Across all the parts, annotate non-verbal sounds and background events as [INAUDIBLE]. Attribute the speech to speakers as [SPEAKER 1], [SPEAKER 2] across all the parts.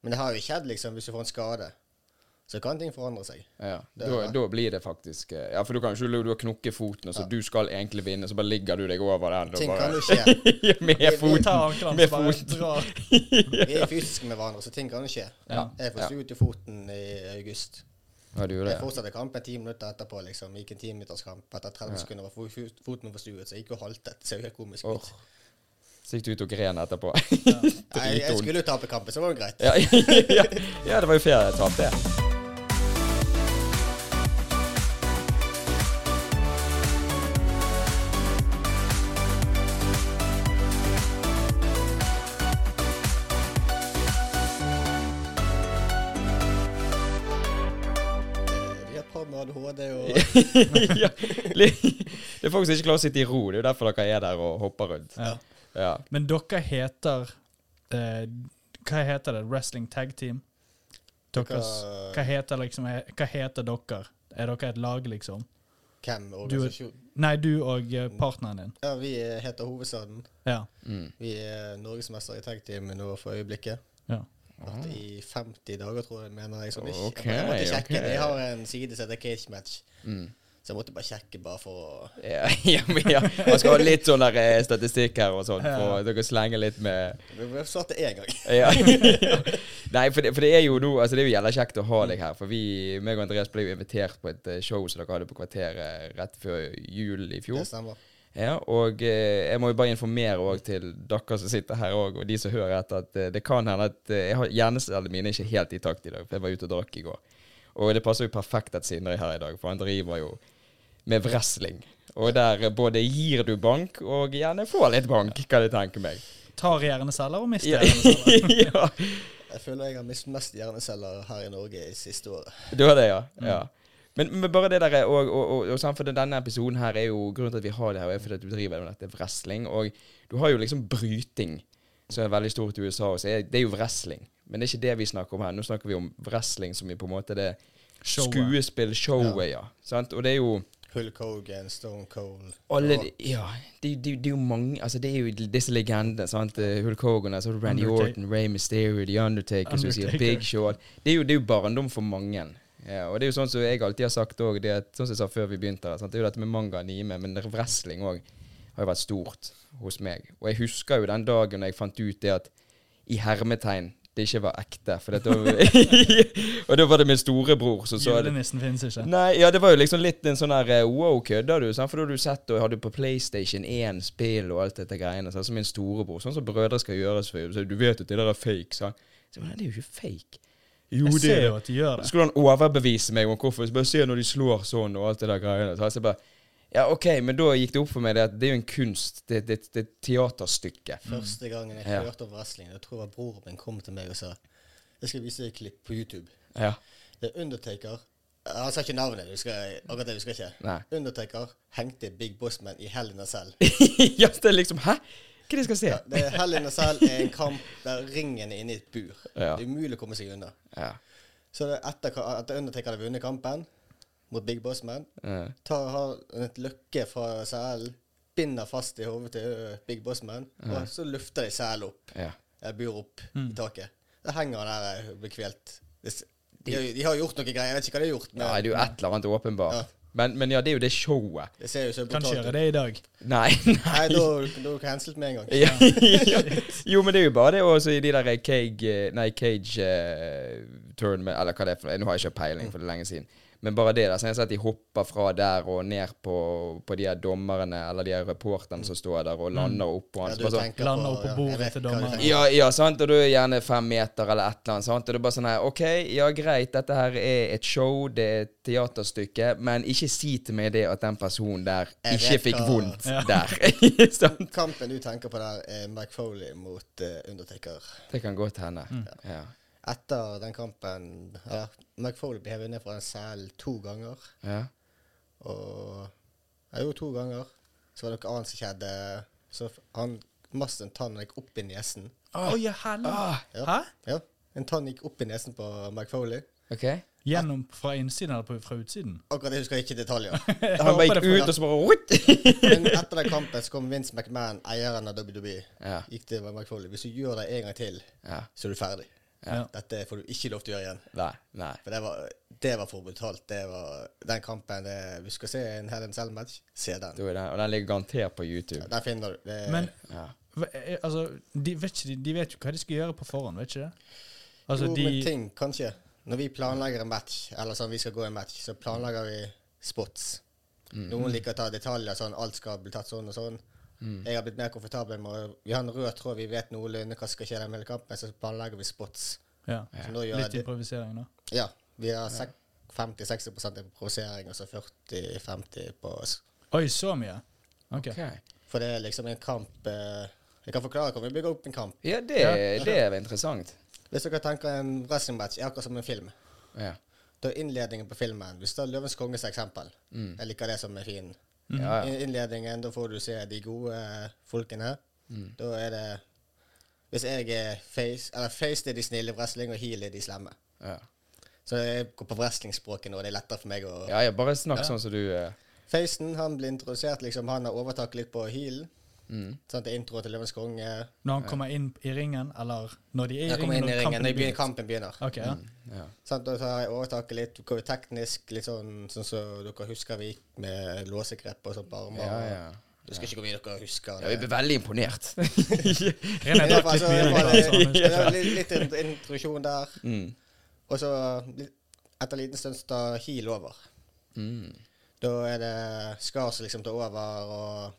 [SPEAKER 1] Men det har jo skjedd, liksom, hvis du får en skade. Så kan ting forandre seg.
[SPEAKER 2] Ja, da, da blir det faktisk eh, Ja, for du kan ikke du, du har knukket foten, og så du skal egentlig vinne, så bare ligger du deg over den og
[SPEAKER 1] Ting
[SPEAKER 2] bare
[SPEAKER 1] kan jo skje.
[SPEAKER 2] [LAUGHS] Med
[SPEAKER 1] Vi- vi
[SPEAKER 2] foten.
[SPEAKER 3] Ta ankelen,
[SPEAKER 2] Med
[SPEAKER 3] så bare
[SPEAKER 2] foten.
[SPEAKER 3] dra.
[SPEAKER 1] Vi er fysiske med hverandre, så ting kan jo skje.
[SPEAKER 2] Ja.
[SPEAKER 1] Jeg forstuet jo foten i august.
[SPEAKER 2] Ja, du gjorde
[SPEAKER 1] Jeg
[SPEAKER 2] det.
[SPEAKER 1] fortsatte kampen ti minutter etterpå. liksom. Gikk en timinutterskamp. Etter 30 sekunder var fo- fo- foten min forstuet, så jeg gikk og haltet. Det ser jo helt komisk ut.
[SPEAKER 2] Åh. Så gikk du ut og gren etterpå. [LAUGHS]
[SPEAKER 1] Nei, jeg, jeg
[SPEAKER 2] Dritvondt.
[SPEAKER 1] skulle jo tape kampen, så var det greit.
[SPEAKER 2] Ja, ja, ja, det var jo ferietap, det. [LAUGHS]
[SPEAKER 1] Vi har prøvd med ADHD og
[SPEAKER 2] ja. li- Det er folk som ikke klarer å sitte i ro. Det er jo derfor dere er der og hopper rundt.
[SPEAKER 3] Ja.
[SPEAKER 2] Ja.
[SPEAKER 3] Men dere heter eh, Hva heter det? Wrestling Tag Team? Deres,
[SPEAKER 1] Hva-
[SPEAKER 3] hva, heter liksom, hva heter dere? Er dere et lag, liksom?
[SPEAKER 1] hvem organisasjon.
[SPEAKER 3] Nei, du og eh, partneren din.
[SPEAKER 1] Ja, vi eh, heter Hovedstaden.
[SPEAKER 3] Ja.
[SPEAKER 2] Mm.
[SPEAKER 1] Vi er norgesmester i tagteam nå for øyeblikket.
[SPEAKER 3] ja.
[SPEAKER 1] Vært i 50 dager, tror jeg, mener jeg. Sånn.
[SPEAKER 2] Ah. Ok,
[SPEAKER 1] jeg, måtte sjekke.
[SPEAKER 2] ok.
[SPEAKER 1] Jeg har en side som heter Cage Match,
[SPEAKER 2] Mm.
[SPEAKER 1] så jeg måtte bare sjekke bare for å
[SPEAKER 2] Ja, [LAUGHS] ja, men ja. Man skal ha litt sånn der eh, statistikk her og sånn, for dere slenger litt med
[SPEAKER 1] Vi svarte én gang.
[SPEAKER 2] ja. Nei, for det, for det er jo nå Altså, det er jo jævla kjekt å ha deg her, for vi, meg og Andreas ble jo invitert på et eh, show som dere hadde på Kvarteret rett før jul i fjor.
[SPEAKER 1] Det stemmer.
[SPEAKER 2] Ja, og eh, jeg må jo bare informere også til dere som sitter her også, og de som hører etter, at eh, det kan hende at eh, jeg har hjernecellene mine er ikke helt i takt i dag, for jeg var ute og drakk i går. Og det passer jo perfekt at Sindre er her i dag, for han driver jo med wrestling. Og der eh, både gir du bank, og gjerne får litt bank, kan jeg tenke meg.
[SPEAKER 3] Tar hjerneceller og mister
[SPEAKER 2] Ja. [LAUGHS]
[SPEAKER 3] hjerneceller.
[SPEAKER 2] ja.
[SPEAKER 1] Jeg føler jeg har mistet mest hjerneceller her i Norge i siste året.
[SPEAKER 2] Du har det, ja. ja. Men, men bare det der er- og, og, og, og sånn, for denne episoden her er jo Grunnen til at vi har det her, er fordi at du driver med dette wrestling. Og du har jo liksom bryting, som er veldig stort i USA. Og så er, det er jo wrestling. Men det er ikke det vi snakker om her. Nå snakker vi om wrestling som i på en måte det
[SPEAKER 3] Showet.
[SPEAKER 2] skuespill-showet, ja. Sant? Og det er jo
[SPEAKER 1] Hulk Hogan, Stone Cold
[SPEAKER 2] alle de, Ja, det, det, det er jo mange Altså, det er jo disse legendene, sant. Eh, Hulk Hogan, altså Randy
[SPEAKER 3] Undertaker.
[SPEAKER 2] Orton, Ray Mysterio, The Undertaker, som sier
[SPEAKER 3] Undertaker.
[SPEAKER 2] Big Show. alt. Det er jo, det er jo barndom for mange. Ja, og det er jo sånn som jeg alltid har sagt òg, sånn som jeg sa før vi begynte, sant? det er jo dette med manga og anime, men wrestling òg har jo vært stort hos meg. Og jeg husker jo den dagen jeg fant ut det at i hermetegn det ikke var ekte. For dette, og da var [LAUGHS] det min storebror som sa det.
[SPEAKER 3] Julenissen finnes ikke.
[SPEAKER 2] Nei, ja, det var jo liksom litt en sånn her eh, Wow, kødder du? Sant? For da har du sett og hadde på PlayStation 1 spill og alt dette greiene. Sant? Som min storebror. Sånn som brødre skal gjøres. For, så du vet at det der er fake, sa han. Så jeg bare, Nei, det er jo ikke fake. Jo,
[SPEAKER 3] Jeg
[SPEAKER 2] det
[SPEAKER 3] ser
[SPEAKER 2] er
[SPEAKER 3] jo at de gjør
[SPEAKER 2] Så
[SPEAKER 3] det.
[SPEAKER 2] skulle han overbevise meg om hvorfor. Så bare se når de slår sånn og alt det der greiene. sant? Så jeg bare Ja, OK, men da gikk det opp for meg det at det er jo en kunst. Det, det, det er et teaterstykke.
[SPEAKER 3] Mm.
[SPEAKER 1] Første gangen jeg
[SPEAKER 2] Ja.
[SPEAKER 1] hørte om wrestling, jeg tror jeg broren min kom til meg og sa Jeg skal vise deg et klipp på YouTube.
[SPEAKER 2] Ja. [LAUGHS]
[SPEAKER 1] Det er Undertaker Eh, Han sa ikke navnet, du skal, akkurat det husker jeg ikke.
[SPEAKER 2] Nei.
[SPEAKER 1] Undertaker hengte Big Boss Man i Hell in a Cell.
[SPEAKER 2] ja, det er liksom Hæ? Hva er det jeg skal se?
[SPEAKER 1] Ja, det er Hell in a Cell er en kamp der ringen er inne i et bur.
[SPEAKER 2] Ja.
[SPEAKER 1] Det er umulig å komme seg unna.
[SPEAKER 2] Ja.
[SPEAKER 1] Så det er etter, ka- etter Undertaker hadde vunnet kampen mot Big Boss Man,
[SPEAKER 2] Ja.
[SPEAKER 1] tar har et løkke fra selen, binder fast i hodet til ø, Big Boss Man, og så lufter de selen opp,
[SPEAKER 2] ja.
[SPEAKER 1] eller bur opp i taket. Da henger han der ø, og blir kvelt. Det s- De, har jo- de har gjort noe greier, jeg vet ikke hva de har gjort, men
[SPEAKER 2] ja, det er jo et eller annet åpenbart.
[SPEAKER 1] Ja.
[SPEAKER 2] Men, men ja, det er jo det showet.
[SPEAKER 1] det ser jo så
[SPEAKER 3] Kan ikke
[SPEAKER 1] brutalt
[SPEAKER 3] gjøre
[SPEAKER 1] ut.
[SPEAKER 3] det i dag.
[SPEAKER 1] [LAUGHS]
[SPEAKER 2] Nei,
[SPEAKER 1] Nei,
[SPEAKER 2] nei.
[SPEAKER 1] da da er du cancelled med en gang.
[SPEAKER 2] Ja. [LAUGHS] jo, men det er jo bare det også i de der eh, cage, nei, cage eh, tournament, eller hva det er for Nå har jeg ikke peiling, for det er lenge siden. Men bare det der. Så jeg har sett de hopper fra der og ned på, på de her dommerne eller de her reporterne som står der og lander oppå han.
[SPEAKER 1] Mm. Ja,
[SPEAKER 2] Så
[SPEAKER 1] du
[SPEAKER 2] bare sånn,
[SPEAKER 1] tenker
[SPEAKER 3] Lander opp på
[SPEAKER 1] ja, jeg
[SPEAKER 3] bordet
[SPEAKER 1] vet hva
[SPEAKER 3] til
[SPEAKER 1] du
[SPEAKER 3] dommeren.
[SPEAKER 1] tenker.
[SPEAKER 2] Ja, ja, sant, og du er gjerne fem meter eller et eller annet, sant, og det er bare sånn her, ok, ja greit, dette her er et show, det er et teaterstykke, men ikke si til meg det at den personen der
[SPEAKER 1] Jeg
[SPEAKER 2] ikke
[SPEAKER 1] vet
[SPEAKER 2] fikk
[SPEAKER 1] hva-
[SPEAKER 2] vondt
[SPEAKER 3] Ja.
[SPEAKER 2] der, [LAUGHS] sant?
[SPEAKER 1] Kampen du tenker på der, er Mike Foley mot ø, Undertaker.
[SPEAKER 2] Det kan godt hende, ja,
[SPEAKER 1] Etter den kampen ja, Mike Foley ble hevet ned fra en sel to ganger.
[SPEAKER 2] ja,
[SPEAKER 1] Og ja, jo, to ganger. Så var det noe annet som skjedde. Så f- han mast en tann gikk opp i nesen.
[SPEAKER 3] Å, ja,
[SPEAKER 2] Ah.
[SPEAKER 3] helvete.
[SPEAKER 1] Ja.
[SPEAKER 3] Hæ?
[SPEAKER 1] Ja, En tann gikk opp i nesen på Mike Foley.
[SPEAKER 2] ok.
[SPEAKER 3] Gjennom fra innsiden eller på- fra utsiden?
[SPEAKER 1] Akkurat det husker jeg ikke i detaljer.
[SPEAKER 2] [LAUGHS]
[SPEAKER 3] Jeg
[SPEAKER 2] Han bare
[SPEAKER 3] håper det
[SPEAKER 2] gikk
[SPEAKER 3] får-
[SPEAKER 2] ut og så bare, what? [LAUGHS]
[SPEAKER 1] Men etter den kampen så kom Vince McMahon, eieren av E, WWE,
[SPEAKER 2] Ja.
[SPEAKER 1] gikk til Mike Foley. Hvis du gjør det en gang til,
[SPEAKER 2] Ja.
[SPEAKER 1] så er du ferdig.
[SPEAKER 3] Ja.
[SPEAKER 1] Dette får du ikke lov til å gjøre igjen.
[SPEAKER 2] Nei. nei.
[SPEAKER 1] For det var, det var for brutalt. Det var den kampen det, Vi skal se en Helen Selmatch. Se den.
[SPEAKER 2] Da er den- Og den ligger garantert på YouTube.
[SPEAKER 1] Den finner du. Det,
[SPEAKER 3] Men
[SPEAKER 2] Ja.
[SPEAKER 3] hva- eh, altså, de vet, ikke, de- de vet jo hva de skal gjøre på forhånd, vet ikke det? Altså,
[SPEAKER 1] jo, men
[SPEAKER 3] de,
[SPEAKER 1] ting kan skje. Når vi planlegger en match, eller sånn vi skal gå en match, så planlegger vi spots. Noen liker å ta detaljer, sånn alt skal bli tatt sånn og sånn. Jeg har blitt mer komfortabel med å Vi har en rød tråd, vi vet noenlunde hva som skal skje den hele kampen, så planlegger vi spots.
[SPEAKER 3] ja.
[SPEAKER 1] Så nå gjør jeg
[SPEAKER 3] Litt
[SPEAKER 1] det.
[SPEAKER 3] improvisering, da.
[SPEAKER 1] Ja. Vi har sek- 50-60 improvisering, og så 40-50 på oss.
[SPEAKER 3] Oi, så mye? Ok.
[SPEAKER 2] Ok.
[SPEAKER 1] For det er liksom en kamp eh, Jeg kan forklare hvordan vi bygger opp en kamp.
[SPEAKER 2] Ja, det,
[SPEAKER 3] Ja.
[SPEAKER 2] det er interessant.
[SPEAKER 1] Hvis dere tenker en wrestlingmatch er akkurat som en film.
[SPEAKER 2] Ja.
[SPEAKER 1] Da er innledningen på filmen Hvis det er Løvens konges eksempel Jeg liker det som er fin.
[SPEAKER 2] Ja, ja.
[SPEAKER 1] I innledningen, da får du se de gode eh, folkene. Da er det Hvis jeg er face Eller face det er de snille i wrestling, og heel er de slemme.
[SPEAKER 2] Ja.
[SPEAKER 1] Så jeg går på wrestlingspråket nå, det er lettere for meg å
[SPEAKER 2] ja, ja, bare snakk sånn som du eh,
[SPEAKER 1] Facen, han blir introdusert, liksom. Han har overtak litt på healen. Sånn, det er intro til Løvens konge.
[SPEAKER 3] Når han kommer inn i ringen, eller når de er i
[SPEAKER 1] Jeg kommer
[SPEAKER 3] ringen?
[SPEAKER 1] inn i ringen Mm. når
[SPEAKER 3] kampen
[SPEAKER 1] begynner- kampen begynner.
[SPEAKER 3] Ok, ja.
[SPEAKER 2] ja.
[SPEAKER 1] Sant, og så har jeg overtaket litt går vi teknisk, litt sånn sånn som dere husker vi gikk med låsegrep og sånn på armer.
[SPEAKER 2] Ja, ja.
[SPEAKER 1] Du husker ikke hvor mye dere husker.
[SPEAKER 2] ja, vi ble veldig imponert.
[SPEAKER 1] [LAUGHS] Det
[SPEAKER 3] Ren er
[SPEAKER 1] var
[SPEAKER 3] drakk litt
[SPEAKER 1] altså-
[SPEAKER 3] mye
[SPEAKER 1] det var
[SPEAKER 3] litt, altså,
[SPEAKER 1] litt-
[SPEAKER 3] men-
[SPEAKER 1] det var litt, litt int- introduksjon der.
[SPEAKER 2] Mm.
[SPEAKER 1] Og så litt- etter en liten stund så tar Heal over.
[SPEAKER 2] Mm.
[SPEAKER 1] Da er det Skar som liksom tar over og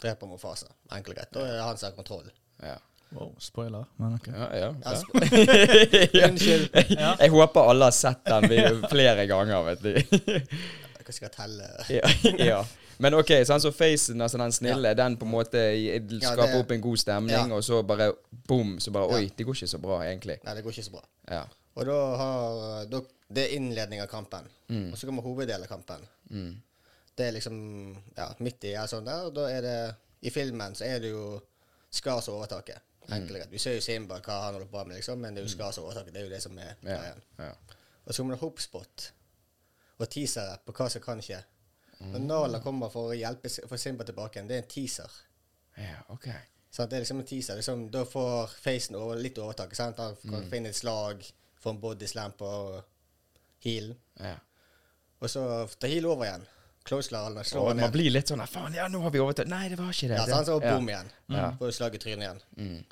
[SPEAKER 1] dreper Mofasa. Enkelt og greit. Da er det han som har kontroll.
[SPEAKER 2] Ja.
[SPEAKER 3] Wow, spoiler, men ok.
[SPEAKER 2] Ja, ja, ja.
[SPEAKER 1] Altså, Unnskyld.
[SPEAKER 3] Ja.
[SPEAKER 2] Jeg håper alle har sett den videoen flere ganger,
[SPEAKER 1] [LAUGHS]
[SPEAKER 2] vet du.
[SPEAKER 1] Hva skal jeg telle?
[SPEAKER 2] ja, ja. Men OK, sånn så facen, altså den snille, den på en måte i- skaper
[SPEAKER 1] det-
[SPEAKER 2] opp en god stemning,
[SPEAKER 1] Ja.
[SPEAKER 2] og så bare bom, så bare
[SPEAKER 1] Ja.
[SPEAKER 2] Oi, det går ikke så bra, egentlig.
[SPEAKER 1] Nei, det går ikke så bra.
[SPEAKER 2] Ja.
[SPEAKER 1] Og da har da, Det er innledning av kampen. Og så kommer hoveddelen av kampen. Det er liksom ja, midt i ja, sånn der. Og da er det I filmen så er det jo Skar som overtaket. Enkelt og greit. Du ser jo Simba hva han holder på med, liksom, men det er jo Skar som overtaket. Det er jo det som er
[SPEAKER 2] Ja.
[SPEAKER 1] greien.
[SPEAKER 2] ja.
[SPEAKER 1] Og så kommer det hopspot og teasere på hva som kan skje. Når Nala kommer for å hjelpe S- få Simba tilbake igjen, det er en teaser.
[SPEAKER 2] ja OK.
[SPEAKER 1] Sant? Det er liksom en teaser. Liksom, da får Facen over, litt overtaket. Sant? Han kan
[SPEAKER 2] Mm.
[SPEAKER 1] finne et slag, få en body slam på healen.
[SPEAKER 2] Ja.
[SPEAKER 1] Og så tar heal over igjen. Closelar eller slår
[SPEAKER 2] Og
[SPEAKER 1] han
[SPEAKER 2] man
[SPEAKER 1] ned.
[SPEAKER 2] blir litt sånn Faen, ja, nå har vi overtatt Nei, det var ikke det.
[SPEAKER 1] Ja, sånn sant? Så
[SPEAKER 2] Det- ja. Mm.
[SPEAKER 1] bom igjen. Får slag i trynet igjen.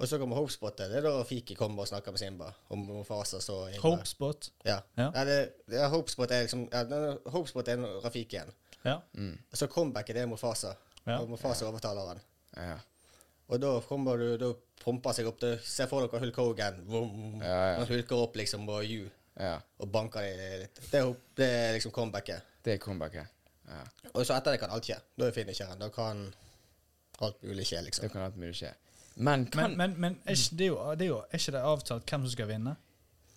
[SPEAKER 1] Og så kommer hopespottet. Det er da Rafiki kommer og snakker med Simba om om Fasa så Imba.
[SPEAKER 3] Hopespot.
[SPEAKER 1] Ja.
[SPEAKER 3] Ja.
[SPEAKER 1] Nei, det, det er Hopespot er liksom ja, det er- Hopespot er en Rafiki igjen.
[SPEAKER 3] Ja.
[SPEAKER 1] Og så comebacket er Mofasa.
[SPEAKER 3] Ja.
[SPEAKER 1] Og Mofasa overtaler han.
[SPEAKER 2] Ja.
[SPEAKER 1] Og da kommer du, da promper han seg opp. Du ser for dere Hulk Hogan. Vroom.
[SPEAKER 2] Ja, ja.
[SPEAKER 1] Han hulker opp liksom og you,
[SPEAKER 2] ja.
[SPEAKER 1] og banker dem litt. Det er, hop- det er liksom comebacket.
[SPEAKER 2] Det er comebacket. Ja.
[SPEAKER 1] Og så etter det kan alt skje. Da er finisheren. Da kan alt mulig skje,
[SPEAKER 2] Det
[SPEAKER 1] liksom.
[SPEAKER 2] kan alt mulig skje. Men kan
[SPEAKER 3] Men, men, men er, ikke, det er, jo, det er jo er ikke det avtalt hvem som skal vinne?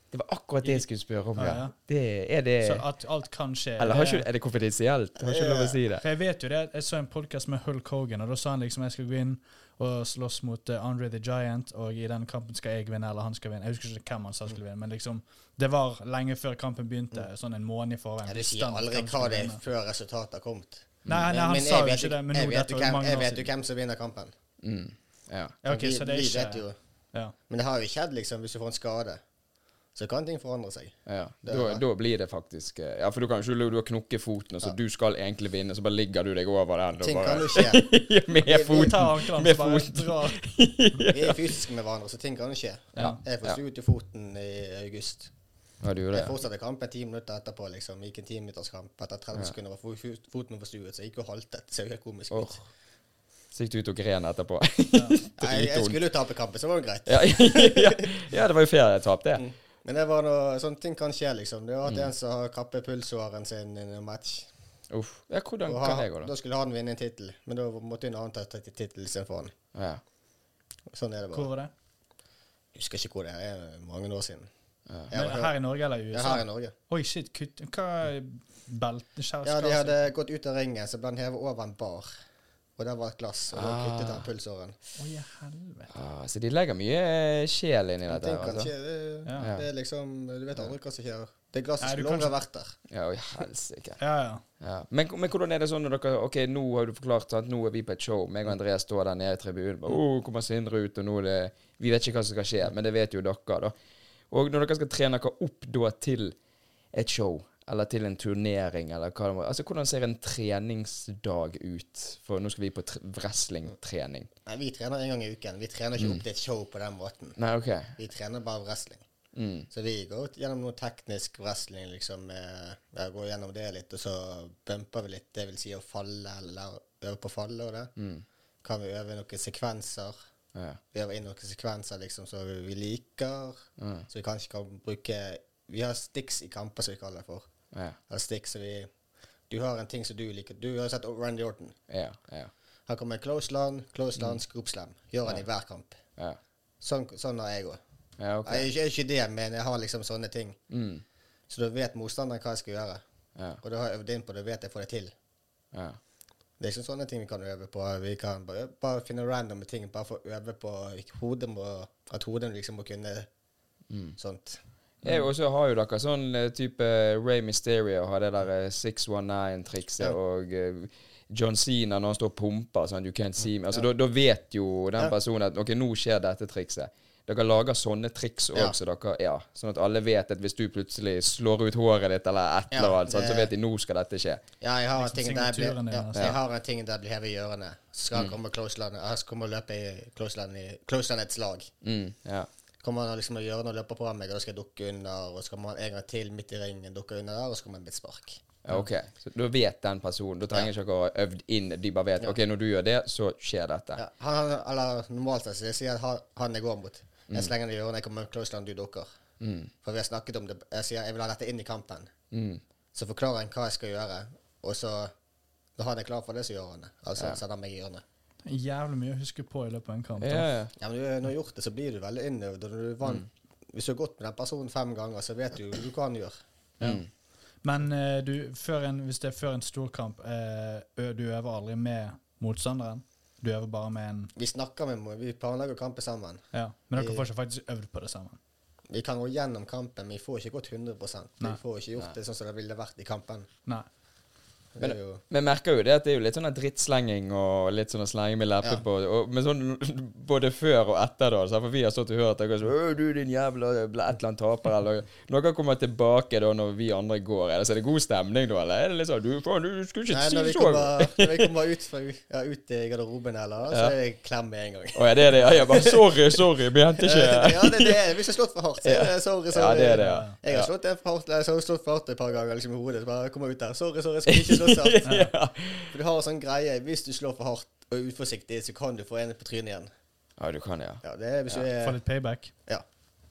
[SPEAKER 2] Det var akkurat det jeg skulle spørre om, ja.
[SPEAKER 3] Ja, ja.
[SPEAKER 2] Det, er
[SPEAKER 1] Eh.
[SPEAKER 2] det
[SPEAKER 3] Så at alt kan skje.
[SPEAKER 2] Eller har
[SPEAKER 3] det-
[SPEAKER 2] ikke, er det konfidensielt? Har ikke lov å si det?
[SPEAKER 3] For jeg vet jo det, jeg så en podcast med Hulk Hogan, og da sa han liksom jeg skal gå inn og slåss mot eh, Andre the Giant, og i den kampen skal jeg vinne, eller han skal vinne. Jeg husker ikke hvem han
[SPEAKER 1] Mm.
[SPEAKER 3] sa skulle vinne, men liksom, det var lenge før kampen begynte, sånn en måned i forveien.
[SPEAKER 1] Ja, du sier
[SPEAKER 3] Stand-
[SPEAKER 1] aldri
[SPEAKER 3] hvem som
[SPEAKER 1] hva
[SPEAKER 3] skulle
[SPEAKER 1] det er
[SPEAKER 3] vinne.
[SPEAKER 1] før resultatet har kommet.
[SPEAKER 3] Nei, nei, han sa
[SPEAKER 1] jeg
[SPEAKER 3] jo
[SPEAKER 1] vet
[SPEAKER 3] ikke det, men
[SPEAKER 1] jeg
[SPEAKER 3] nå
[SPEAKER 1] vet
[SPEAKER 3] dette
[SPEAKER 1] jo
[SPEAKER 3] var jo
[SPEAKER 1] hvem-
[SPEAKER 3] mange
[SPEAKER 1] Jeg
[SPEAKER 3] år
[SPEAKER 1] vet jo
[SPEAKER 3] siden.
[SPEAKER 1] hvem som vinner kampen.
[SPEAKER 2] Mm. Ja.
[SPEAKER 3] Ja, ok, så det er
[SPEAKER 1] vi
[SPEAKER 3] ikke...
[SPEAKER 1] vet jo.
[SPEAKER 3] Ja.
[SPEAKER 1] Men det har jo skjedd, liksom, hvis du får en skade. Så kan ting forandre seg.
[SPEAKER 2] ja.
[SPEAKER 1] Det er
[SPEAKER 2] Da,
[SPEAKER 1] det.
[SPEAKER 2] da blir det faktisk eh, Ja, for du kan jo ikke du har knukket foten, og så du skal egentlig vinne, så bare ligger du deg over den og
[SPEAKER 1] Ting kan
[SPEAKER 2] [LAUGHS]
[SPEAKER 1] jo
[SPEAKER 2] bare
[SPEAKER 1] skje.
[SPEAKER 2] Med
[SPEAKER 1] Vi- vi
[SPEAKER 3] Vi
[SPEAKER 2] foten!
[SPEAKER 3] tar ankelen,
[SPEAKER 2] Med
[SPEAKER 3] så bare
[SPEAKER 2] foten.
[SPEAKER 3] drar.
[SPEAKER 1] Vi
[SPEAKER 2] [LAUGHS]
[SPEAKER 1] er fysiske med hverandre, så ting kan jo skje.
[SPEAKER 3] Ja.
[SPEAKER 1] Jeg
[SPEAKER 2] Ja.
[SPEAKER 1] forsto ut i foten i august.
[SPEAKER 2] Ja, du gjorde
[SPEAKER 1] Jeg
[SPEAKER 2] det?
[SPEAKER 1] fortsatte kampen ti minutter etterpå. liksom. Gikk en timinutterskamp. Etter 30 sekunder var fo- fo- foten min forstuet, så jeg gikk og haltet. Ser jo helt komisk
[SPEAKER 2] Åh.
[SPEAKER 1] ut.
[SPEAKER 2] Så gikk du ut og gren etterpå. [LAUGHS]
[SPEAKER 1] Nei, jeg, jeg
[SPEAKER 2] Dritvond.
[SPEAKER 1] skulle jo tape kampen, så var det greit.
[SPEAKER 2] ja, ja, ja, det var jo fair tap, det.
[SPEAKER 1] Men det var noe, sånne ting kan skje, liksom. Det var at
[SPEAKER 2] Mm.
[SPEAKER 1] en som har kappet pulsåren sin i en match.
[SPEAKER 2] Uff. Ja, hvordan
[SPEAKER 1] Og
[SPEAKER 2] Sånn kan
[SPEAKER 1] han,
[SPEAKER 2] det gå, da?
[SPEAKER 1] da skulle han vinne en tittel, men da måtte en annen ta tit- tittel istedenfor han.
[SPEAKER 2] Ja.
[SPEAKER 1] Sånn er det bare.
[SPEAKER 3] Hvor var det?
[SPEAKER 1] Jeg husker ikke hvor det er, det er mange år siden.
[SPEAKER 2] Ja.
[SPEAKER 1] Jeg
[SPEAKER 3] Men
[SPEAKER 1] var-
[SPEAKER 3] her i Norge eller i
[SPEAKER 1] Ja,
[SPEAKER 3] USA?
[SPEAKER 1] her i Norge.
[SPEAKER 3] Oi, shit, kutt. Hva er belt?
[SPEAKER 1] Ja, de
[SPEAKER 3] Skjærskasser?
[SPEAKER 1] hadde gått ut av ringen, så ble han hevet over en bar. og der var et glass, og da kuttet han pulsåren.
[SPEAKER 3] Å, ja, helvete.
[SPEAKER 2] Ah, så de legger mye eh, sjel inn i
[SPEAKER 1] Jeg
[SPEAKER 2] dette. her,
[SPEAKER 1] tenker
[SPEAKER 2] altså.
[SPEAKER 1] kanskje det,
[SPEAKER 3] Ja.
[SPEAKER 1] det er liksom Du vet aldri hva som skjer. Det glasset
[SPEAKER 3] Nei, du
[SPEAKER 1] skulle
[SPEAKER 3] kan
[SPEAKER 1] aldri vært der.
[SPEAKER 2] Ja, oi, helsike.
[SPEAKER 3] Ja, ja.
[SPEAKER 2] Ja. Men, men hvordan er det sånn når dere Ok, nå har du forklart at nå er vi på et show. Meg og André står der nede i tribunen. Bare, oh, kommer Sindre ut, og nå er det Vi vet ikke hva som skal skje, men det vet jo dere, da. Og når dere skal trene dere opp da til et show, eller til en turnering, eller hva det må Altså, hvordan ser en treningsdag ut? For nå skal vi på tre- wrestlingtrening.
[SPEAKER 1] Nei, vi trener en gang i uken. Vi trener
[SPEAKER 2] Mm.
[SPEAKER 1] ikke opp til et show på den måten.
[SPEAKER 2] Nei, OK.
[SPEAKER 1] Vi trener bare wrestling.
[SPEAKER 2] Mm.
[SPEAKER 1] Så vi går gjennom noe teknisk wrestling, liksom. eh, Ja, går gjennom det litt, og så bumper vi litt. Det vil si å falle, eller øve på å falle og det.
[SPEAKER 2] Mm.
[SPEAKER 1] Kan vi øve noen sekvenser?
[SPEAKER 2] Ja.
[SPEAKER 1] Vi øver inn noen sekvenser liksom som vi liker,
[SPEAKER 2] Mm.
[SPEAKER 1] så vi kanskje kan bruke Vi har sticks i kamper, som vi kaller det for.
[SPEAKER 2] Ja.
[SPEAKER 1] Eller sticks som vi Du har en ting som du liker. Du har jo sett Randy Orton.
[SPEAKER 2] Ja. Ja.
[SPEAKER 1] Han kommer med close land, close land, scoop slam. Gjør han i hver kamp.
[SPEAKER 2] Mm. Ja.
[SPEAKER 1] Sånn, sånn har jeg òg.
[SPEAKER 2] ja OK.
[SPEAKER 1] Jeg er ikke- jeg er ikke det, men jeg har liksom sånne ting.
[SPEAKER 2] Mm.
[SPEAKER 1] Så da vet motstanderen hva jeg skal gjøre.
[SPEAKER 2] Ja.
[SPEAKER 1] Og da har jeg øvd inn på det, og vet jeg får det til.
[SPEAKER 2] Ja.
[SPEAKER 1] Det er ikke sånne ting vi kan øve på. Vi kan bare, bare finne random ting. Bare for å øve på hodet må, at hodet liksom må kunne
[SPEAKER 2] Mm.
[SPEAKER 1] sånt.
[SPEAKER 2] Ja,
[SPEAKER 1] Mm.
[SPEAKER 2] og så har jo dere sånn eh, type Ray Mysterio har det der eh, 619-trikset,
[SPEAKER 1] Ja.
[SPEAKER 2] og eh, John Cena når han står og pumper sånn You can't see me. Altså, da- Da vet jo den
[SPEAKER 1] Ja.
[SPEAKER 2] personen at OK, nå skjer dette trikset. Dere lager sånne triks òg,
[SPEAKER 1] Ja.
[SPEAKER 2] så dere, ja, sånn at alle vet at hvis du plutselig slår ut håret ditt eller et
[SPEAKER 1] Ja,
[SPEAKER 2] eller annet, sånn,
[SPEAKER 1] det-
[SPEAKER 2] så vet de nå skal dette skje.
[SPEAKER 1] Ja, jeg har
[SPEAKER 3] Liksom
[SPEAKER 1] en ting der jeg blir,
[SPEAKER 3] signaturen din,
[SPEAKER 1] ja,
[SPEAKER 3] altså. Mm.
[SPEAKER 1] jeg har en ting der jeg blir hevet i ørene. Så Skal han komme closeland, jeg skal komme og løpe i closeland i- closelandets lag.
[SPEAKER 2] Mm, ja.
[SPEAKER 1] Kommer han liksom i ørene og løper på meg, og da skal jeg dukke under, og så kommer han en gang til midt i ringen, dukker under der, og så kommer han mitt spark.
[SPEAKER 2] Ja, OK. Så da vet den personen. Da trenger ikke dere å ha øvd inn. De bare vet OK, når du gjør det, så skjer dette.
[SPEAKER 1] Ja, han, han, eller normalt sett, så jeg sier han, han jeg går mot.
[SPEAKER 2] Mm.
[SPEAKER 1] Jeg slenger det i ørene, jeg kommer med closeland, du dukker. For vi har snakket om det. Jeg sier jeg vil ha dette inn i kampen.
[SPEAKER 2] Mm.
[SPEAKER 1] Så forklarer han hva jeg skal gjøre, og så når han er klar for det, så gjør han det. Altså setter han meg i hjørnet.
[SPEAKER 3] Jævlig mye å huske på i løpet av en kamp. da.
[SPEAKER 2] Ja, ja.
[SPEAKER 1] Ja, men du, når du har gjort det, så blir du veldig innøvd. Og når du
[SPEAKER 2] Mm.
[SPEAKER 1] vant, Hvis du har gått med den personen fem ganger, så vet du jo hva han gjør.
[SPEAKER 3] Men eh, du, før en, hvis det er før en storkamp, eh, ø- du øver aldri med motstanderen. Du øver bare med en
[SPEAKER 1] Vi snakker med Vi planlegger kamper sammen.
[SPEAKER 3] Ja. Men dere
[SPEAKER 1] Vi-
[SPEAKER 3] får ikke faktisk øvd på det sammen.
[SPEAKER 1] Vi kan gå gjennom kampen, men vi får ikke gått 100 Vi
[SPEAKER 3] Nei.
[SPEAKER 1] får ikke gjort det sånn som det ville vært i kampen.
[SPEAKER 3] Nei.
[SPEAKER 1] Det er jo
[SPEAKER 2] Men jeg merker jo det at det er jo litt sånn drittslenging og litt sånn slenging med leppen
[SPEAKER 1] Ja.
[SPEAKER 2] på. Og, men sånn [LAUGHS] både før og etter, da. Så for vi har stått og hørt dere sånn «Å, 'Du, din jævla et eller annet taper', eller Når dere kommer tilbake da når vi andre går, er det, så er det god stemning da, eller er det litt sånn 'Du, faen, du skulle ikke
[SPEAKER 1] Nei, når
[SPEAKER 2] si
[SPEAKER 1] vi
[SPEAKER 2] så
[SPEAKER 1] kommer, når vi kommer ut, fra, ja, ut i garderoben, eller, så er det klem med en gang.
[SPEAKER 2] Å ja, det er det. Ja, jeg bare 'Sorry, sorry, vi henter ikke'.
[SPEAKER 1] [LAUGHS] Ja, det er det. Hvis jeg har slått for hardt, så er det sorry, sorry.
[SPEAKER 2] Ja, det er det, ja.
[SPEAKER 1] Jeg har slått det for hardt, jeg har slått for hardt et par ganger liksom, i hodet. Så bare kommer jeg ut der. Sorry, sorry, jeg skulle ikke slått så hardt.
[SPEAKER 2] ja.
[SPEAKER 1] For du har en sånn greie, hvis du slår for hardt og uforsiktig, så kan du få en på trynet igjen.
[SPEAKER 2] ja, du kan det, ja.
[SPEAKER 1] Ja, det er hvis du
[SPEAKER 3] Få
[SPEAKER 1] er
[SPEAKER 3] litt payback.
[SPEAKER 1] Ja.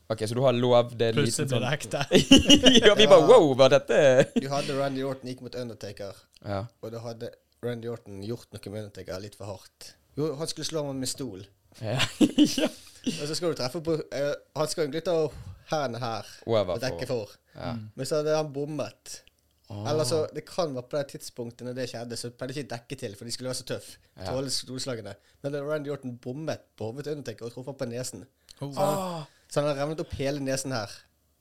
[SPEAKER 2] OK, så du har lov det er en
[SPEAKER 3] Plutselig
[SPEAKER 2] liten
[SPEAKER 3] blir
[SPEAKER 2] sånn
[SPEAKER 3] det ekte.
[SPEAKER 1] [LAUGHS]
[SPEAKER 2] [LAUGHS] Ja, vi bare 'Wow, var dette
[SPEAKER 1] Du hadde Randy Orton gikk mot Undertaker,
[SPEAKER 2] Ja.
[SPEAKER 1] og da hadde Randy Orton gjort noe med Undertaker litt for hardt. Jo, han skulle slå ham med stol,
[SPEAKER 2] [LAUGHS] ja.
[SPEAKER 1] og så skal du treffe på eh, Han skal egentlig ta hendene her
[SPEAKER 2] Over
[SPEAKER 1] og dekke for,
[SPEAKER 2] Ja. Ah.
[SPEAKER 1] men så hadde han bommet. Eller så, Det kan være på det tidspunktet når det skjedde, så pleide de ikke dekke til, for de skulle være så tøff. Tåle stolslagene. Men da Randy Orton bommet på hodet til Undertaker og traff ham på nesen.
[SPEAKER 2] Ah,
[SPEAKER 1] Så han har revnet opp hele nesen her.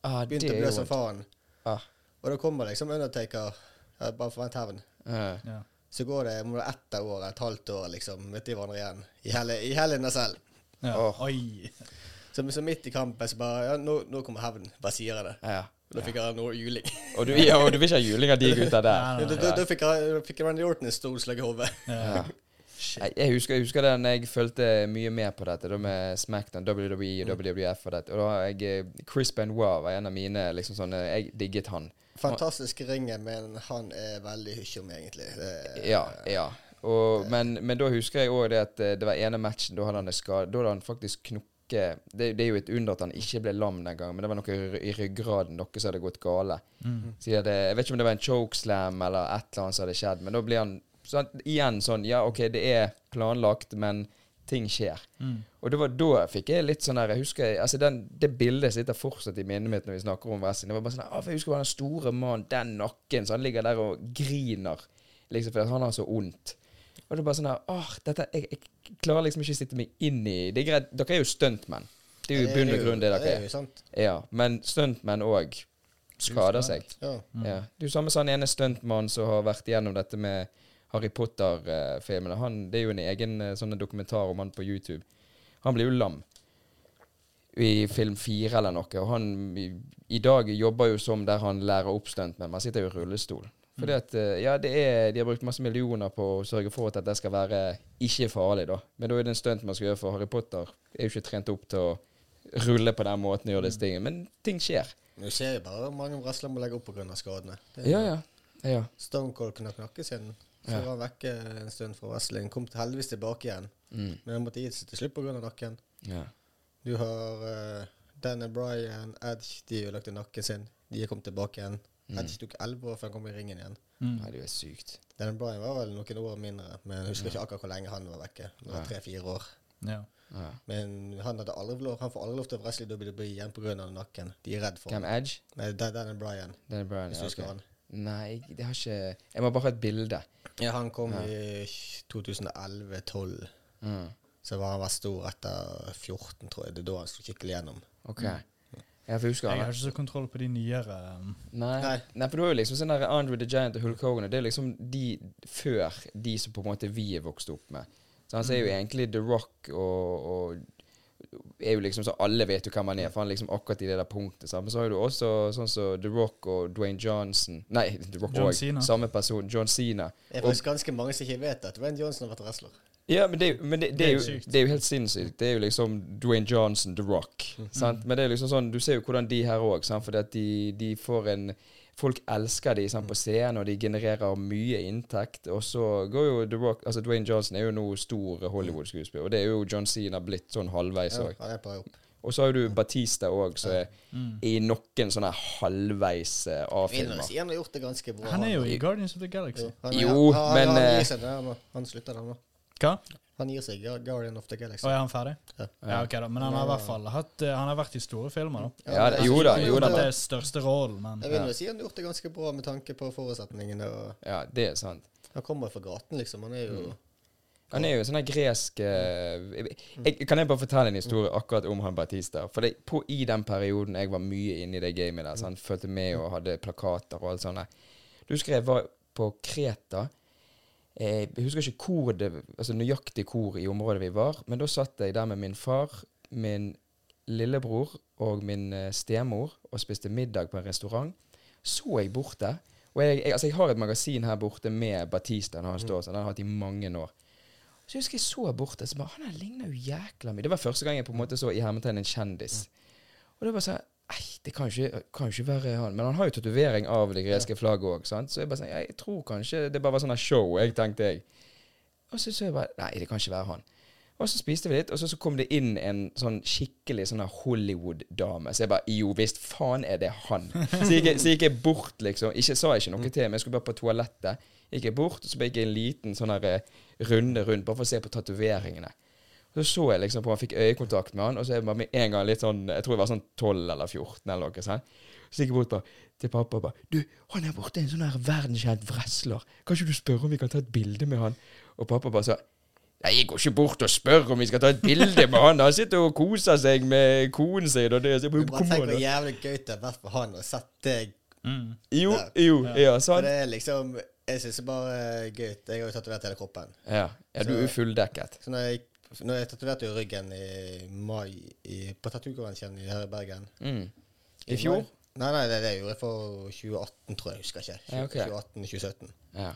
[SPEAKER 2] ah, det
[SPEAKER 1] Begynte å
[SPEAKER 2] er
[SPEAKER 1] blø
[SPEAKER 2] jo
[SPEAKER 1] som faen.
[SPEAKER 2] ah,
[SPEAKER 1] Og da kommer liksom Undertaker ja, bare forvent hevn.
[SPEAKER 2] eh.
[SPEAKER 3] Ja.
[SPEAKER 1] Så går det om det er ett år, et halvt år, liksom, møter de hverandre igjen. I hele, i hele den selv.
[SPEAKER 3] Ja.
[SPEAKER 2] Åh.
[SPEAKER 3] Oi.
[SPEAKER 1] Så, så midt i kampen så bare Ja, nå, nå kommer hevn. Bare sier jeg det.
[SPEAKER 2] Ja.
[SPEAKER 1] Og da fikk han noe juling.
[SPEAKER 2] Og du, ja, og du vil ikke ha juling av de gutta der?
[SPEAKER 1] Da, da, da fikk, han- fikk Randy Orton en stor slag i hodet.
[SPEAKER 2] Ja. Nei, Jeg husker, jeg husker det når jeg fulgte mye med på dette, da med Smackdown, E, WWE og WWF og dette. Og da har jeg eh, Chris Benoit var en av mine liksom sånne Jeg digget han.
[SPEAKER 1] Fantastisk ringen, men han er veldig hysjom, egentlig. Det,
[SPEAKER 2] Ja, ja. Og, men, men da husker jeg òg det at eh, det var ene matchen, da hadde han en skade Da hadde han faktisk knokke det, det er jo et under at han ikke ble lam den gangen, men det var noe i ry- i ryggraden, noe som hadde gått gale. Så de hadde, jeg vet ikke om det var en chokeslam eller et eller annet som hadde skjedd, men da ble han så han, igjen sånn Ja, OK, det er planlagt, men ting skjer. Og det var da fikk jeg litt sånn her Jeg husker jeg, altså den, Det bildet sitter fortsatt i minnet mitt når vi snakker om wrestling. Det var bare sånn «Å, for Jeg husker bare den store mannen, den nakken, så han ligger der og griner. Liksom fordi at han har så vondt. Og det er bare sånn her Åh, dette jeg, jeg klarer liksom ikke å sitte meg inn i Det er greit, dere er jo stuntmenn. Det er jo i bunn og grunn det dere
[SPEAKER 1] er
[SPEAKER 2] er.
[SPEAKER 1] jo sant.
[SPEAKER 2] Ja, men stuntmenn òg skader seg.
[SPEAKER 1] Ja.
[SPEAKER 2] Ja. Det er jo samme som han ene stuntmannen som har vært gjennom dette med Harry Potter-filmene. Han, Det er jo en egen eh, sånn dokumentar om han på YouTube. Han blir jo lam i film fire eller noe, og han i, i dag jobber jo som der han lærer opp stuntmenn. Man sitter jo i rullestol. Fordi at, eh, ja, det er, De har brukt masse millioner på å sørge for at dette skal være ikke farlig, da. Men da er det en stunt man skal gjøre for Harry Potter. Er jo ikke trent opp til å rulle på den måten og gjøre disse tingene. Men ting skjer.
[SPEAKER 1] Men Du ser jo bare hvor mange wrestlere må legge opp pga. skadene. Det er-
[SPEAKER 2] Ja, ja. ja.
[SPEAKER 1] Stone Cold kunne knakke siden. Så
[SPEAKER 2] Ja.
[SPEAKER 1] var han vekke en stund fra wrestling. Kom til heldigvis tilbake igjen,
[SPEAKER 2] Mm.
[SPEAKER 1] men han måtte gi seg til slutt pga. nakken.
[SPEAKER 2] ja.
[SPEAKER 1] Du har eh, Danny Bryan, Edge, de ødelagte nakken sin. De er kommet tilbake igjen.
[SPEAKER 2] Mm.
[SPEAKER 1] Edge tok elleve år før han kom i ringen igjen.
[SPEAKER 3] Mm.
[SPEAKER 2] Nei, det er jo helt sykt.
[SPEAKER 1] Danny Bryan var vel noen år mindre, men jeg husker ikke akkurat hvor lenge han var vekke. Det var Tre-fire år.
[SPEAKER 3] Ja.
[SPEAKER 2] Ja.
[SPEAKER 1] Men han, hadde aldri lov, han får aldri lov til å wrestle i WWE igjen pga. nakken. De er redd for
[SPEAKER 2] Hvem
[SPEAKER 1] ham.
[SPEAKER 2] Edge?
[SPEAKER 1] Nei, Dan- Danny Bryan,
[SPEAKER 2] Danny Bryan.
[SPEAKER 1] hvis
[SPEAKER 2] Ja,
[SPEAKER 1] du husker
[SPEAKER 2] ok.
[SPEAKER 1] han.
[SPEAKER 2] Nei, jeg- det har ikke Jeg må bare ha et bilde.
[SPEAKER 1] Ja, han kom i 2011-12.
[SPEAKER 2] Mm.
[SPEAKER 1] Så var han vært stor etter 14, tror jeg. Det er da han slo skikkelig gjennom.
[SPEAKER 2] OK. Jeg får huske
[SPEAKER 3] Jeg
[SPEAKER 2] han.
[SPEAKER 3] har ikke så kontroll på de nyere um,
[SPEAKER 2] Nei.
[SPEAKER 1] Nei.
[SPEAKER 2] Nei, for du har jo liksom sånn der Andre the Giant og Hulk Hogan, og det er liksom de før de som på en måte vi er vokst opp med. Så han ser jo egentlig The Rock og, og er jo liksom så Alle vet jo hvem han er, for han er liksom akkurat i det der punktet. sant? Men så har du også sånn som The Rock og Dwayne Johnson Nei, The Rock
[SPEAKER 3] John
[SPEAKER 2] òg.
[SPEAKER 3] Cena.
[SPEAKER 2] Samme person. John Cena.
[SPEAKER 1] Det er faktisk ganske mange som ikke vet at Dwayne Johnson har vært wrestler.
[SPEAKER 2] Ja, men, det, er jo- men det, det,
[SPEAKER 3] Det
[SPEAKER 2] er
[SPEAKER 3] er
[SPEAKER 2] jo,
[SPEAKER 3] sykt.
[SPEAKER 2] det er jo helt sinnssykt. Det er jo liksom Dwayne Johnson, The Rock. Sant? Men det er liksom sånn, du ser jo hvordan de her òg, fordi at de, de får en Folk elsker de sant, på scenen, og de genererer mye inntekt. Og så går jo The Rock Altså Dwayne Johnson er jo nå stor Hollywood-skuespiller, og det er jo John Cena blitt sånn halvveis
[SPEAKER 1] Ja,
[SPEAKER 2] òg.
[SPEAKER 1] han er på vei opp.
[SPEAKER 2] Og så har jo du Batista òg, som er i noen sånne halvveis eh,
[SPEAKER 1] Vinner
[SPEAKER 2] A-filmer.
[SPEAKER 1] sier han har gjort det ganske bra.
[SPEAKER 3] Han er jo i Guardians of the Galaxy.
[SPEAKER 1] han,
[SPEAKER 2] Jo,
[SPEAKER 1] han,
[SPEAKER 2] men,
[SPEAKER 1] Han,
[SPEAKER 2] eh,
[SPEAKER 1] gir seg der nå. Han slutter der nå.
[SPEAKER 3] Hva?
[SPEAKER 1] Han gir seg. Gu- Guardian of the
[SPEAKER 3] Å,
[SPEAKER 1] Galaxy.
[SPEAKER 3] er han ferdig?
[SPEAKER 1] Ja.
[SPEAKER 3] Ja, ok da. Men han har i hvert fall hatt eh, Han har vært i store filmer, da.
[SPEAKER 2] Ja, det, jo da, jo da.
[SPEAKER 3] Det er største rollen, men
[SPEAKER 1] Jeg vil jo si han har gjort det ganske bra med tanke på forutsetningene. Og
[SPEAKER 2] Ja, det er sant.
[SPEAKER 1] han kommer fra gaten, liksom. Han er jo
[SPEAKER 2] Mm. Han er jo en sånn her gresk eh, jeg, Kan jeg bare fortelle en historie akkurat om han Batista? For det, på, i den perioden jeg var mye inne i det gamet der, så han fulgte med og hadde plakater og alt sånt. Du husker jeg var på Kreta. Eh, Jeg husker ikke hvor det, altså nøyaktig hvor i området vi var, men da satt jeg der med min far, min lillebror og min eh, stemor og spiste middag på en restaurant. Så jeg borte. Og jeg, jeg, altså jeg har et magasin her borte med Batista når han står sånn. Den har jeg hatt i mange år. Så jeg husker jeg så bort der, så bare, han her ligner jo jækla mye. Det var første gang jeg på en måte så i hermetegn en kjendis. Og det var sånn, ei, det kan ikke, kan ikke være han. Men han har jo tatovering av det greske flagget òg, sant. Så jeg bare sånn, jeg tror kanskje det bare var sånn her show, jeg tenkte jeg. Og så så jeg bare, nei, det kan ikke være han. Og så spiste vi litt, og så, så kom det inn en sånn skikkelig sånn her Hollywood-dame. Så jeg bare Jo visst faen er det han. Så gikk jeg, så gikk jeg bort, liksom. Ikke, sa ikke noe til, men jeg skulle bare på toalettet. Gikk jeg bort, og så gikk jeg en liten sånn her eh, runde rundt, bare for å se på tatoveringene. Og Så så jeg liksom på han fikk øyekontakt med han, og så er jeg bare med en gang litt sånn Jeg tror jeg var sånn 12 eller 14 eller noe sånt. Så gikk jeg bort bare, til pappa og bare Du, han er borte, en sånn her verdenskjent wrestler. Kan ikke du spørre om vi kan ta et bilde med han? Og pappa bare sa Nei, jeg går ikke bort og spør om vi skal ta et bilde med han. Han sitter og koser seg med konen sin og det. Så jeg
[SPEAKER 1] Du
[SPEAKER 2] bare,
[SPEAKER 1] bare
[SPEAKER 2] Kom
[SPEAKER 1] tenk
[SPEAKER 2] an,
[SPEAKER 1] hvor
[SPEAKER 2] da.
[SPEAKER 1] jævlig gøy det har vært for han å sette deg
[SPEAKER 3] Mm.
[SPEAKER 2] Jo, jo, ja,
[SPEAKER 1] For
[SPEAKER 2] sant?
[SPEAKER 1] Det er liksom Jeg syns det er bare gøy. Jeg har jo tatovert hele kroppen.
[SPEAKER 2] Ja, ja, du er jo fuldekket.
[SPEAKER 1] Så når jeg, når jeg tatoverte jo ryggen i mai i, på tattookonvensjonen i- her i Bergen
[SPEAKER 2] Mm. I fjor?
[SPEAKER 1] mai- Nei, nei, det, det gjorde jeg for 2018, tror jeg. husker ikke.
[SPEAKER 2] Ja, ok.
[SPEAKER 1] 2018-2017.
[SPEAKER 2] Ja.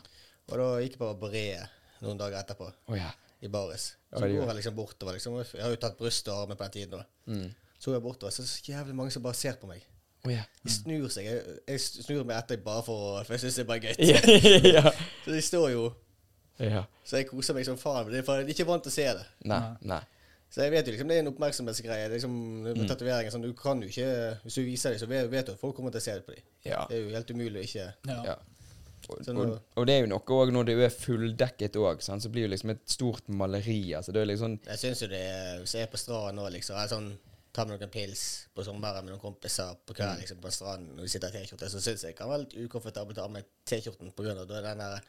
[SPEAKER 1] Og da gikk jeg på Breet noen dager etterpå,
[SPEAKER 2] Å ja.
[SPEAKER 1] i baris.
[SPEAKER 2] Ja,
[SPEAKER 1] Så
[SPEAKER 2] det gjør
[SPEAKER 1] går jeg liksom bortover. liksom. og Jeg har jo tatt bryst og armer på den tiden. da.
[SPEAKER 2] Mm.
[SPEAKER 1] Så går jeg bortover, så er det så jævlig mange som bare ser på meg.
[SPEAKER 2] Å ja.
[SPEAKER 1] De snur seg. Jeg, jeg snur meg etter bare for, å- for jeg syns det er bare gøy.
[SPEAKER 2] [LAUGHS] ja.
[SPEAKER 1] [LAUGHS] Så de står jo,
[SPEAKER 2] ja.
[SPEAKER 1] så jeg koser meg som faen. men Det er for jeg er ikke vant til å se det.
[SPEAKER 2] Nei. nei.
[SPEAKER 1] Så jeg vet jo liksom, Det er en oppmerksomhetsgreie. Det er liksom,
[SPEAKER 2] Mm.
[SPEAKER 1] med tatoveringer, sånn, du kan jo ikke, Hvis du viser dem, så vet, vet du at folk kommer til å se det på dem.
[SPEAKER 2] Ja.
[SPEAKER 1] Det er jo helt umulig å ikke
[SPEAKER 3] ja.
[SPEAKER 2] Ja. Og,
[SPEAKER 1] Så nå-
[SPEAKER 2] og, og det er jo noe òg når det er fulldekket òg, så blir det liksom et stort maleri. Altså det er liksom
[SPEAKER 1] Jeg syns jo det er Hvis jeg er på stranden nå, liksom jeg er sånn, Tar meg noen pils på sommeren med noen kompiser på
[SPEAKER 2] Mm.
[SPEAKER 1] kvelden liksom, på stranden og vi sitter i T-skjorte, så syns jeg det kan være litt ukomfortabelt å ha med T-skjorten på grunn av da er den der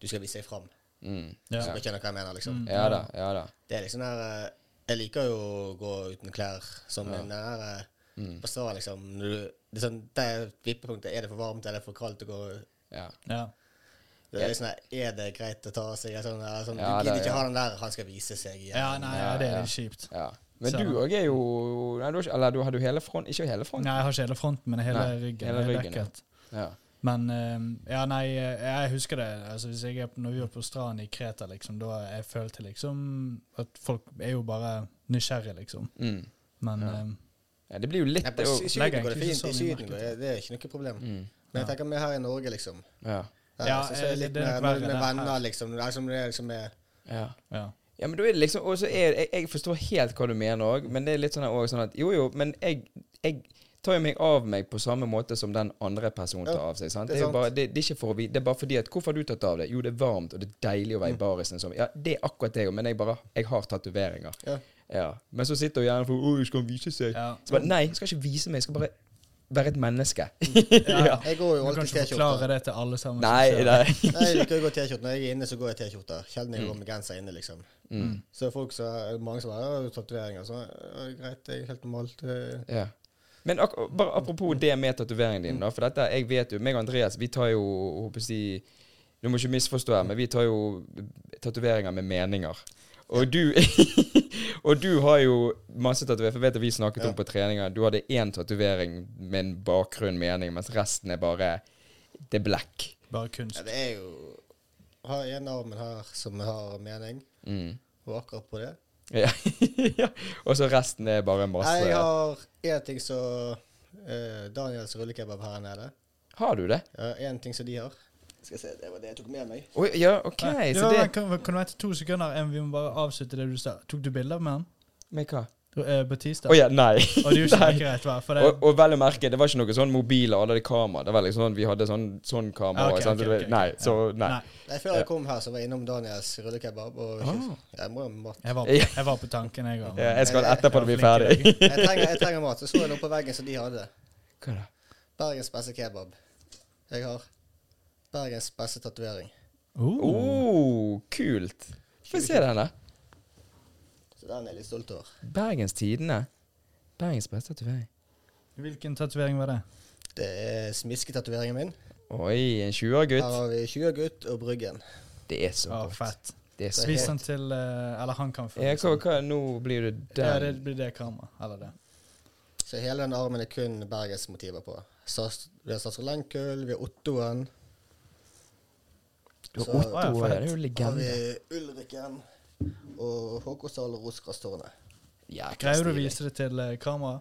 [SPEAKER 1] Du skal vise deg fram.
[SPEAKER 2] Mm.
[SPEAKER 3] Ja. Mm.
[SPEAKER 1] Som jeg kjenner hva jeg mener, liksom.
[SPEAKER 2] Ja da, ja da.
[SPEAKER 1] Det er liksom der eh, Jeg liker jo å gå uten klær, som en der eh,
[SPEAKER 3] Mm.
[SPEAKER 1] på stranden, liksom. Når du, det, er sånn, det er vippepunktet. Er det for varmt, er det for kaldt å gå
[SPEAKER 2] Ja.
[SPEAKER 3] Ja.
[SPEAKER 1] det er, sånn, der, er det greit å ta av seg? eller Sånn, eller sånn,
[SPEAKER 2] Ja,
[SPEAKER 1] du gidder
[SPEAKER 2] det-
[SPEAKER 1] ikke
[SPEAKER 2] ja.
[SPEAKER 1] ha den der 'han skal vise seg' igjen.
[SPEAKER 3] ja, nei, ja, det er litt kjipt.
[SPEAKER 2] ja. Men
[SPEAKER 3] Så-
[SPEAKER 2] du òg er jo nei, du har ikke, Eller du hadde jo hele front Ikke hele front.
[SPEAKER 3] Nei, jeg har ikke hele fronten, men hele
[SPEAKER 2] Nei,
[SPEAKER 3] ryggen.
[SPEAKER 2] hele
[SPEAKER 3] er
[SPEAKER 2] ryggen, ja.
[SPEAKER 3] dekket.
[SPEAKER 2] Ja.
[SPEAKER 3] Men eh, ja, nei, eh, jeg husker det. Altså, hvis jeg er, når vi var på stranden i Kreta, liksom, da jeg følte liksom at folk er jo bare nysgjerrige, liksom.
[SPEAKER 2] Mm.
[SPEAKER 3] Men
[SPEAKER 2] Ja.
[SPEAKER 3] eh,
[SPEAKER 2] ja. Det blir jo litt
[SPEAKER 1] Nei,
[SPEAKER 2] det
[SPEAKER 1] på Sy-
[SPEAKER 2] òg.
[SPEAKER 3] legger
[SPEAKER 1] Syden går det
[SPEAKER 3] egentlig ikke
[SPEAKER 1] fint.
[SPEAKER 3] så
[SPEAKER 1] I
[SPEAKER 3] mye
[SPEAKER 1] Syden
[SPEAKER 3] merke
[SPEAKER 1] går det, det er ikke noe problem.
[SPEAKER 2] Mm.
[SPEAKER 1] Men jeg tenker vi her i Norge, liksom.
[SPEAKER 2] Ja.
[SPEAKER 1] Ja,
[SPEAKER 3] Ja, eh,
[SPEAKER 1] så, så er det litt
[SPEAKER 3] det er nok
[SPEAKER 1] mer når du er
[SPEAKER 3] verre
[SPEAKER 1] med
[SPEAKER 3] der her.
[SPEAKER 1] venner, liksom. Det er som det er liksom med
[SPEAKER 2] ja.
[SPEAKER 3] ja.
[SPEAKER 2] [LAUGHS] Ja, men da er det liksom Og så er jeg, jeg forstår helt hva du mener òg, men det er litt sånn, her også, sånn at Jo, jo, men jeg, jeg tar jo meg av meg på samme måte som den andre personen tar
[SPEAKER 1] Ja,
[SPEAKER 2] av seg. sant?
[SPEAKER 1] det
[SPEAKER 2] Det
[SPEAKER 1] er
[SPEAKER 2] er,
[SPEAKER 1] sant.
[SPEAKER 2] jo bare, det, det er ikke for å vite, det er bare fordi at Hvorfor har du tatt av det? Jo, det er varmt, og det er deilig å være i
[SPEAKER 1] Mm.
[SPEAKER 2] barisen. Sånn. Ja, det er akkurat det, men jeg bare Jeg har tatoveringer.
[SPEAKER 1] Ja.
[SPEAKER 2] Ja. Men så sitter hun gjerne for Å, jeg skal vise seg.
[SPEAKER 3] Ja.
[SPEAKER 2] Så bare Nei, jeg skal ikke vise meg, jeg skal bare være et menneske.
[SPEAKER 3] ja.
[SPEAKER 1] Jeg går jo
[SPEAKER 3] Du kan
[SPEAKER 1] alltid i
[SPEAKER 3] ikke
[SPEAKER 1] T-skjorte.
[SPEAKER 3] forklare det til alle sammen. som
[SPEAKER 2] nei,
[SPEAKER 3] ser.
[SPEAKER 2] nei. [LAUGHS]
[SPEAKER 1] Nei, jeg liker å gå i T-skjorte. Når jeg er inne, så går jeg i T-skjorte. Sjelden
[SPEAKER 2] Mm.
[SPEAKER 1] jeg går med genser inne, liksom. Så er folk så, er det mange som bare har tatoveringer. Så «Ja, greit, jeg er helt normalt. eh,
[SPEAKER 2] Ja. Mm. Men ak bare apropos det med tatoveringen din, da. For dette, jeg vet jo, meg og Andreas, vi tar jo håper jeg, Du må ikke misforstå her, men vi tar jo tatoveringer med meninger. Og du, [LAUGHS] og du har jo masse tatoveringer. For jeg vet at vi snakket om på treninger Du hadde én tatovering med en bakgrunn mening, mens resten er bare Det er black.
[SPEAKER 3] Bare sånn. kunst.
[SPEAKER 1] Ja, det er jo Har en armen her som har mening,
[SPEAKER 2] Mm.
[SPEAKER 1] og akkurat på det.
[SPEAKER 2] [LAUGHS] Ja. Ja. og så resten er bare masse
[SPEAKER 1] Jeg har én ting som eh, Daniels rullekebab her nede.
[SPEAKER 2] Har du det?
[SPEAKER 1] Én ting som de har. Skal jeg se, Det var det jeg tok med meg.
[SPEAKER 2] Oi, ja, OK.
[SPEAKER 3] Nei,
[SPEAKER 2] Så
[SPEAKER 3] ja,
[SPEAKER 2] det
[SPEAKER 3] men kan, kan du vente to sekunder? Em, Vi må bare avslutte det du sa. Tok du bilder med han?
[SPEAKER 2] Med hva?
[SPEAKER 3] Du, eh, Batista?
[SPEAKER 2] Å ja, nei.
[SPEAKER 3] Og det er jo ikke
[SPEAKER 2] [LAUGHS] Nei.
[SPEAKER 3] like greit, hva? For det,
[SPEAKER 2] Og, og vel å merke, det var ikke noe sånn mobil og alle hadde kamera. Det var liksom sånn, Vi hadde sånn, sånn kamera.
[SPEAKER 3] Ah, ok,
[SPEAKER 2] sant?
[SPEAKER 3] ok,
[SPEAKER 2] Det-
[SPEAKER 3] ok, ok.
[SPEAKER 2] Nei,
[SPEAKER 3] Ja.
[SPEAKER 2] så nei.
[SPEAKER 3] nei.
[SPEAKER 1] Nei, Før jeg kom her, så var jeg innom Daniels rullekebab. Og
[SPEAKER 2] Ah.
[SPEAKER 1] jeg, må, ha mat.
[SPEAKER 3] Jeg var,
[SPEAKER 2] Ja.
[SPEAKER 3] jeg var på tanken, jeg òg.
[SPEAKER 2] Ja, jeg skal etterpå når vi er ferdig.
[SPEAKER 3] [LAUGHS]
[SPEAKER 1] jeg, trenger, jeg trenger mat. Så så jeg noe på veggen som de hadde.
[SPEAKER 2] Hva da?
[SPEAKER 1] Bergens beste kebab. Jeg har Bergens beste tatovering.
[SPEAKER 3] Uh.
[SPEAKER 2] Oh, kult. Få se den, da.
[SPEAKER 1] Så den er jeg litt stolt over.
[SPEAKER 2] Bergens Tidende. Bergens beste tatovering.
[SPEAKER 3] Hvilken tatovering var det?
[SPEAKER 1] Det er smisketatoveringen min.
[SPEAKER 2] Oi, en 20-årgutt.
[SPEAKER 1] Her har vi 20 gutt og Bryggen.
[SPEAKER 2] Det er så
[SPEAKER 3] Å,
[SPEAKER 2] godt.
[SPEAKER 3] fett.
[SPEAKER 2] Det er så
[SPEAKER 3] Vis
[SPEAKER 2] godt.
[SPEAKER 3] den til eh, Eller han kan få
[SPEAKER 2] Ja,
[SPEAKER 3] den.
[SPEAKER 2] hva, hva, nå blir du
[SPEAKER 3] Ja, det
[SPEAKER 2] den.
[SPEAKER 3] blir det kameraet. Eller det.
[SPEAKER 1] Så hele den armen er kun bergensmotiver på. Sas- Vi har Sastro Lenkull, vi har Ottoen,
[SPEAKER 2] Du har
[SPEAKER 1] så-
[SPEAKER 2] åtte
[SPEAKER 3] Å, ja,
[SPEAKER 2] år,
[SPEAKER 3] fett.
[SPEAKER 2] det er jo
[SPEAKER 1] har vi
[SPEAKER 2] legende.
[SPEAKER 1] Ulriken og Håkonsdal og Roskrastårnet.
[SPEAKER 2] Ja,
[SPEAKER 3] Greier du å
[SPEAKER 2] stilig.
[SPEAKER 3] vise det til eh, kamera?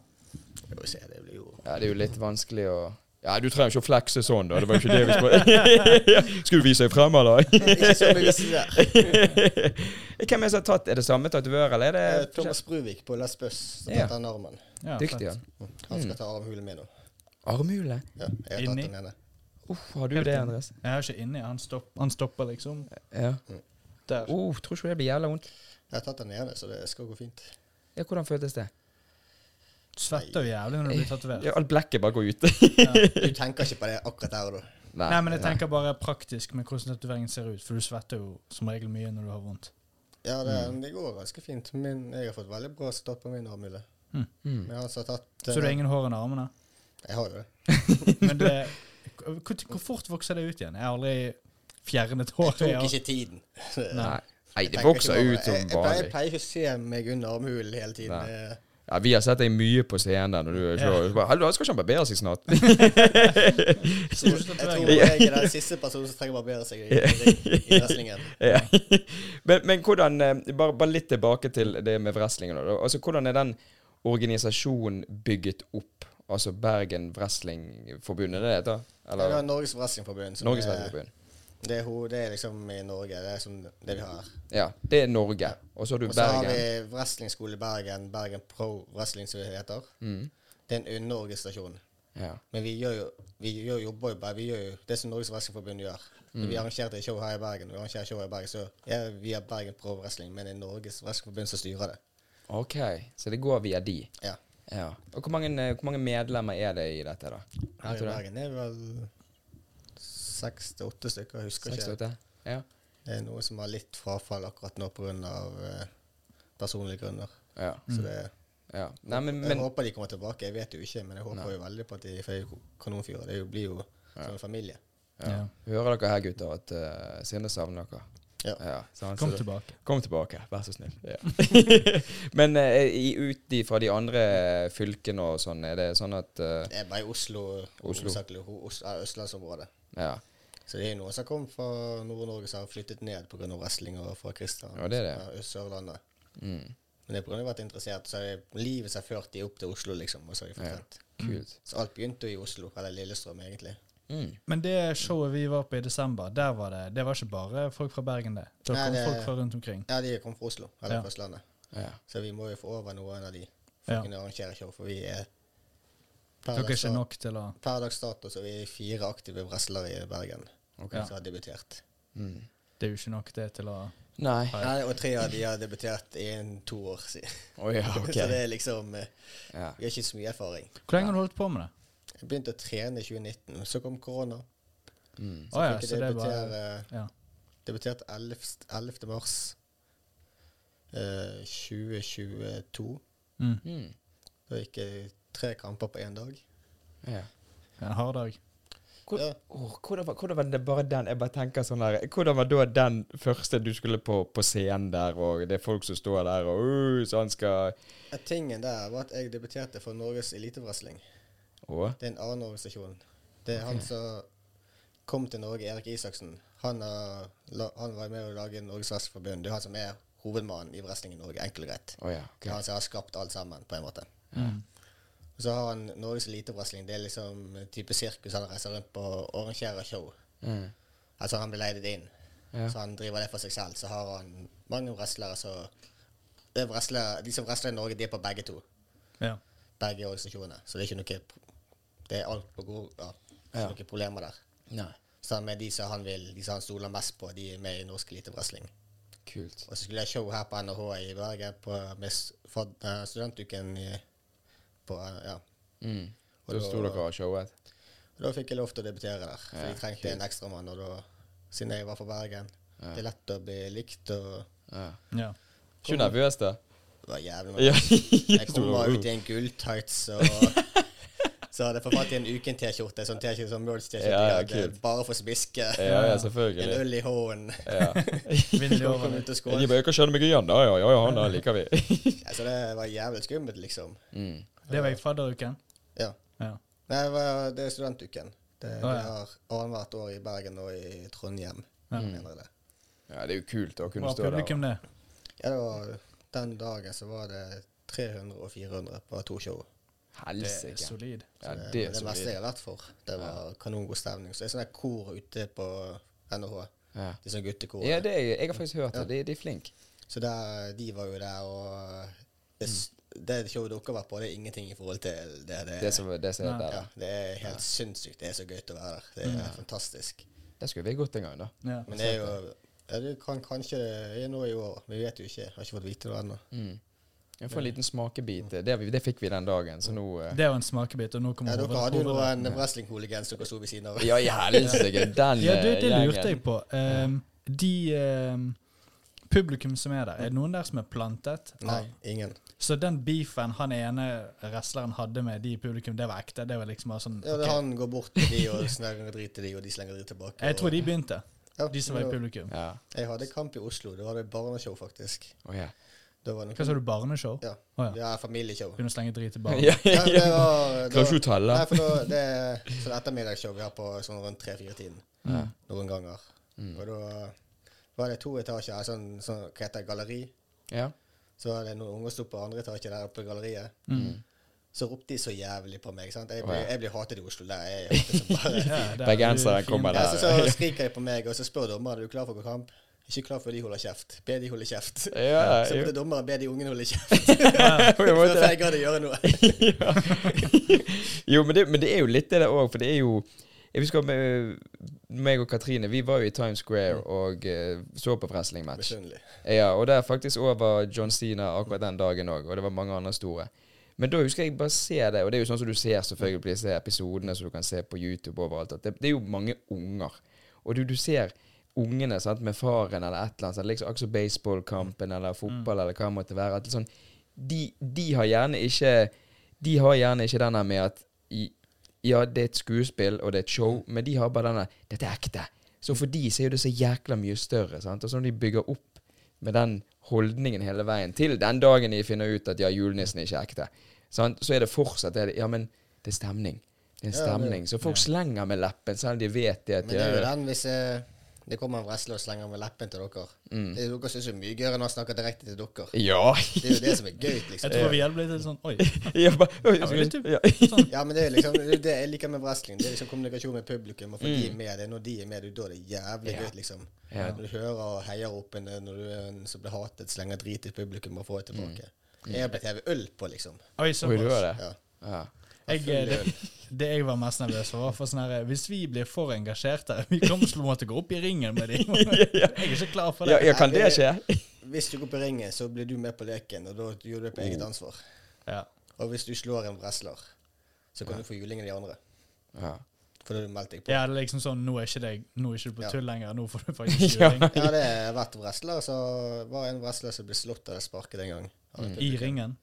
[SPEAKER 1] Jeg må se, det blir jo
[SPEAKER 2] Ja, det er jo litt vanskelig å Ja, du trenger ikke å flekse sånn, da. Det var jo ikke det vi
[SPEAKER 3] [LAUGHS]
[SPEAKER 2] [LAUGHS] spurte. Skal du vise deg frem, eller?
[SPEAKER 1] Ikke så mye visse [LAUGHS] der.
[SPEAKER 2] Hvem er det som har tatt Er det samme tatovør, eller er
[SPEAKER 1] Eh,
[SPEAKER 2] det
[SPEAKER 1] Thomas Bruvik på Les Buss som
[SPEAKER 2] Ja.
[SPEAKER 1] har tatt den armen.
[SPEAKER 3] Ja,
[SPEAKER 2] Dyktig,
[SPEAKER 3] fett.
[SPEAKER 2] han.
[SPEAKER 1] Han skal ta armhulen min nå.
[SPEAKER 2] Armhule.
[SPEAKER 1] Ja, jeg har tatt
[SPEAKER 3] Inni?
[SPEAKER 1] den ene.
[SPEAKER 2] Uff, har du det, Andres?
[SPEAKER 3] Jeg er ikke inni. Han, stopp, han stopper liksom
[SPEAKER 2] Ja.
[SPEAKER 3] der.
[SPEAKER 2] Uh, tror ikke det blir jævla vondt.
[SPEAKER 1] Jeg har tatt den ene, så det skal gå fint.
[SPEAKER 2] Ja, Hvordan føltes det?
[SPEAKER 3] Du svetter jo jævlig når du blir tatovert.
[SPEAKER 2] Ja, Alt blekket bare går ut.
[SPEAKER 1] Du tenker ikke på det akkurat der og da.
[SPEAKER 3] Nei, men jeg tenker bare praktisk med hvordan tatoveringen ser ut, for du svetter jo som regel mye når du har vondt.
[SPEAKER 1] Ja, det, det går ganske fint. Min, jeg har fått veldig bra start på min armhule.
[SPEAKER 3] Mm.
[SPEAKER 2] Mm.
[SPEAKER 1] Men han som har altså tatt eh,
[SPEAKER 3] Så du har ingen hår under
[SPEAKER 1] [LAUGHS]
[SPEAKER 3] armene?
[SPEAKER 1] Jeg har jo det.
[SPEAKER 3] Men det hvor, hvor fort vokser det ut igjen? Jeg har aldri fjernet
[SPEAKER 1] Jeg
[SPEAKER 3] håret.
[SPEAKER 1] tok
[SPEAKER 3] Jeg,
[SPEAKER 1] ikke tiden. [LAUGHS]
[SPEAKER 2] Nei. Nei, det
[SPEAKER 1] Jeg
[SPEAKER 2] vokser
[SPEAKER 1] tenker ikke
[SPEAKER 2] ut
[SPEAKER 1] på- eh, Jeg, jeg,
[SPEAKER 2] som
[SPEAKER 1] pleier- jeg
[SPEAKER 2] vanlig.
[SPEAKER 1] pleier ikke å se meg under armhulen hele tiden.
[SPEAKER 2] Nei.
[SPEAKER 1] Eh,
[SPEAKER 2] Ja, Vi har sett deg mye på scenen når du er
[SPEAKER 3] Ja.
[SPEAKER 2] slår. Bare, Hallo, skal ikke han barbere seg snart? [LAUGHS]
[SPEAKER 1] Så jeg
[SPEAKER 3] Stort
[SPEAKER 1] tror
[SPEAKER 3] tatovering.
[SPEAKER 1] jeg er den siste personen som trenger å barbere seg i, i,
[SPEAKER 2] [LAUGHS]
[SPEAKER 1] i wrestlingen.
[SPEAKER 2] Ja. men, men hvordan eh, bare, bare litt tilbake til det med wrestlingen. da. Altså, hvordan er den organisasjonen bygget opp? Altså Bergen Wrestlingforbund, er det det heter?
[SPEAKER 1] Det
[SPEAKER 2] Eller
[SPEAKER 1] er Norges Wrestling-forbund. som
[SPEAKER 2] Norges
[SPEAKER 1] er-
[SPEAKER 2] Wrestlingforbund?
[SPEAKER 1] Det, er ho- det er liksom i Norge. Det er som det vi har her.
[SPEAKER 2] Ja. Det er Norge. Og så har du
[SPEAKER 1] Og så har
[SPEAKER 2] Bergen.
[SPEAKER 1] vi wrestlingskole i Bergen, Bergen Pro Wrestling, som det heter.
[SPEAKER 2] Mm.
[SPEAKER 1] Det er en underorganisasjon.
[SPEAKER 2] Ja.
[SPEAKER 1] Men vi gjør jo vi gjør, jobber jo bare vi gjør jo det som Norges Wrestlingforbund gjør.
[SPEAKER 2] Mm.
[SPEAKER 1] Når Vi arrangerte et show her i Bergen, og vi arrangerer show her i Bergen, så er vi via Bergen Pro Wrestling, men det er Norges Wrestlingforbund som styrer det.
[SPEAKER 2] OK, så det går via de.
[SPEAKER 1] Ja.
[SPEAKER 2] Ja. Og hvor mange, eh, hvor mange medlemmer er det i dette, da?
[SPEAKER 1] Her
[SPEAKER 2] Vet
[SPEAKER 1] i
[SPEAKER 2] du det?
[SPEAKER 1] Bergen er vi vel seks til åtte stykker, jeg husker
[SPEAKER 2] Seks,
[SPEAKER 1] ikke.
[SPEAKER 2] åtte? Ja.
[SPEAKER 1] Det er noe som har litt frafall akkurat nå pga. Uh, personlige grunner.
[SPEAKER 2] Ja.
[SPEAKER 1] Så det,
[SPEAKER 2] ja. Nei, Mm. men,
[SPEAKER 1] jeg
[SPEAKER 2] men
[SPEAKER 1] håper de kommer tilbake. Jeg vet jo ikke, men jeg håper jo veldig på at de får kanonfyrer. Det er jo- blir jo som en familie.
[SPEAKER 2] ja. Hører dere her, gutter, at eh, Sinde savner dere?
[SPEAKER 1] Ja.
[SPEAKER 2] sant?
[SPEAKER 3] Kom
[SPEAKER 2] Så-
[SPEAKER 3] tilbake.
[SPEAKER 2] Kom tilbake, vær så snill. [LAUGHS] Men eh, i- ut ifra de andre fylkene og sånn, er det sånn at eh,
[SPEAKER 1] Det er bare i Oslo,
[SPEAKER 2] Oslo.
[SPEAKER 1] hovedsakelig ho- Os- eh, østlandsområdet.
[SPEAKER 2] Ja,
[SPEAKER 1] Så det er jo noen som kommer fra Nord-Norge som har flyttet ned pga. wrestling og fra Kristian.
[SPEAKER 2] Ja, det er det.
[SPEAKER 1] Fra Sørlandet.
[SPEAKER 2] mm,
[SPEAKER 1] Men det er pga. at de har vært interessert, så er livet som har ført de opp til Oslo, liksom. Og så har de
[SPEAKER 2] Ja.
[SPEAKER 1] fortjent.
[SPEAKER 2] kult.
[SPEAKER 1] Så alt begynte jo i Oslo, eller Lillestrøm, egentlig.
[SPEAKER 2] Mm.
[SPEAKER 3] Men det showet vi var på i desember, der var det Det var ikke bare folk fra Bergen, det. Da
[SPEAKER 1] Nei,
[SPEAKER 3] kom
[SPEAKER 1] det-
[SPEAKER 3] folk fra rundt omkring.
[SPEAKER 1] Ja, de kom fra Oslo, eller
[SPEAKER 3] Ja.
[SPEAKER 1] fra Østlandet.
[SPEAKER 2] Ja.
[SPEAKER 1] Så vi må jo få over noen av de for
[SPEAKER 3] Ja.
[SPEAKER 1] å kunne arrangere show, for vi er per
[SPEAKER 3] Dere er
[SPEAKER 1] dags,
[SPEAKER 3] ikke nok til å
[SPEAKER 1] per dags dato så er vi fire aktive wrestlere i Bergen
[SPEAKER 2] Ok.
[SPEAKER 3] Ja.
[SPEAKER 1] som har debutert.
[SPEAKER 2] Mm.
[SPEAKER 3] Det er jo ikke nok det til å
[SPEAKER 2] Nei.
[SPEAKER 3] Ja.
[SPEAKER 1] Nei, og tre av de har debutert i en to år siden.
[SPEAKER 2] Å ja, [LAUGHS]
[SPEAKER 1] [LAUGHS]
[SPEAKER 2] ok.
[SPEAKER 1] så det er liksom eh,
[SPEAKER 2] Ja.
[SPEAKER 1] Vi har ikke så mye erfaring.
[SPEAKER 3] Hvor lenge har du holdt på med det?
[SPEAKER 1] Jeg begynte å trene i 2019, så kom korona.
[SPEAKER 2] Mm.
[SPEAKER 1] Så
[SPEAKER 3] Å ja,
[SPEAKER 1] fikk
[SPEAKER 3] så
[SPEAKER 1] jeg
[SPEAKER 3] det er bare
[SPEAKER 1] debutere
[SPEAKER 3] Ja.
[SPEAKER 1] Debuterte 11. 11. mars eh, 2022.
[SPEAKER 3] Mm.
[SPEAKER 2] Mm.
[SPEAKER 1] Da gikk jeg tre kamper på én dag.
[SPEAKER 2] ja.
[SPEAKER 3] En hard dag.
[SPEAKER 2] Hvor-
[SPEAKER 1] Ja.
[SPEAKER 2] Åh, hvordan, var, hvordan var det bare den Jeg bare tenker sånn der Hvordan var da den første du skulle på, på scenen der, og det er folk som står der og uh, sånn skal
[SPEAKER 1] Eh, Tingen der var at jeg debuterte for Norges elitewrestling.
[SPEAKER 2] Å?
[SPEAKER 1] Det er en annen organisasjon. Det er han som kom til Norge, Erik Isaksen. Han, har la- han var med å lage Norges Wrestlingforbund. Det er han som er hovedmannen i wrestling i Norge, enkelt og greit.
[SPEAKER 2] Å ja. ok.
[SPEAKER 1] Det er han som har skapt alt sammen, på en måte.
[SPEAKER 2] Mm.
[SPEAKER 1] Og så har han Norges elitewrestling. Det er liksom en type sirkus han reiser rundt på og arrangerer show.
[SPEAKER 2] Mm.
[SPEAKER 1] Altså han blir leid inn.
[SPEAKER 2] Ja.
[SPEAKER 1] Så han driver det for seg selv. Så har han mange wrestlere som det er wrestlere- De som wrestler i Norge, de er på begge to.
[SPEAKER 3] Ja.
[SPEAKER 1] Begge organisasjonene. Så det er ikke noe pro- Det er alt på god ja, det er
[SPEAKER 2] Ja.
[SPEAKER 1] ikke noen problemer der.
[SPEAKER 2] Nei.
[SPEAKER 1] Sammen med de som han vil, de som han stoler mest på, de er med i norsk elitewrestling.
[SPEAKER 2] Kult.
[SPEAKER 1] Og så skulle jeg show her på NHH i Bergen på, med s- fad, eh, studentuken i, på eh, ja,
[SPEAKER 2] Mm.
[SPEAKER 1] Og
[SPEAKER 2] Da
[SPEAKER 1] da-
[SPEAKER 2] sto dere og showet?
[SPEAKER 1] Og Da fikk jeg lov til å debutere der, for
[SPEAKER 2] Ja,
[SPEAKER 1] de trengte en ekstramann. Og da, siden jeg var fra Bergen,
[SPEAKER 2] Ja.
[SPEAKER 1] det er lett å bli likt, og
[SPEAKER 2] Ja.
[SPEAKER 1] [LAUGHS]
[SPEAKER 3] ja.
[SPEAKER 2] Ikke du nervøs, da?
[SPEAKER 1] det var jævlig mange.
[SPEAKER 2] Ja. [LAUGHS]
[SPEAKER 1] Jeg kommer ut i en gulltights, og så hadde jeg fått fatt i en Uken-T-skjorte, sånn T-skjorte som Worlds-T-skjorte,
[SPEAKER 2] Ja,
[SPEAKER 1] jeg
[SPEAKER 2] ja,
[SPEAKER 1] hadde
[SPEAKER 2] kult.
[SPEAKER 1] bare for smiske,
[SPEAKER 2] ja, ja,
[SPEAKER 1] en
[SPEAKER 2] selvfølgelig.
[SPEAKER 1] øl i hånden,
[SPEAKER 2] [LAUGHS] Ja.
[SPEAKER 3] Vinner de over
[SPEAKER 1] kom
[SPEAKER 3] det?
[SPEAKER 1] ut og
[SPEAKER 2] Jeg
[SPEAKER 1] skål.
[SPEAKER 2] bare, kan kjenne meg igjen, da. Ja, ja, ja, han der liker vi.
[SPEAKER 1] Ja, så Altså, det var jævlig skummelt, liksom.
[SPEAKER 2] [LAUGHS] Mm.
[SPEAKER 3] Det var i fadderuken?
[SPEAKER 1] Ja.
[SPEAKER 3] Ja.
[SPEAKER 1] Nei, det var- det er studentuken. Det vi
[SPEAKER 3] Ah, ja.
[SPEAKER 1] har annethvert år i Bergen og i Trondheim, Mm. mener jeg det.
[SPEAKER 2] Ja, det er jo kult å kunne
[SPEAKER 3] Var
[SPEAKER 2] stå der.
[SPEAKER 3] publikum det?
[SPEAKER 1] Ja, det var, den dagen så var det 300 og 400 på to show.
[SPEAKER 2] og-
[SPEAKER 3] Det er
[SPEAKER 2] Helsike.
[SPEAKER 3] solid.
[SPEAKER 2] Ja,
[SPEAKER 1] det,
[SPEAKER 2] det
[SPEAKER 1] det,
[SPEAKER 2] er så
[SPEAKER 1] meste
[SPEAKER 2] vidt.
[SPEAKER 1] jeg har vært for. Det var kanongod stemning. Så det er sånn der kor ute på NHH.
[SPEAKER 2] Ja.
[SPEAKER 1] De sånne guttekor.
[SPEAKER 2] Ja, det er, jeg har faktisk hørt det. De, de er flinke.
[SPEAKER 1] sånn Så der, de var jo der, og det, s- det showet dere har vært på, det er ingenting i forhold til det. Det,
[SPEAKER 2] Mm. Det som det som er
[SPEAKER 3] Nei.
[SPEAKER 2] der.
[SPEAKER 1] ja,
[SPEAKER 2] da.
[SPEAKER 1] det er helt sinnssykt. Det er så gøy til å være der. Det er
[SPEAKER 2] Mm.
[SPEAKER 1] fantastisk.
[SPEAKER 2] Der skulle vi gått en gang, da.
[SPEAKER 3] Ja.
[SPEAKER 1] Men det er jo ja, Du kan kanskje det er noe i år, vi vet jo ikke. Har ikke fått vite noe ennå.
[SPEAKER 2] Mm. Jeg får en liten smakebit. Det, det fikk vi den dagen, så nå eh,
[SPEAKER 3] Det var en smakebit, og nå
[SPEAKER 1] Ja,
[SPEAKER 3] kommer
[SPEAKER 1] dere hadde jo
[SPEAKER 3] hovedhovedret.
[SPEAKER 1] noen wrestling-hooligans dere sto ved siden av.
[SPEAKER 2] Ja, i
[SPEAKER 3] [LAUGHS]
[SPEAKER 2] helsike, den
[SPEAKER 3] Ja, du,
[SPEAKER 2] eh,
[SPEAKER 3] det lurte jeg
[SPEAKER 2] gjengen.
[SPEAKER 3] på. Ehm, de ehm, Publikum som er der, er det noen der som er plantet?
[SPEAKER 1] Nei, ingen.
[SPEAKER 3] Så den beefen han ene wrestleren hadde med de i publikum, det var ekte? Det var liksom bare sånn
[SPEAKER 1] Ja, det
[SPEAKER 3] ok.
[SPEAKER 1] er Han går bort til de og slenger drit til de, og de slenger drit tilbake.
[SPEAKER 3] Jeg tror de begynte,
[SPEAKER 1] Ja,
[SPEAKER 3] de som var i
[SPEAKER 1] det
[SPEAKER 3] publikum.
[SPEAKER 2] Ja.
[SPEAKER 1] Jeg hadde kamp i Oslo. Da var det barneshow, faktisk.
[SPEAKER 2] Å, ja.
[SPEAKER 1] Da var det
[SPEAKER 3] Hva sa du, barneshow?
[SPEAKER 1] Ja.
[SPEAKER 3] Å, ja.
[SPEAKER 1] ja, familieshow.
[SPEAKER 3] Begynne å slenge drit i barn?
[SPEAKER 2] ja,
[SPEAKER 1] Ja,
[SPEAKER 2] ja,
[SPEAKER 1] men
[SPEAKER 2] ja.
[SPEAKER 1] det var, det
[SPEAKER 3] [LAUGHS]
[SPEAKER 1] var
[SPEAKER 2] Klarer ikke å telle.
[SPEAKER 1] Nei, for da, det er sånn ettermiddagsshow vi har på sånn rundt tre-fire-tiden.
[SPEAKER 2] Ja.
[SPEAKER 1] Noen ganger.
[SPEAKER 3] Mm.
[SPEAKER 1] Og da var det to etasjer, altså sånn, sånn, hva heter det, galleri.
[SPEAKER 2] Ja.
[SPEAKER 1] Så var det noen unger som sto på andre etasje der oppe i galleriet. Så ropte de så jævlig på meg. sant? Jeg
[SPEAKER 2] Mm. Å,
[SPEAKER 1] blir,
[SPEAKER 2] ja.
[SPEAKER 1] jeg blir hatet i Oslo. der jeg er hatet som
[SPEAKER 2] [LAUGHS]
[SPEAKER 1] bare...
[SPEAKER 3] Ja, det er
[SPEAKER 2] Bergenseren
[SPEAKER 3] fint.
[SPEAKER 2] kommer
[SPEAKER 1] Ja, så,
[SPEAKER 2] der.
[SPEAKER 1] så skriker de på meg, og så spør dommeren er du klar for å gå kamp. Ikke klar før de holder kjeft. Be de holde kjeft.
[SPEAKER 2] Ja,
[SPEAKER 1] Så
[SPEAKER 2] jo.
[SPEAKER 1] måtte dommeren be de ungene holde
[SPEAKER 2] [LAUGHS]
[SPEAKER 1] kjeft
[SPEAKER 2] På
[SPEAKER 1] [LAUGHS]
[SPEAKER 2] en
[SPEAKER 1] før
[SPEAKER 2] måte.
[SPEAKER 1] jeg gadd å gjøre noe.
[SPEAKER 2] ja. [LAUGHS] jo, men det, men det er jo litt det der òg, for det er jo Jeg husker med, meg og Katrine, vi var jo i Times
[SPEAKER 3] Mm.
[SPEAKER 2] Square og eh, så på wrestlingmatch.
[SPEAKER 1] Misunnelig.
[SPEAKER 2] Ja, og der faktisk òg var John Cena akkurat den dagen òg, og det var mange andre store. Men da husker jeg bare se det, og det er jo sånn som du ser selvfølgelig på disse episodene som du kan se på YouTube overalt, at det, det er jo mange unger. Og du, du ser ungene sant, med faren eller et eller annet, sant, liksom akkurat som baseballkampen eller fotball eller hva det måtte være at sånn, de, de har gjerne ikke De har gjerne ikke denne med at i, Ja, det er et skuespill, og det er et show, men de har bare denne 'Dette er ekte'. Så for de så er jo det så jækla mye større. Sant? Og så når de bygger opp med den holdningen hele veien til den dagen de finner ut at ja, julenissen er ikke ekte, sant? så er det fortsatt det, Ja, men det er stemning. Det er en
[SPEAKER 1] Ja, det-
[SPEAKER 2] stemning. Så folk slenger med leppen, selv om de vet det. at
[SPEAKER 1] Men det er
[SPEAKER 2] de-
[SPEAKER 1] jo den hvis eh, det kommer en wrestler og slenger med leppen til dere.
[SPEAKER 2] Mm.
[SPEAKER 1] Det, dere syns jo mye gøyere når han snakker direkte til
[SPEAKER 2] [LAUGHS]
[SPEAKER 1] dere.
[SPEAKER 2] Ja.
[SPEAKER 1] Det er jo det som er gøy,
[SPEAKER 3] Jeg
[SPEAKER 1] liksom.
[SPEAKER 3] tror vi hjelper litt til sånn Oi.
[SPEAKER 2] ja, bare,
[SPEAKER 3] var litt dumt.
[SPEAKER 2] ja.
[SPEAKER 1] Ja, men det er liksom det, er jo det jeg liker med wrestling. Det er liksom kommunikasjon med publikum. Og for de er med, det er når de er med, det er da det er jævlig gøy, liksom.
[SPEAKER 2] Ja.
[SPEAKER 1] Når du hører og heier opp en eh, når du er en som blir hatet, slenger drit i publikum og får det tilbake. Jeg har blitt hevet øl på, liksom.
[SPEAKER 3] Oi,
[SPEAKER 2] Oi, du
[SPEAKER 3] såpass.
[SPEAKER 2] hører det?
[SPEAKER 1] Ja.
[SPEAKER 2] sånn- Ja.
[SPEAKER 3] Jeg, eh, det, [LAUGHS] det jeg var mest nervøs for, var for sånn her Hvis vi blir for engasjerte [LAUGHS] Vi kommer til å måtte gå opp i ringen med
[SPEAKER 2] [LAUGHS]
[SPEAKER 3] dem. Jeg er ikke klar for
[SPEAKER 2] Ja,
[SPEAKER 3] det.
[SPEAKER 2] ja, kan det skje? [LAUGHS]
[SPEAKER 1] Hvis du går på ringen, så blir du med på leken, og da gjør du det på eget ansvar.
[SPEAKER 3] Ja.
[SPEAKER 1] Og hvis du slår en wrestler, så kan du få juling av de andre.
[SPEAKER 2] Ja.
[SPEAKER 1] For da har du meldt deg på.
[SPEAKER 3] Ja, det er liksom sånn Nå er ikke det, nå er ikke du på
[SPEAKER 1] Ja.
[SPEAKER 3] tull lenger. Nå
[SPEAKER 2] [LAUGHS]
[SPEAKER 3] får du faktisk juling.
[SPEAKER 1] Ja, det har vært wrestler, så var det en wrestler som ble slått eller sparket en gang. av et
[SPEAKER 3] I
[SPEAKER 1] publikum.
[SPEAKER 3] ringen.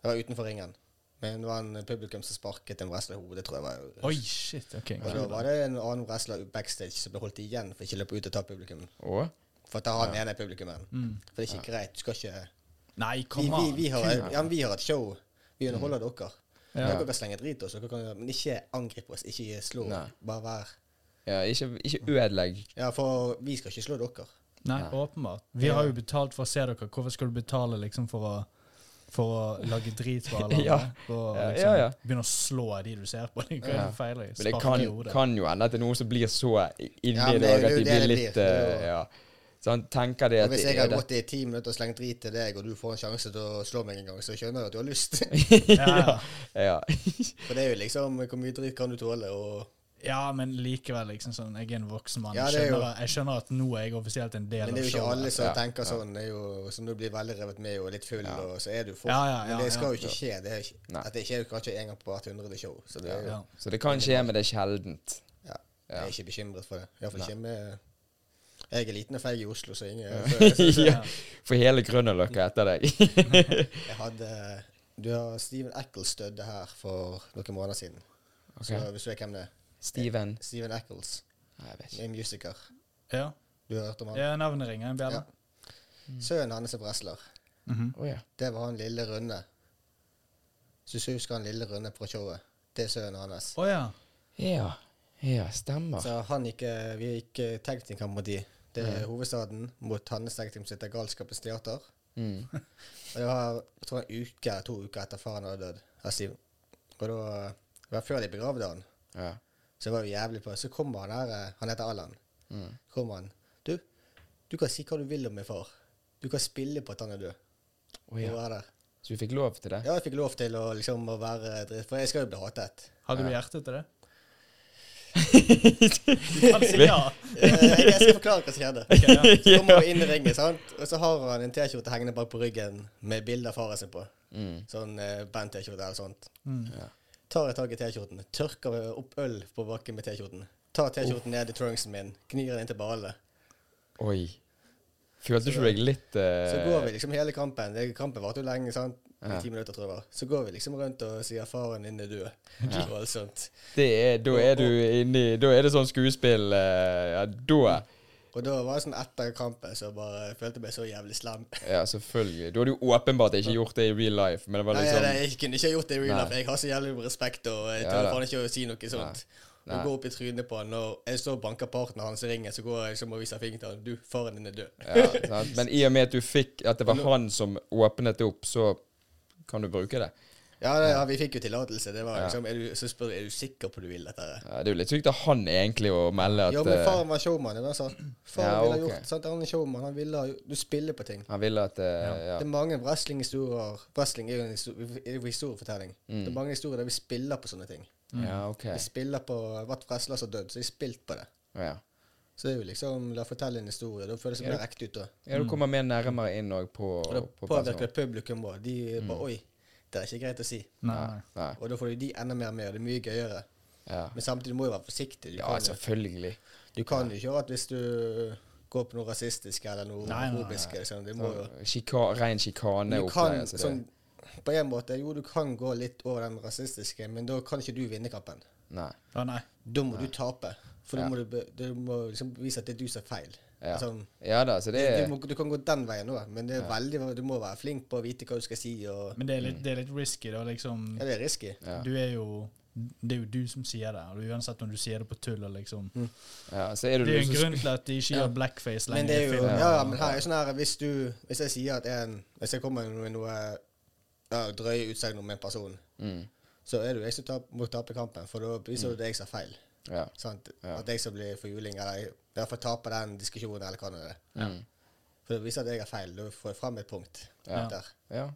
[SPEAKER 1] Det var utenfor ringen. Men det var en publikum som sparket en wrestler i hodet, tror jeg var.
[SPEAKER 3] Oi, shit. OK.
[SPEAKER 1] Og da var det en annen wrestler backstage som ble holdt igjen for ikke å løpe ut og ta publikum.
[SPEAKER 2] Og?
[SPEAKER 1] For at han ene er publikummen.
[SPEAKER 3] Mm.
[SPEAKER 1] For det er ikke greit. Du skal ikke
[SPEAKER 3] Nei,
[SPEAKER 1] Vi,
[SPEAKER 3] kom
[SPEAKER 1] vi,
[SPEAKER 3] an.
[SPEAKER 1] vi, har, ja, men vi har et show. Vi underholder
[SPEAKER 2] Mm.
[SPEAKER 1] dere.
[SPEAKER 3] Ja.
[SPEAKER 1] Dere kan slenge drit oss, dere kan, men ikke angripe oss. Ikke slå.
[SPEAKER 2] Nei.
[SPEAKER 1] Bare vær
[SPEAKER 2] Ja, ikke, ikke ødelegg.
[SPEAKER 1] Ja, for vi skal ikke slå dere.
[SPEAKER 3] Nei, åpenbart. Vi har jo betalt for å se dere. Hvorfor skal du betale liksom for å for å lage drit for alle
[SPEAKER 2] [LAUGHS]
[SPEAKER 3] andre?
[SPEAKER 2] Ja.
[SPEAKER 3] For å
[SPEAKER 2] Ja,
[SPEAKER 3] liksom
[SPEAKER 2] ja, ja.
[SPEAKER 3] begynne å slå de du ser på. Liksom.
[SPEAKER 2] Ja.
[SPEAKER 3] Ja. Feil,
[SPEAKER 2] Men det kan, kan [LAUGHS] jo hende at det er noen som blir så inni
[SPEAKER 1] Ja, men
[SPEAKER 2] det
[SPEAKER 1] det er
[SPEAKER 2] også
[SPEAKER 1] jo det
[SPEAKER 2] at de
[SPEAKER 1] det
[SPEAKER 2] blir
[SPEAKER 1] blir.
[SPEAKER 2] litt
[SPEAKER 1] Det er
[SPEAKER 2] eh,
[SPEAKER 1] jo-
[SPEAKER 2] Ja. Så han tenker det
[SPEAKER 1] Og
[SPEAKER 2] at
[SPEAKER 1] hvis
[SPEAKER 2] det
[SPEAKER 1] jeg
[SPEAKER 2] er
[SPEAKER 1] har
[SPEAKER 2] det.
[SPEAKER 1] gått i ti minutter og slengt drit til deg, og du får en sjanse til å slå meg en gang, så skjønner jeg at du har
[SPEAKER 2] [LAUGHS]
[SPEAKER 1] lyst.
[SPEAKER 3] ja.
[SPEAKER 2] Ja. [LAUGHS]
[SPEAKER 1] For det er jo liksom Hvor mye dritt kan du tåle? Og
[SPEAKER 3] ja, men likevel, liksom sånn, jeg er en voksen mann.
[SPEAKER 1] Ja,
[SPEAKER 3] Jeg
[SPEAKER 1] det er jo-
[SPEAKER 3] skjønner, jeg skjønner at nå er jeg offisielt en del
[SPEAKER 1] Men det er
[SPEAKER 3] av
[SPEAKER 1] jo ikke alle
[SPEAKER 3] showet.
[SPEAKER 1] som
[SPEAKER 2] Ja,
[SPEAKER 1] tenker sånn. Det er jo, som du blir veldig revet med og litt full, og så er du for.
[SPEAKER 3] Ja, ja, ja,
[SPEAKER 1] men det skal
[SPEAKER 3] ja.
[SPEAKER 1] jo ikke skje. Det er ikke,
[SPEAKER 2] Nei.
[SPEAKER 1] at det skjer jo kanskje en gang på hvert hundrede show. Så det er jo,
[SPEAKER 3] Ja.
[SPEAKER 2] Så det kan skje, men det er sjeldent.
[SPEAKER 1] ja.
[SPEAKER 2] Ja.
[SPEAKER 1] Jeg er ikke bekymret for det. Iallfall ikke med Jeg er liten og feig i Oslo, så ingen [LAUGHS] så, så,
[SPEAKER 2] [LAUGHS] Ja. For hele Grønnerløkka etter deg. [LAUGHS]
[SPEAKER 1] Jeg hadde Du har Steven Eccles døde her for noen måneder siden. Så hvis du vet hvem det er
[SPEAKER 2] Steven
[SPEAKER 1] Steven Eccles,
[SPEAKER 2] Nei, jeg vet ikke.
[SPEAKER 1] en musiker.
[SPEAKER 3] Ja.
[SPEAKER 1] Du har hørt om han?
[SPEAKER 3] ja, navnet ringer en bjelle.
[SPEAKER 1] Ja. Sønnen hans er wrestler.
[SPEAKER 2] Å ja.
[SPEAKER 1] Det var han lille runde. Så du husker han lille runde fra showet? Det er sønnen hans.
[SPEAKER 3] Å ja.
[SPEAKER 2] ja. Ja, stemmer.
[SPEAKER 1] Så han gikk, eh, vi gikk eh, tag team-kamp mot de. Det er hovedstaden mot hans tag team som heter Galskapens teater.
[SPEAKER 2] Mm.
[SPEAKER 1] [LAUGHS] Og det var jeg tror en uke, to uker etter faren hadde dødd. av Steven. Og da, det var før de begravde han.
[SPEAKER 2] Ja.
[SPEAKER 1] Så det var jo jævlig på. Så kommer han her, eh, han heter Allan.
[SPEAKER 2] Mm.
[SPEAKER 1] Kommer han. Du, du kan si hva du vil om min far. Du kan spille på at han er død.
[SPEAKER 2] Å ja.
[SPEAKER 1] Og være der.
[SPEAKER 2] Så du fikk lov til det?
[SPEAKER 1] Ja, jeg fikk lov til å liksom å være dritt, for jeg skal jo bli hatet.
[SPEAKER 3] Hadde du hjerte
[SPEAKER 1] [LAUGHS]
[SPEAKER 3] til det? Du kan si ja.
[SPEAKER 1] Eh, Jeg skal forklare hva som skjedde.
[SPEAKER 3] [LAUGHS] ja.
[SPEAKER 1] Så kommer hun inn i ringen, sant? og så har han en T-skjorte hengende bak på ryggen med bilde av faren sin på.
[SPEAKER 3] Mm.
[SPEAKER 1] Sånn eh, band-T-skjorte eller sånt. Tar jeg tak i T-skjorten, tørker opp øl på bakken med T-skjorten. Tar T-skjorten ned i trunksen min, gnir den inn til ballene.
[SPEAKER 2] Oi. Følte ikke du deg litt eh,
[SPEAKER 1] Så går vi liksom hele kampen. Det, kampen varte jo lenge, sant? I ti minutter, tror jeg. det var. Så går vi liksom rundt og sier 'faren din er død'. [LAUGHS] Og alt sånt.
[SPEAKER 2] Det er, da er du inni Da er det sånn skuespill eh, Ja, da [LAUGHS]
[SPEAKER 1] Og da var det sånn etter kampen så bare følte jeg meg så jævlig slem.
[SPEAKER 2] Ja, selvfølgelig. Du hadde jo åpenbart ikke gjort det i real life, men det var
[SPEAKER 1] Nei,
[SPEAKER 2] liksom
[SPEAKER 1] nei, jeg kunne ikke ha gjort det i real
[SPEAKER 2] Nei.
[SPEAKER 1] life. Jeg har så jævlig respekt, og jeg
[SPEAKER 2] Ja,
[SPEAKER 1] tør
[SPEAKER 2] da.
[SPEAKER 1] faen ikke å si noe sånt.
[SPEAKER 2] Nei.
[SPEAKER 1] Og gå opp i trynet på han, og jeg står og banker partneren hans i ringen, så går jeg liksom og viser fingeren til han. Du, faren din er død.
[SPEAKER 2] ja, sant? Men i og med at du fikk At det var han som åpnet det opp, så kan du bruke det.
[SPEAKER 1] Ja, det, ja vi fikk jo tillatelse. Det var liksom er du, Så spør jeg, er du sikker på du vil dette? her?
[SPEAKER 2] Ja, det er jo litt sykt av han egentlig å melde at
[SPEAKER 1] Jo, men
[SPEAKER 2] eh,
[SPEAKER 1] faren var showman. Det var sånn. Faren
[SPEAKER 2] Ja,
[SPEAKER 1] ville ha
[SPEAKER 2] ok.
[SPEAKER 1] gjort sant? Han er showman. Han ville ha gjort- Du spiller på ting.
[SPEAKER 2] han ville at eh, ja.
[SPEAKER 1] Det er mange wrestlinghistorier Wrestling er jo en histor- er jo historiefortelling. Det er mange historier der vi spiller på sånne ting.
[SPEAKER 2] ja, Mm. ok.
[SPEAKER 1] Vi spiller på Hvert wrestler som har dødd, så de har spilt på det.
[SPEAKER 2] Ja.
[SPEAKER 1] Så det er jo liksom La fortelle en historie. Da føles det mer ekte ut. da
[SPEAKER 2] ja, du kommer mer nærmere inn òg på,
[SPEAKER 1] Mm. Og da
[SPEAKER 2] på Mm.
[SPEAKER 1] påvirker
[SPEAKER 2] personen.
[SPEAKER 1] det publikum òg. De bare Oi, det er ikke greit å si.
[SPEAKER 3] Nei, nei.
[SPEAKER 2] Nei.
[SPEAKER 1] Og da får du de enda mer med, og det er mye gøyere.
[SPEAKER 2] Ja.
[SPEAKER 1] Men samtidig må du være forsiktig. Du
[SPEAKER 2] ja, altså.
[SPEAKER 1] kan,
[SPEAKER 2] selvfølgelig.
[SPEAKER 1] jo- du kan jo ikke at hvis du gå på noe rasistisk eller noe
[SPEAKER 3] Nei, nei, nei.
[SPEAKER 1] homofobisk. Liksom. Det må jo
[SPEAKER 2] Skika, ren
[SPEAKER 1] Du kan
[SPEAKER 2] sjikaneoppleie. så det-
[SPEAKER 1] sånn På en måte, jo, du kan gå litt over den rasistiske, men da kan ikke du vinne kampen.
[SPEAKER 2] Nei.
[SPEAKER 3] Å nei.
[SPEAKER 1] Da må du tape. For
[SPEAKER 2] Ja.
[SPEAKER 1] da må du, be- du må liksom vise at det er du som er feil.
[SPEAKER 2] Ja.
[SPEAKER 1] Sånn,
[SPEAKER 2] Ja da, så det
[SPEAKER 1] du,
[SPEAKER 2] er
[SPEAKER 1] må, du kan gå den veien òg, men det er veldig, du må være flink på å vite hva du skal si. Og,
[SPEAKER 3] Men det er litt, det er litt risky, da. Liksom,
[SPEAKER 1] ja, det er risky.
[SPEAKER 2] Ja.
[SPEAKER 3] Du er jo Det er jo du som sier det. Og uansett om du sier det på tull og liksom
[SPEAKER 2] ja, så er det
[SPEAKER 3] Det er
[SPEAKER 2] du
[SPEAKER 3] jo
[SPEAKER 2] liksom-
[SPEAKER 3] en
[SPEAKER 2] som
[SPEAKER 3] grunn til at de ikke gjør blackface lenger.
[SPEAKER 1] Mm. Men det
[SPEAKER 3] i
[SPEAKER 1] er jo,
[SPEAKER 3] filmen.
[SPEAKER 1] ja, ja, men her er jo sånn her Hvis du, hvis jeg sier at en Hvis jeg kommer med noe ja, drøye utsagn om en person,
[SPEAKER 2] Mm.
[SPEAKER 1] så er det jo jeg som tap, må tape kampen, for da viser du det jeg som er feil.
[SPEAKER 2] Ja.
[SPEAKER 1] Sant?
[SPEAKER 2] Ja.
[SPEAKER 1] At jeg som blir for juling, eller jeg- i hvert fall taper den diskusjonen, eller hva nå det er.
[SPEAKER 2] Mm.
[SPEAKER 1] For det viser at jeg er feil. Da får jeg fram et punkt.
[SPEAKER 2] Ja.
[SPEAKER 1] Der.
[SPEAKER 2] ja.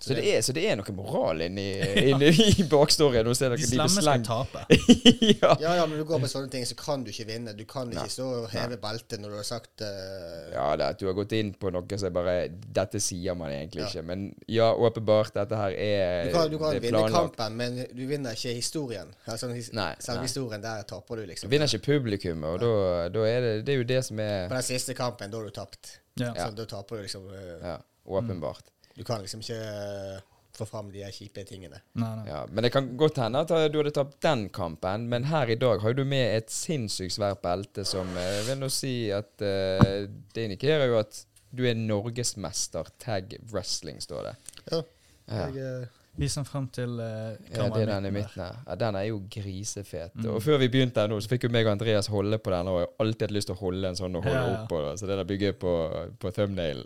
[SPEAKER 2] Så, det er, så det er noe moral inni, [LAUGHS] inni i bakstorien hos dere.
[SPEAKER 3] De
[SPEAKER 2] blir
[SPEAKER 3] slemme skal
[SPEAKER 2] slengt.
[SPEAKER 3] tape.
[SPEAKER 2] [LAUGHS] ja.
[SPEAKER 1] Ja, ja, men du går på sånne ting, så kan du ikke vinne. Du kan ikke stå og heve beltet når du har sagt eh,
[SPEAKER 2] ja da, at du har gått inn på noe som bare Dette sier man egentlig ikke. Men ja, åpenbart, dette her er
[SPEAKER 1] Du kan, du kan
[SPEAKER 2] Eh, det er
[SPEAKER 1] vinne
[SPEAKER 2] planlagt.
[SPEAKER 1] kampen, men du vinner ikke historien. Altså, his,
[SPEAKER 2] Nei,
[SPEAKER 1] selv
[SPEAKER 2] nei.
[SPEAKER 1] historien der taper du, liksom.
[SPEAKER 2] Vinner ikke publikum, og da da er det Det er jo det som
[SPEAKER 1] På
[SPEAKER 2] er
[SPEAKER 1] den siste kampen, da har du tapt.
[SPEAKER 3] Ja.
[SPEAKER 1] Så da taper du liksom eh,
[SPEAKER 2] ja, åpenbart.
[SPEAKER 1] Du kan liksom ikke eh, få fram de her kjipe tingene.
[SPEAKER 3] Nei, nei.
[SPEAKER 2] Ja, men det kan godt hende at eh, du hadde tapt den kampen, men her i dag har jo du med et sinnssykt svært belte som eh, vil nå si at eh, Det indikerer jo at du er norgesmester tag wrestling, står det.
[SPEAKER 1] Ja.
[SPEAKER 2] Ja.
[SPEAKER 1] Jeg, eh,
[SPEAKER 3] Vis den frem til uh,
[SPEAKER 2] Ja, Eh, det er den i midten her. Ja, den er jo grisefet. Og før vi begynte her nå, så fikk jo meg og Andreas holde på den, og jeg har alltid hatt lyst til å holde en sånn og holde
[SPEAKER 3] Ja, ja.
[SPEAKER 2] opp på, så det der bygger på, på thumbnail.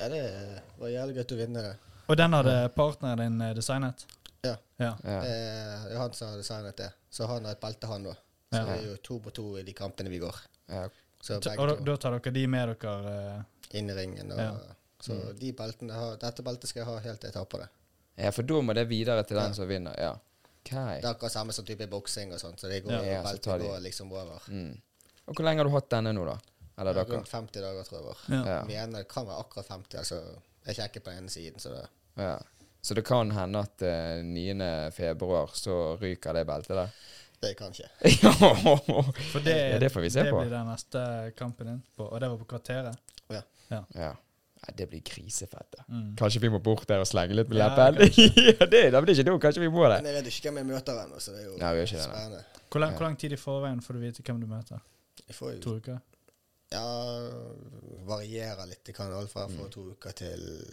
[SPEAKER 1] ja, det var jævlig gøy å vinne det.
[SPEAKER 3] Og den hadde partneren din eh, designet?
[SPEAKER 1] Ja.
[SPEAKER 3] Ja.
[SPEAKER 2] Ja.
[SPEAKER 1] Det er det er han som har designet det. Så han har et belte, han òg. Så
[SPEAKER 3] Ja.
[SPEAKER 1] det er jo to på to i de kampene vi går.
[SPEAKER 2] Ja.
[SPEAKER 1] Så
[SPEAKER 3] Ta-
[SPEAKER 1] begge
[SPEAKER 3] Og da,
[SPEAKER 1] to
[SPEAKER 3] da tar dere de med dere eh,
[SPEAKER 1] inn i ringen. Og,
[SPEAKER 3] Ja.
[SPEAKER 1] Så
[SPEAKER 2] Mm.
[SPEAKER 1] de beltene har, dette beltet skal jeg ha helt til jeg taper det.
[SPEAKER 2] ja, for da må det videre til den som vinner. Ja.
[SPEAKER 1] Det
[SPEAKER 2] Ok.
[SPEAKER 1] er akkurat samme som type boksing og sånt, så det går
[SPEAKER 3] Ja.
[SPEAKER 1] over,
[SPEAKER 2] Ja, så tar
[SPEAKER 1] beltet
[SPEAKER 2] de-
[SPEAKER 1] går liksom over.
[SPEAKER 2] Mm. Og hvor lenge har du hatt denne nå, da? Eller dere?
[SPEAKER 1] Rundt 50 dager, tror jeg. var.
[SPEAKER 3] Ja.
[SPEAKER 2] Ja.
[SPEAKER 1] Mener det kan være akkurat 50, altså. Jeg sjekker på den ene siden, så det
[SPEAKER 2] Ja. Så det kan hende at eh, 9. februar så ryker det beltet der?
[SPEAKER 1] Det kan skje.
[SPEAKER 3] [LAUGHS] For det,
[SPEAKER 2] Ja, det får vi se
[SPEAKER 3] det
[SPEAKER 2] på.
[SPEAKER 3] blir den neste kampen din, på, og det var på Kvarteret.
[SPEAKER 1] Ja.
[SPEAKER 2] Ja. Nei, det blir grisefett. da.
[SPEAKER 3] Mm.
[SPEAKER 2] Kanskje vi må bort der og slenge litt med
[SPEAKER 3] Ja,
[SPEAKER 2] leppen? [LAUGHS] ja, det, nei, men det er ikke noe. Kanskje vi må det.
[SPEAKER 1] Men jeg vet jo ikke hvem jeg møter ennå, så det er jo
[SPEAKER 2] Nei, vi gjør ikke det, nei.
[SPEAKER 1] spennende.
[SPEAKER 3] Hvor, lang, hvor lang tid i forveien får du vite hvem du møter?
[SPEAKER 1] Jeg får jo
[SPEAKER 3] To uker?
[SPEAKER 1] ja, variere litt. Det kan alt fra
[SPEAKER 2] Mm.
[SPEAKER 1] fra to uker til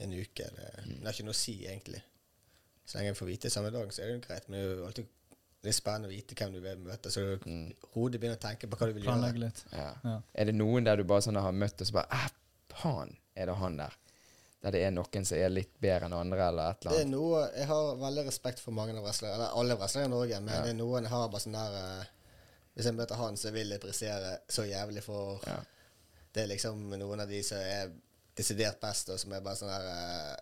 [SPEAKER 1] en uke. Det, det har ikke noe å si, egentlig. Så lenge jeg får vite det samme dag, så er det jo greit. Men det er jo alltid litt spennende å vite hvem du vil møte, så
[SPEAKER 2] Mm.
[SPEAKER 1] hodet begynner å tenke på hva du vil gjøre.
[SPEAKER 3] Planlegge litt?
[SPEAKER 2] Ja.
[SPEAKER 3] Ja.
[SPEAKER 2] Er det noen der du bare sånn har møtt og så bare «Ah, Faen, er det han der? Der det er noen som er litt bedre enn andre, eller et
[SPEAKER 1] Det
[SPEAKER 2] eller
[SPEAKER 1] er
[SPEAKER 2] annet?
[SPEAKER 1] noe Jeg har veldig respekt for mange av wrestlere, eller alle wrestlere i Norge, men det er noen jeg har bare sånn der eh, Hvis jeg møter han, så vil jeg pressere så jævlig for
[SPEAKER 2] Ja.
[SPEAKER 1] Det er liksom noen av de som er desidert best, og som er bare sånn der eh,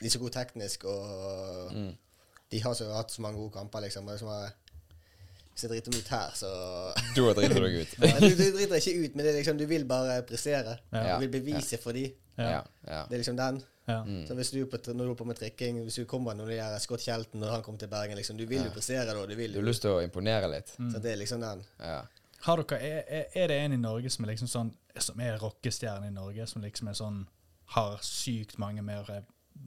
[SPEAKER 1] De er så gode teknisk, og
[SPEAKER 2] Mm.
[SPEAKER 1] de har så hatt så mange gode kamper, liksom. Og det er som er, hvis jeg driter meg ut her, så
[SPEAKER 2] [LAUGHS] Da driter du deg ut.
[SPEAKER 1] Nei, du, du driter ikke ut, men det er liksom, du vil bare pressere.
[SPEAKER 2] Ja.
[SPEAKER 1] Du vil bevise for de.
[SPEAKER 2] Ja.
[SPEAKER 3] Ja.
[SPEAKER 2] ja.
[SPEAKER 1] Det er liksom den.
[SPEAKER 3] Ja.
[SPEAKER 1] Så hvis du er på, når du holder på med trikking, hvis du kommer når det er Scott Shelton når han kommer til Bergen, liksom, du vil jo prestere da. Du vil
[SPEAKER 2] Du
[SPEAKER 1] jo.
[SPEAKER 2] har lyst til å imponere litt?
[SPEAKER 3] Mm.
[SPEAKER 1] Så det er liksom den.
[SPEAKER 2] Ja.
[SPEAKER 3] Har dere, er, er- er det en i Norge som er liksom sånn Som er rockestjerne i Norge, som liksom er sånn Har sykt mange mer eh,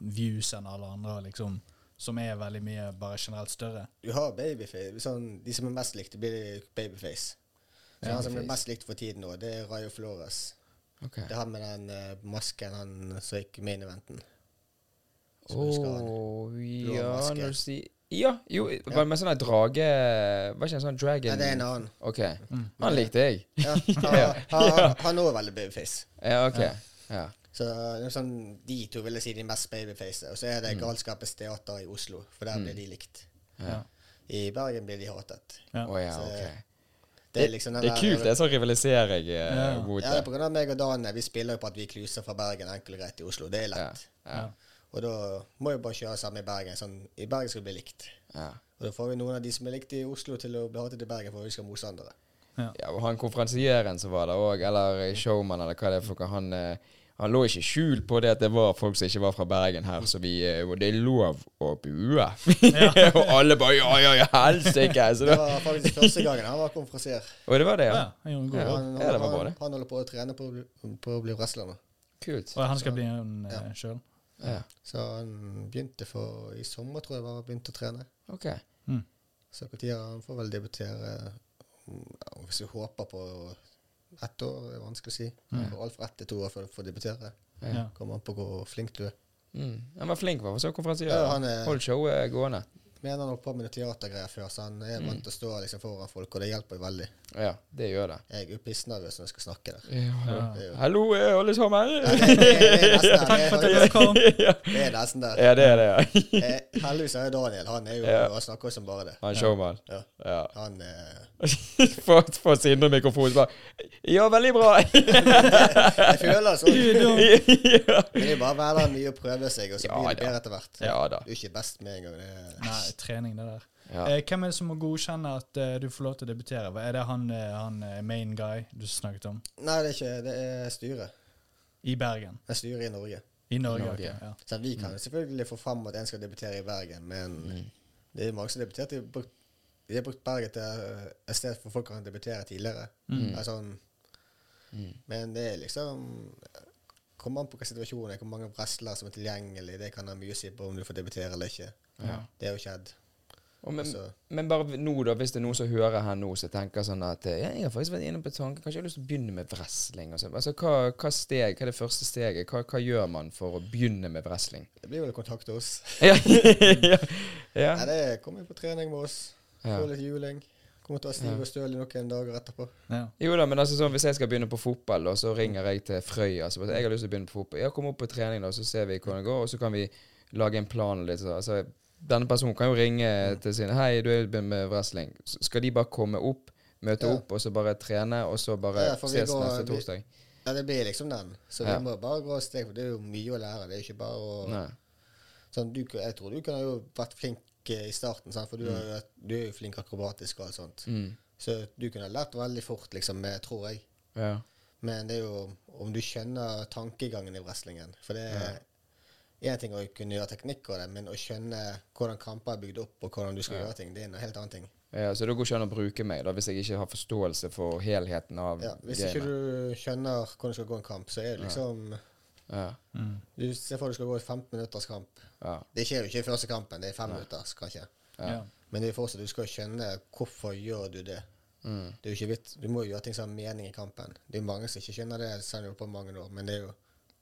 [SPEAKER 3] views enn alle andre, og liksom Som er veldig mye bare generelt større?
[SPEAKER 1] Du har babyface. Sånn, de som er mest likt, det blir babyface. Så Han som er mest likt for tiden nå, det er Rayo Flores.
[SPEAKER 2] Ok.
[SPEAKER 1] Det er han med den eh, masken han som gikk main eventen. Så
[SPEAKER 2] Åh,
[SPEAKER 1] husker han. Blå
[SPEAKER 2] ja,
[SPEAKER 1] maske.
[SPEAKER 2] når du sier Ja, jo, var det med sånn der drage Var ikke en sånn dragon
[SPEAKER 1] Nei, det er en annen.
[SPEAKER 2] Ok.
[SPEAKER 3] Mm.
[SPEAKER 2] Han likte jeg.
[SPEAKER 1] Ja, han- han- han òg er veldig babyface.
[SPEAKER 2] Ja, ok. Ja.
[SPEAKER 1] Så det er sånn, De to vil jeg si de mest babyface. Og så er det
[SPEAKER 2] Mm.
[SPEAKER 1] Galskapens teater i Oslo, for der blir de likt.
[SPEAKER 3] Ja.
[SPEAKER 1] I Bergen blir de hatet.
[SPEAKER 3] Ja.
[SPEAKER 2] Å ja,
[SPEAKER 1] Så-
[SPEAKER 2] ok.
[SPEAKER 1] Det er liksom den
[SPEAKER 2] Det er
[SPEAKER 1] der-
[SPEAKER 2] kult, det er sånn rivalisering eh,
[SPEAKER 3] Ja.
[SPEAKER 2] mot
[SPEAKER 1] Ja, det er
[SPEAKER 2] det.
[SPEAKER 1] på grunn av meg og Dan vi spiller jo på at vi kluser fra Bergen enkelt og greit til Oslo. Det er lett.
[SPEAKER 2] Ja.
[SPEAKER 1] Og da må vi bare kjøre samme i Bergen. Sånn, I Bergen skal det bli likt.
[SPEAKER 2] Ja.
[SPEAKER 1] Og da får vi noen av de som er likt i Oslo, til å bli hatet i Bergen for vi skal mose andre.
[SPEAKER 2] ja, og han konferansieren som var der òg, eller showman, eller hva det er for noe, han, eh, Han lå ikke skjul på det at det var folk som ikke var fra Bergen her, så vi, eh, og det er lov å bue. [LAUGHS] og alle bare ja, ja, ja, helsike! Så
[SPEAKER 1] Det
[SPEAKER 2] da-
[SPEAKER 1] var faktisk første gangen han var konferansier.
[SPEAKER 2] Og det var det, ja.
[SPEAKER 3] Ja, han gjorde en god
[SPEAKER 2] Ja.
[SPEAKER 3] jobb.
[SPEAKER 1] Han,
[SPEAKER 2] det var bra,
[SPEAKER 1] han,
[SPEAKER 2] det.
[SPEAKER 1] han holder på å trene på, å bli- på å bli wrestler nå.
[SPEAKER 2] Kult.
[SPEAKER 3] Og han skal bli en uh, sjøl.
[SPEAKER 2] Ja.
[SPEAKER 1] Så han begynte for i sommer, tror jeg, var han begynte å trene.
[SPEAKER 2] Ok.
[SPEAKER 1] Så hvor tid han får vel debutere mm, ja, Hvis vi håper på ett år, det er vanskelig å si. For Alt fra ett til to år før du får debutere.
[SPEAKER 3] Mm. Ja.
[SPEAKER 1] Kommer an på hvor flink du er.
[SPEAKER 2] Mm. Han var flink, hva, for så konferansier.
[SPEAKER 1] Ja, han er-
[SPEAKER 2] Holdt showet gående.
[SPEAKER 1] Men han holdt på med noe teatergreier før, så han er vant til å stå liksom, foran folk, og det hjelper jo veldig.
[SPEAKER 2] Ja, det gjør det.
[SPEAKER 1] Jeg er jo pissnervøs når jeg skal snakke
[SPEAKER 3] [LAUGHS]
[SPEAKER 1] der.
[SPEAKER 2] Ja.
[SPEAKER 1] Det er jo-
[SPEAKER 2] Hallo, eh, alle sammen!
[SPEAKER 1] Nei, det er- det er nesten der.
[SPEAKER 3] Takk for at
[SPEAKER 1] Det
[SPEAKER 3] dere
[SPEAKER 1] er-
[SPEAKER 3] kom.
[SPEAKER 1] Det er nesten der.
[SPEAKER 2] [LAUGHS] Ja, det er det, ja.
[SPEAKER 1] Eh, Heldigvis er jo Daniel Han er jo
[SPEAKER 2] Ja.
[SPEAKER 1] Han snakker jo som bare det.
[SPEAKER 2] Han showman.
[SPEAKER 1] Ja.
[SPEAKER 2] Ja. [LAUGHS]
[SPEAKER 1] Han eh,
[SPEAKER 2] Få få sin indre mikrofon så bare Ja, veldig
[SPEAKER 1] [LAUGHS]
[SPEAKER 2] bra!
[SPEAKER 1] Jeg føler det sånn.
[SPEAKER 2] ja.
[SPEAKER 1] Men det er bare å være der mye og prøve seg, og så
[SPEAKER 2] Ja,
[SPEAKER 1] blir det
[SPEAKER 2] da.
[SPEAKER 1] bedre etter hvert.
[SPEAKER 2] Ja da.
[SPEAKER 1] Du er ikke best med en gang. Det er
[SPEAKER 3] Nei, trening, det der.
[SPEAKER 2] Ja.
[SPEAKER 3] Eh, hvem er det som må godkjenne at eh, du får lov til å debutere? Hva- Er det han, eh, han eh, main guy du snakket om?
[SPEAKER 1] Nei, det er ikke det. er styret.
[SPEAKER 3] I Bergen?
[SPEAKER 1] Det er styret i Norge.
[SPEAKER 3] I Norge,
[SPEAKER 2] Norge,
[SPEAKER 3] ok, ja.
[SPEAKER 1] Så vi
[SPEAKER 2] Mm.
[SPEAKER 1] kan selvfølgelig få fram at en skal debutere i Bergen, men det er mange som debuterte i Berg- De har brukt Bergen til eh, et sted hvor folk kan debutere tidligere.
[SPEAKER 2] Mm.
[SPEAKER 1] Altså, Men det er liksom Kommer an på hva situasjonen er, hvor mange wrestlere som er tilgjengelig, det kan ha mye å si på om du får debutere eller ikke. Det har jo skjedd.
[SPEAKER 2] Og men,
[SPEAKER 1] Altså-
[SPEAKER 2] men bare nå, da, hvis det er noen som hører her nå, som tenker sånn at eh, ja, Jeg har faktisk vært inne på tanken, kanskje jeg har lyst til å begynne med wrestling? Og sånn. altså, hva, hva, steg, hva er det første steget? Hva, hva gjør man for å begynne med
[SPEAKER 1] [LAUGHS]
[SPEAKER 2] wrestling?
[SPEAKER 1] Det blir vel å kontakte oss.
[SPEAKER 2] ja. [LAUGHS] ja. ja.
[SPEAKER 1] Nei, det kommer jo på trening med oss.
[SPEAKER 2] Ja.
[SPEAKER 1] Få litt juling. Kommer til å være stiv og støl i noen dager etterpå.
[SPEAKER 3] ja.
[SPEAKER 2] Jo da, men altså sånn, hvis jeg skal begynne på fotball, og så ringer jeg til Frøya så bare, Jeg har lyst til å begynne på fotball. Ja, kom opp på trening, da, så ser vi hvordan det går, og så kan vi lage en plan. og Litt, så, altså, denne personen kan jo ringe til sine Hei, du er begynt med wrestling. Så skal de bare komme opp, møte
[SPEAKER 1] Ja.
[SPEAKER 2] opp, og så bare trene, og så bare
[SPEAKER 1] Ja, for vi
[SPEAKER 2] ses
[SPEAKER 1] går-
[SPEAKER 2] neste
[SPEAKER 1] vi-
[SPEAKER 2] torsdag?
[SPEAKER 1] Ja, det blir liksom den. Så
[SPEAKER 2] Ja.
[SPEAKER 1] vi må bare gå steg for Det er jo mye å lære. Det er jo ikke bare å
[SPEAKER 2] Nei.
[SPEAKER 1] sånn, du, Jeg tror du kunne jo vært flink eh, i starten, sant? for du, har jo- du er jo flink akrobatisk og alt sånt.
[SPEAKER 2] Mm.
[SPEAKER 1] Så du kunne lært veldig fort, liksom, eh, tror jeg.
[SPEAKER 2] Ja.
[SPEAKER 1] Men det er jo om du skjønner tankegangen i wrestlingen. For det er én ting å kunne gjøre teknikk av det, men å skjønne hvordan kamper er bygd opp, og hvordan du skal gjøre ting, det er en helt annen ting.
[SPEAKER 2] ja. Så det går ikke an å bruke meg, da, hvis jeg ikke har forståelse for helheten av
[SPEAKER 1] Ja, hvis ikke du skjønner hvordan du skal gå en kamp, så er det liksom
[SPEAKER 2] Ja.
[SPEAKER 1] Du ser for deg du skal gå i 15 minutters kamp.
[SPEAKER 2] Ja.
[SPEAKER 1] Det skjer jo ikke i første kampen, det er fem minutter, kanskje.
[SPEAKER 3] Ja. Ja.
[SPEAKER 1] Men det er fortsatt, du skal skjønne hvorfor gjør du det. Det er jo ikke vits, Du må jo gjøre ting som har mening i kampen. Det er jo mange som ikke skjønner det, selv om de har holdt på i mange år, men det er jo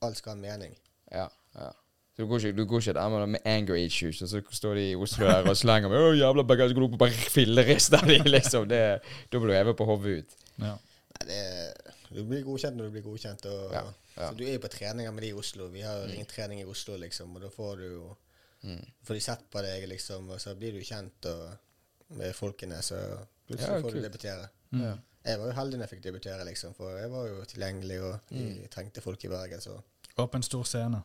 [SPEAKER 1] alt skal ha mening.
[SPEAKER 2] Ja, ja. Så du går ikke, du går ikke der med, med anger issues, og så står de i Oslo der og slenger med 'Å, jævla bagage, gå opp og bare fillerister de', liksom. Det, da blir du hevet på hodet ut.
[SPEAKER 1] Nei, det er, du blir godkjent når du blir godkjent. Og,
[SPEAKER 2] Ja, ja. Mm.
[SPEAKER 1] Så du er jo på treninger med de i Oslo. Vi har jo ingen trening i Oslo, liksom, og da får du jo Får de sett på deg, liksom, og så blir du kjent og med folkene, så plutselig får
[SPEAKER 2] Ja, kult. Mm.
[SPEAKER 1] du debutere. Jeg var jo heldig når jeg fikk debutere, liksom, for jeg var jo tilgjengelig, og
[SPEAKER 2] Mm.
[SPEAKER 1] jeg trengte folk i Bergen, så
[SPEAKER 3] Åpen stor scene.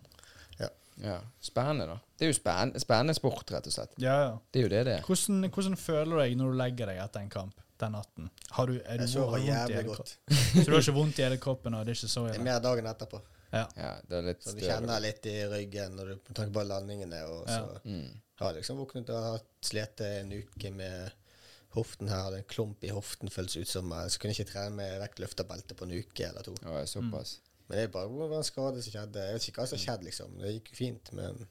[SPEAKER 1] ja.
[SPEAKER 2] Ja. Spennende, da. Det er jo spennende, spennende sport, rett og slett.
[SPEAKER 3] Ja, ja.
[SPEAKER 2] Det er jo det det er.
[SPEAKER 3] Hvordan, hvordan føler du deg når du legger deg etter en kamp den natten? Har du, er du
[SPEAKER 1] Jeg sover
[SPEAKER 3] har du vondt i
[SPEAKER 1] jævlig
[SPEAKER 3] hele
[SPEAKER 1] godt.
[SPEAKER 3] kroppen? Så du har ikke vondt i hele kroppen? Og det er ikke så
[SPEAKER 1] Det er
[SPEAKER 3] ille?
[SPEAKER 1] mer dagen etterpå.
[SPEAKER 3] Ja.
[SPEAKER 2] Ja, det er litt
[SPEAKER 1] Så du
[SPEAKER 2] større.
[SPEAKER 1] kjenner litt i ryggen når du med tanke på landingene. Og så
[SPEAKER 3] Ja.
[SPEAKER 2] Mm.
[SPEAKER 1] har jeg liksom våknet og hatt slitt en uke med hoften her. Hadde en klump i hoften føltes ut som eh, Så kunne jeg ikke trene med vektløfterbelte på en uke eller to.
[SPEAKER 2] Ja, såpass.
[SPEAKER 1] Men det er bare det var en skade som skjedde. Jeg vet ikke hva som skjedde, liksom. Det gikk jo fint, men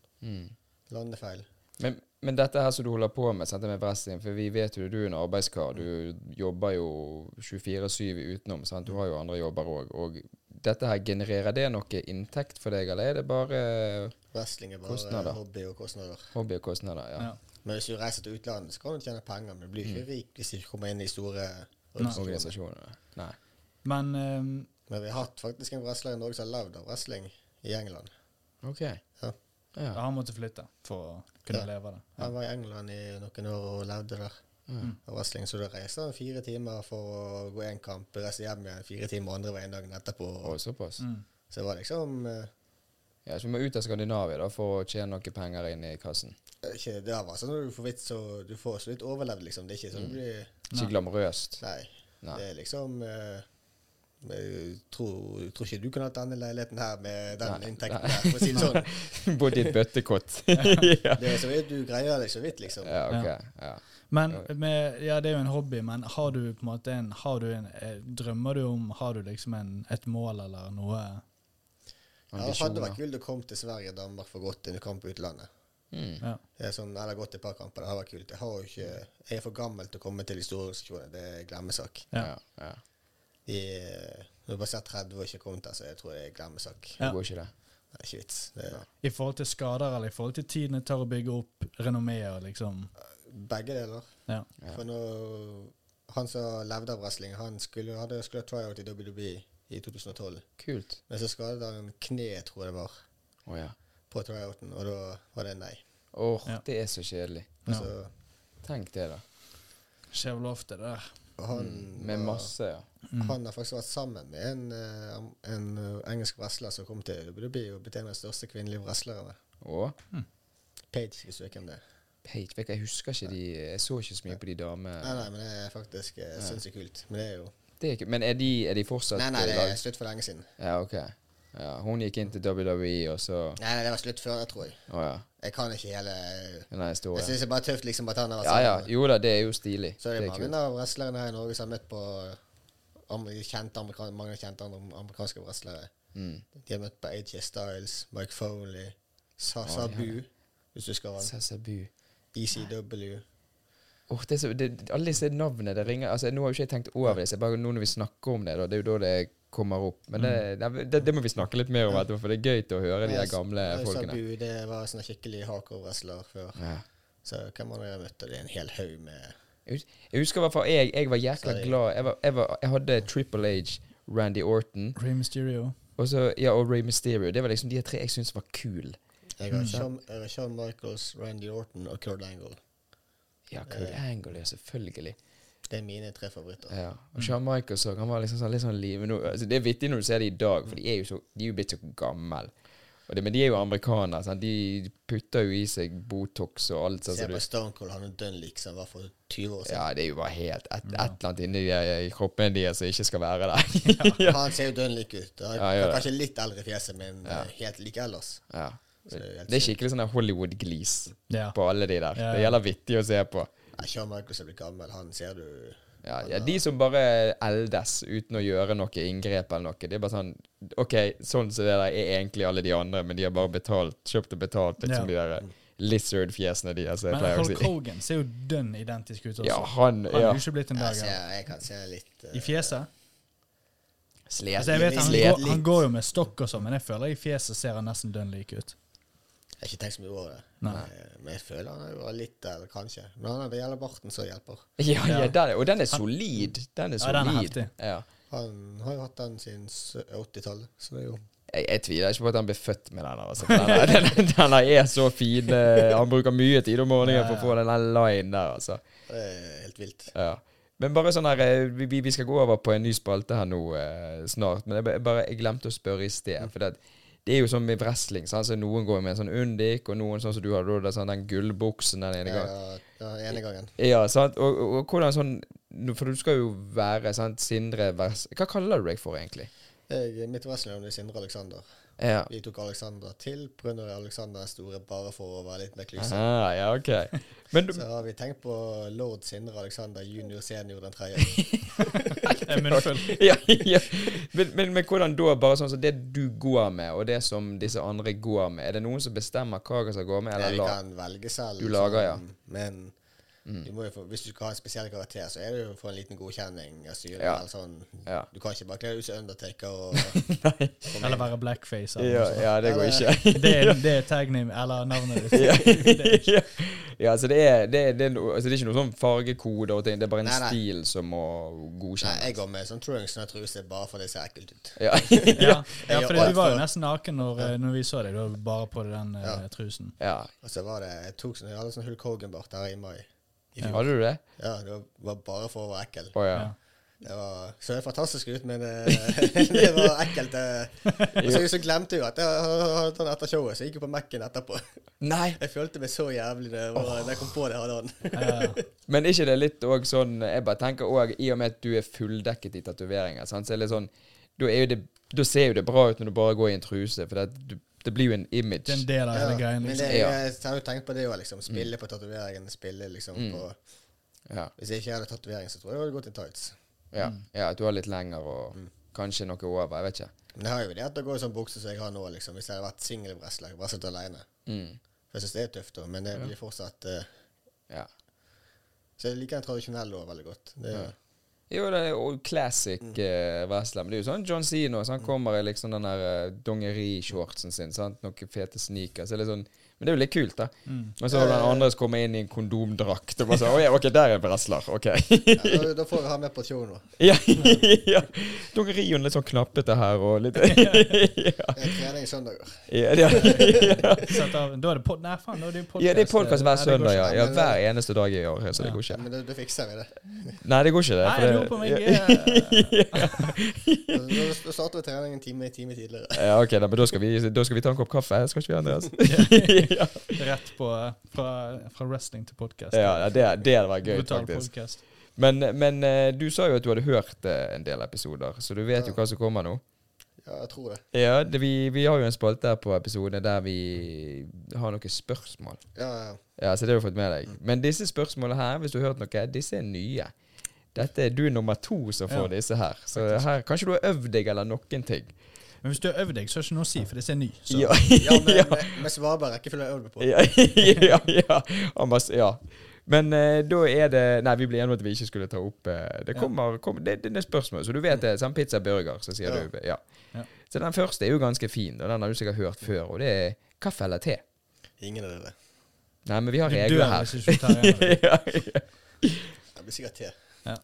[SPEAKER 1] landefeil.
[SPEAKER 2] Mm. Men, men dette her som du holder på med, sant, det med wrestling, for vi vet jo det, du er en arbeidskar. Du jobber jo 24-7 utenom. Sant? Du har jo andre jobber òg. Og dette her, genererer det noe inntekt for deg, eller er det bare
[SPEAKER 1] Wrestling er bare
[SPEAKER 2] Kostnader.
[SPEAKER 1] hobby og kostnader.
[SPEAKER 2] Hobbykostnader, ja.
[SPEAKER 3] Ja.
[SPEAKER 1] Men hvis du reiser til utlandet, så kan du tjene penger, men du blir ikke rik hvis du ikke kommer inn i store organisasjoner.
[SPEAKER 2] Organisasjonene. Nei.
[SPEAKER 3] Men ehm,
[SPEAKER 1] Men vi har hatt faktisk en wrestler i Norge som har levd av wrestling i England.
[SPEAKER 2] Ok.
[SPEAKER 1] Ja.
[SPEAKER 2] Ja.
[SPEAKER 3] han måtte flytte for å kunne
[SPEAKER 1] Ja.
[SPEAKER 3] leve av det.
[SPEAKER 1] Han var i England i noen år og levde der.
[SPEAKER 2] Mm.
[SPEAKER 1] Av wrestling, så da reiste han fire timer for å gå én kamp, reiste hjem igjen fire timer andre veien dagen etterpå.
[SPEAKER 2] Og såpass.
[SPEAKER 1] Mm.
[SPEAKER 3] Mm.
[SPEAKER 1] Så det var liksom eh,
[SPEAKER 2] Ja, så vi må ut av Skandinavia da for å tjene noen penger inn i kassen.
[SPEAKER 1] ikke, Det var sånn når du får vits, så du får så vidt overlevd, liksom. Det er ikke sånn du blir
[SPEAKER 2] Ikke glamorøst.
[SPEAKER 1] Nei.
[SPEAKER 2] Mm. Nei.
[SPEAKER 1] Det er liksom eh, Jeg tror, tror ikke du kunne hatt denne leiligheten her med den
[SPEAKER 2] Nei,
[SPEAKER 1] inntekten der, for å si det
[SPEAKER 2] [LAUGHS]
[SPEAKER 1] sånn.
[SPEAKER 2] Bodde i et
[SPEAKER 1] [LAUGHS]
[SPEAKER 2] bøttekott. ja.
[SPEAKER 1] Det er så vidt du greier deg så vidt, liksom.
[SPEAKER 2] ja, ok. Ja.
[SPEAKER 3] Men med, ja, det er jo en hobby, men har du på en måte en, har du en eh, Drømmer du om Har du liksom en, et mål eller noe?
[SPEAKER 1] Ja, det hadde vært kult å komme til Sverige og Danmark for godt i en kamp i utlandet.
[SPEAKER 2] Mm.
[SPEAKER 3] Ja.
[SPEAKER 1] Det er sånn, eller gått et par kamper, det hadde vært kult. Jeg, har jo ikke, jeg er for gammel til å komme til de store organisasjonene, det er glemmesak.
[SPEAKER 3] Ja.
[SPEAKER 2] Ja, ja.
[SPEAKER 1] De når jeg bare ser 30 og ikke kommet der, så jeg tror det er glemmesak.
[SPEAKER 2] Det
[SPEAKER 3] Ja.
[SPEAKER 2] går ikke, det.
[SPEAKER 1] Det er ikke vits. Det er,
[SPEAKER 3] I forhold til skader eller i forhold til tiden det tar å bygge opp renommé og liksom
[SPEAKER 1] begge deler.
[SPEAKER 3] Ja.
[SPEAKER 2] Ja.
[SPEAKER 1] For nå, han som levde av wrestling, han skulle, hadde skulle ha tryout i WWE i 2012.
[SPEAKER 2] Kult.
[SPEAKER 1] Men så skadet han kneet, tror jeg det var,
[SPEAKER 2] Å ja.
[SPEAKER 1] på tryouten, og da var det nei.
[SPEAKER 2] Åh,
[SPEAKER 3] Ja.
[SPEAKER 2] det er så kjedelig.
[SPEAKER 3] Ja.
[SPEAKER 1] Så
[SPEAKER 2] Tenk det, da.
[SPEAKER 3] Skjer vel ofte, det der.
[SPEAKER 1] og han,
[SPEAKER 2] Med
[SPEAKER 1] var-
[SPEAKER 2] masse, ja.
[SPEAKER 1] han har faktisk vært sammen med en, eh, am- en eh, engelsk wrestler som kom til WWE og ble en av de største kvinnelige wrestlerne.
[SPEAKER 2] Og
[SPEAKER 1] Page, hvis du vet hvem det er.
[SPEAKER 2] Page vet du, Jeg husker ikke de Jeg så ikke så mye på de
[SPEAKER 1] Nei,
[SPEAKER 2] damene.
[SPEAKER 1] nei, men det er faktisk eh, sinnssykt kult. Men det er jo
[SPEAKER 2] Det er ikke- Men er de, er de fortsatt
[SPEAKER 1] Nei, nei,
[SPEAKER 2] i
[SPEAKER 1] det
[SPEAKER 2] lag?
[SPEAKER 1] er slutt for lenge siden.
[SPEAKER 2] Ja, ok. Ja, hun gikk inn til WWE, og så
[SPEAKER 1] Nei, nei, det var slutt før, det tror jeg.
[SPEAKER 2] Å ja.
[SPEAKER 1] Jeg kan ikke hele
[SPEAKER 2] Den der
[SPEAKER 1] Jeg
[SPEAKER 2] historien.
[SPEAKER 1] syns det er bare tøft liksom at han har vært
[SPEAKER 2] Ja ja.
[SPEAKER 1] sammen.
[SPEAKER 2] Jo da, det er jo stilig.
[SPEAKER 1] Så er det,
[SPEAKER 2] det er kult.
[SPEAKER 1] mange av wrestlerne her i Norge som har møtt på amer- kjente amerikan mange kjente andre amerikanske wrestlere.
[SPEAKER 2] Mm.
[SPEAKER 1] De har møtt på AJ Styles, Mike Foley, Sasa
[SPEAKER 2] Oi, ja.
[SPEAKER 1] Bu, hvis du husker han. E
[SPEAKER 2] Sasabu.
[SPEAKER 1] ECW.
[SPEAKER 2] Åh, det er så, det, alle disse navnene det ringer altså, Nå har jo ikke jeg tenkt over det, så bare nå når vi snakker om det, da, det er jo da det kommer opp. Men det,
[SPEAKER 1] Mm.
[SPEAKER 2] nei, det, det må vi snakke litt mer om etterpå, for det er gøy til å høre de der gamle
[SPEAKER 1] Sasa
[SPEAKER 2] folkene.
[SPEAKER 1] Bu, det var sånn en skikkelig hardcore-wrestler før.
[SPEAKER 2] Ja.
[SPEAKER 1] Så hvem andre jeg har møtt? Og det er en hel haug med
[SPEAKER 2] Jeg hus- jeg husker i hvert fall jeg, jeg var jækla
[SPEAKER 1] Sorry.
[SPEAKER 2] glad. Jeg, var, jeg, var, jeg hadde Triple H, Randy Orton
[SPEAKER 3] Ray Mysterio.
[SPEAKER 2] og, så, ja, og Ray Mysterio. Det var liksom de tre jeg syntes var kule.
[SPEAKER 1] Jeg
[SPEAKER 2] Mm,
[SPEAKER 1] har Shawn, jeg har Shawn Michaels, Randy Orton og Kurt Angle.
[SPEAKER 2] Ja, Kurt Angle, ja, selvfølgelig.
[SPEAKER 1] Det er mine tre favoritter.
[SPEAKER 2] Ja. Og Shawn Michaels også, han var liksom sånn, litt sånn liv, nå, altså, Det er vittig når du ser det i dag, for de er jo, så, de er jo blitt så gamle. Og det, men de er jo amerikanere. Sant? De putter jo i seg Botox og alt sånt.
[SPEAKER 1] Se
[SPEAKER 2] som du-
[SPEAKER 1] på Stone Cold, han er dønn lik som han var for 20 år siden.
[SPEAKER 2] Ja, det er jo bare helt et,
[SPEAKER 3] Mm.
[SPEAKER 2] et eller annet inni de- i kroppen deres som ikke skal være der.
[SPEAKER 1] [LAUGHS]
[SPEAKER 3] [LAUGHS]
[SPEAKER 1] Han ser jo dønn lik ut. Han
[SPEAKER 2] Ja,
[SPEAKER 1] han
[SPEAKER 2] gjør
[SPEAKER 1] er
[SPEAKER 2] det.
[SPEAKER 1] kanskje litt eldre i fjeset, men eh, helt lik ellers.
[SPEAKER 2] ja.
[SPEAKER 1] Så det er jo helt
[SPEAKER 2] Det er skikkelig sånn der Hollywood-glis
[SPEAKER 3] Ja.
[SPEAKER 2] på alle de der.
[SPEAKER 3] Ja,
[SPEAKER 2] Det
[SPEAKER 3] ja.
[SPEAKER 2] gjelder vittig å se på.
[SPEAKER 1] Nei, Shawn Michaels er blitt gammel. Han ser du
[SPEAKER 2] Ja, ja,
[SPEAKER 3] eh,
[SPEAKER 2] de som bare eldes uten å gjøre noe inngrep eller noe. Det er bare sånn OK, sånn som det der er egentlig alle de andre, men de har bare betalt, kjøpt og betalt, liksom de der lizard-fjesene de altså, jeg
[SPEAKER 3] Men
[SPEAKER 2] pleier å
[SPEAKER 3] Hulk
[SPEAKER 2] si.
[SPEAKER 3] Hogan ser jo dønn identisk ut også.
[SPEAKER 2] Ja, han
[SPEAKER 3] Han
[SPEAKER 2] ja.
[SPEAKER 3] er jo ikke blitt en
[SPEAKER 1] Altså, Jeg,
[SPEAKER 3] dag
[SPEAKER 1] ser,
[SPEAKER 3] her.
[SPEAKER 1] jeg kan se litt eh,
[SPEAKER 3] I fjeset?
[SPEAKER 2] Slet.
[SPEAKER 3] Altså, jeg vet han,
[SPEAKER 2] Slet.
[SPEAKER 3] går, han går jo med stokk og sånn, men jeg føler i fjeset ser han nesten dønn lik
[SPEAKER 2] [LAUGHS]
[SPEAKER 3] ut.
[SPEAKER 1] Jeg har ikke tenkt så mye over det.
[SPEAKER 3] Nei.
[SPEAKER 1] Eh, Men jeg føler han er jo litt eldre, kanskje. Men han er det gjelder barten, så hjelper.
[SPEAKER 2] Ja, ja,
[SPEAKER 3] Ja.
[SPEAKER 2] den, og den er solid. Den er
[SPEAKER 3] Ja, den er
[SPEAKER 2] solid.
[SPEAKER 3] heftig.
[SPEAKER 2] Ja.
[SPEAKER 1] Han har jo hatt den siden s- 80-tallet, så det er jo
[SPEAKER 2] Jeg, jeg tviler ikke på at han ble født med den. her, Altså. Den, her- [LAUGHS] den, her- den her er så fin. eh, Han bruker mye tid om morgenen for å få den der line der, altså.
[SPEAKER 1] det er helt vilt.
[SPEAKER 2] Ja. Men bare sånn her eh, vi- Vi, vi skal gå over på en ny spalte her nå eh, snart. Men jeg, ba- bare, jeg glemte å spørre i sted.
[SPEAKER 1] Mm.
[SPEAKER 2] For det, det er jo sånn med wrestling. Sant? Så noen går med en sånn undik, og noen sånn som du har, da, det er sånn, den gullbuksen den ene
[SPEAKER 1] Ja,
[SPEAKER 2] gangen.
[SPEAKER 1] ja, ene gangen.
[SPEAKER 2] Ja, sant? Og, og, og hvordan sånn nå- For du skal jo være sant? Sindre vers... Hva kaller du deg for, egentlig?
[SPEAKER 1] Jeg, mitt wrestlingnavn er Sindre Alexander.
[SPEAKER 2] Ja.
[SPEAKER 1] Vi tok Alexander til pga. Alexander den store, bare for å være litt mer klyse.
[SPEAKER 2] Ah, ja,
[SPEAKER 1] [LAUGHS]
[SPEAKER 2] ok. Men du,
[SPEAKER 1] Så har vi tenkt på lord Sindre Alexander junior senior den tredje.
[SPEAKER 3] En munnfull.
[SPEAKER 2] [LAUGHS] ja, ja. Men, men, men hvordan da, bare sånn som det du går med, og det som disse andre går med, er det noen som bestemmer hva som går med,
[SPEAKER 1] Nei,
[SPEAKER 2] [LAUGHS] eller
[SPEAKER 1] vi
[SPEAKER 2] la-
[SPEAKER 1] kan velge selv. liksom,
[SPEAKER 2] Du lager, ja. Mm.
[SPEAKER 1] Men du må jo få, hvis du skal ha en spesiell karakter, så er det jo å få en liten godkjenning. av styret,
[SPEAKER 2] Ja.
[SPEAKER 1] eller sånn.
[SPEAKER 2] Ja.
[SPEAKER 1] Du kan ikke bare kle deg ut som Undertaker
[SPEAKER 2] [LAUGHS]
[SPEAKER 1] og
[SPEAKER 3] Eller være blackface. Eller
[SPEAKER 2] Ja,
[SPEAKER 3] noe sånt.
[SPEAKER 2] ja, det går
[SPEAKER 1] Ja, det-
[SPEAKER 3] [LAUGHS]
[SPEAKER 2] ikke.
[SPEAKER 3] Det er, det er tagname, eller navnet ditt.
[SPEAKER 2] ja, [LAUGHS] ja, altså det er, det, er, det, er no, altså det er ikke noe sånn fargekode og ting, det er bare en
[SPEAKER 1] Nei, nei.
[SPEAKER 2] stil som må
[SPEAKER 1] Nei,
[SPEAKER 2] godkjennes.
[SPEAKER 1] jeg går med sånn trunks og truse bare for det ser ekkelt ut.
[SPEAKER 2] Ja. [LAUGHS]
[SPEAKER 3] Ja, ja
[SPEAKER 1] Jeg gjør
[SPEAKER 3] for du var
[SPEAKER 1] alt
[SPEAKER 3] jo
[SPEAKER 1] for-
[SPEAKER 3] nesten naken når, eh, når vi så deg. Du var bare på deg den eh,
[SPEAKER 1] Ja.
[SPEAKER 3] trusen.
[SPEAKER 2] ja.
[SPEAKER 1] Og så var det Jeg tok sånn, jeg hadde sånn Hulk Hogan-bart her i mai. I fjor.
[SPEAKER 2] Hadde du det?
[SPEAKER 1] Ja, det var- var bare for å være ekkel.
[SPEAKER 2] Å ja.
[SPEAKER 1] Det var, så det fantastisk ut, men det, [LAUGHS] det var ekkelt. eh. Og så, så glemte jeg jo at jeg hadde etter showet, så jeg gikk jo på Mac-en etterpå. [LAUGHS]
[SPEAKER 2] Nei!
[SPEAKER 1] Jeg følte meg så jævlig da jeg var- da jeg kom på det. Hadde han.
[SPEAKER 2] Men ikke det litt òg sånn Jeg bare tenker òg, i og med at du er fulldekket i tatoveringer, sant, så er det litt sånn Da er jo det Da ser jo det bra ut når du bare går i en truse, for det, du- det blir jo en image.
[SPEAKER 3] Det er en del av hele
[SPEAKER 1] Ja,
[SPEAKER 3] greien.
[SPEAKER 1] men
[SPEAKER 3] Liksom. Mm.
[SPEAKER 1] det,
[SPEAKER 2] Ja.
[SPEAKER 1] jeg har jo tenkt på det òg, liksom. Spille på tatoveringen. Spille liksom på
[SPEAKER 2] Ja,
[SPEAKER 1] Hvis jeg ikke hadde tatovering, så tror jeg jeg hadde gått i tights.
[SPEAKER 2] ja, ja, at du har litt lenger og kanskje noe over. Jeg vet ikke.
[SPEAKER 1] Men jeg har jo det at det går i sånn bukse som jeg har nå, liksom. Hvis jeg hadde vært singelbrestler, bare sittet alene.
[SPEAKER 2] Mm.
[SPEAKER 1] For jeg syns det er tøft, da, men det blir fortsatt eh,
[SPEAKER 2] Ja.
[SPEAKER 1] Så jeg liker den tradisjonelle òg veldig godt. Det,
[SPEAKER 2] Jo, det er jo old classic
[SPEAKER 3] Mm.
[SPEAKER 2] eh, wrestler. Men det er jo sånn John Zeno. Så han kommer i liksom den der eh, dongerishortsen sin. Sant? Noen fete sneakers. så det er Sånn, men det er jo litt kult, da.
[SPEAKER 3] Mm.
[SPEAKER 2] Men så
[SPEAKER 3] Eh.
[SPEAKER 2] har du den andre som kommer inn i en kondomdrakt. Og bare sånn, «Å ja, ok, der er en wrestler. Ok. [LAUGHS]
[SPEAKER 1] ja, da, da får vi ha med på show nå.
[SPEAKER 2] ja, [LAUGHS] ja. Dongerioen litt sånn knappete her og
[SPEAKER 3] [LAUGHS]
[SPEAKER 2] litt ja.
[SPEAKER 1] Det er trening søndager.
[SPEAKER 2] [LAUGHS] Ja, det er- ja.
[SPEAKER 3] Sett av, da er det pod... Nei, faen, da er det jo
[SPEAKER 2] [LAUGHS]
[SPEAKER 3] podcast. eh,
[SPEAKER 2] ja, det er podkast hver
[SPEAKER 3] Nei, det går
[SPEAKER 2] søndag. Ja.
[SPEAKER 3] ikke.
[SPEAKER 2] ja, Hver eneste dag i år, så det går
[SPEAKER 1] Ja,
[SPEAKER 2] ikke.
[SPEAKER 1] men da, da fikser vi det.
[SPEAKER 2] Nei, det går ikke, det.
[SPEAKER 3] Nei,
[SPEAKER 2] for
[SPEAKER 3] jeg
[SPEAKER 2] det-
[SPEAKER 3] lurer på om
[SPEAKER 2] [LAUGHS]
[SPEAKER 3] jeg
[SPEAKER 2] ja.
[SPEAKER 3] er
[SPEAKER 1] Da, da, da starter vi trening en time, en time tidligere.
[SPEAKER 2] Ja, ok, da, men da skal, vi, da skal vi ta en kopp kaffe, skal ikke vi,
[SPEAKER 3] [LAUGHS]
[SPEAKER 2] Andreas? [LAUGHS]
[SPEAKER 3] rett på eh, [LAUGHS] fra, fra wrestling til podcast.
[SPEAKER 2] Ja, ja, det, det hadde vært gøy,
[SPEAKER 3] Brutal
[SPEAKER 2] faktisk.
[SPEAKER 3] podcast.
[SPEAKER 2] Men, men eh, du sa jo at du hadde hørt eh, en del episoder, så du vet jo hva som kommer nå.
[SPEAKER 1] Ja, jeg tror det.
[SPEAKER 2] Ja, det, vi, vi har jo en spalte her på episodene der vi har noen spørsmål.
[SPEAKER 1] Ja, ja.
[SPEAKER 2] Ja, så det har du fått med deg. Men disse spørsmålene her, hvis du har hørt noe, disse er nye. Dette er du er nummer to som får
[SPEAKER 3] Ja,
[SPEAKER 2] disse her. Så her, kanskje du har øvd deg eller noen ting.
[SPEAKER 3] Men hvis du har øvd deg, så er det ikke noe å si, for det er ny.
[SPEAKER 2] [LAUGHS]
[SPEAKER 3] Så.
[SPEAKER 2] Ja,
[SPEAKER 1] ja men vi svarer bare rekkefølge jeg øver meg på.
[SPEAKER 2] ja, ja, [LAUGHS] ja. Han bare s- ja. Men eh, da er det Nei, vi ble enige om at vi ikke skulle ta opp eh, Det kommer, kom, det, det er spørsmål, så du vet det. Sånn pizza burger, så sier
[SPEAKER 1] Ja.
[SPEAKER 2] du ja.
[SPEAKER 3] Ja.
[SPEAKER 2] Så den første er jo ganske fin, og den har du sikkert hørt før, og det er kaffe eller te.
[SPEAKER 1] Ingen av dere.
[SPEAKER 2] Nei, men vi har
[SPEAKER 3] Du
[SPEAKER 2] regler
[SPEAKER 3] dør
[SPEAKER 1] [LAUGHS]
[SPEAKER 2] her.
[SPEAKER 3] hvis ikke du tar en av
[SPEAKER 2] [LAUGHS] ja,
[SPEAKER 3] dem.
[SPEAKER 2] ja.
[SPEAKER 1] Det blir sikkert te.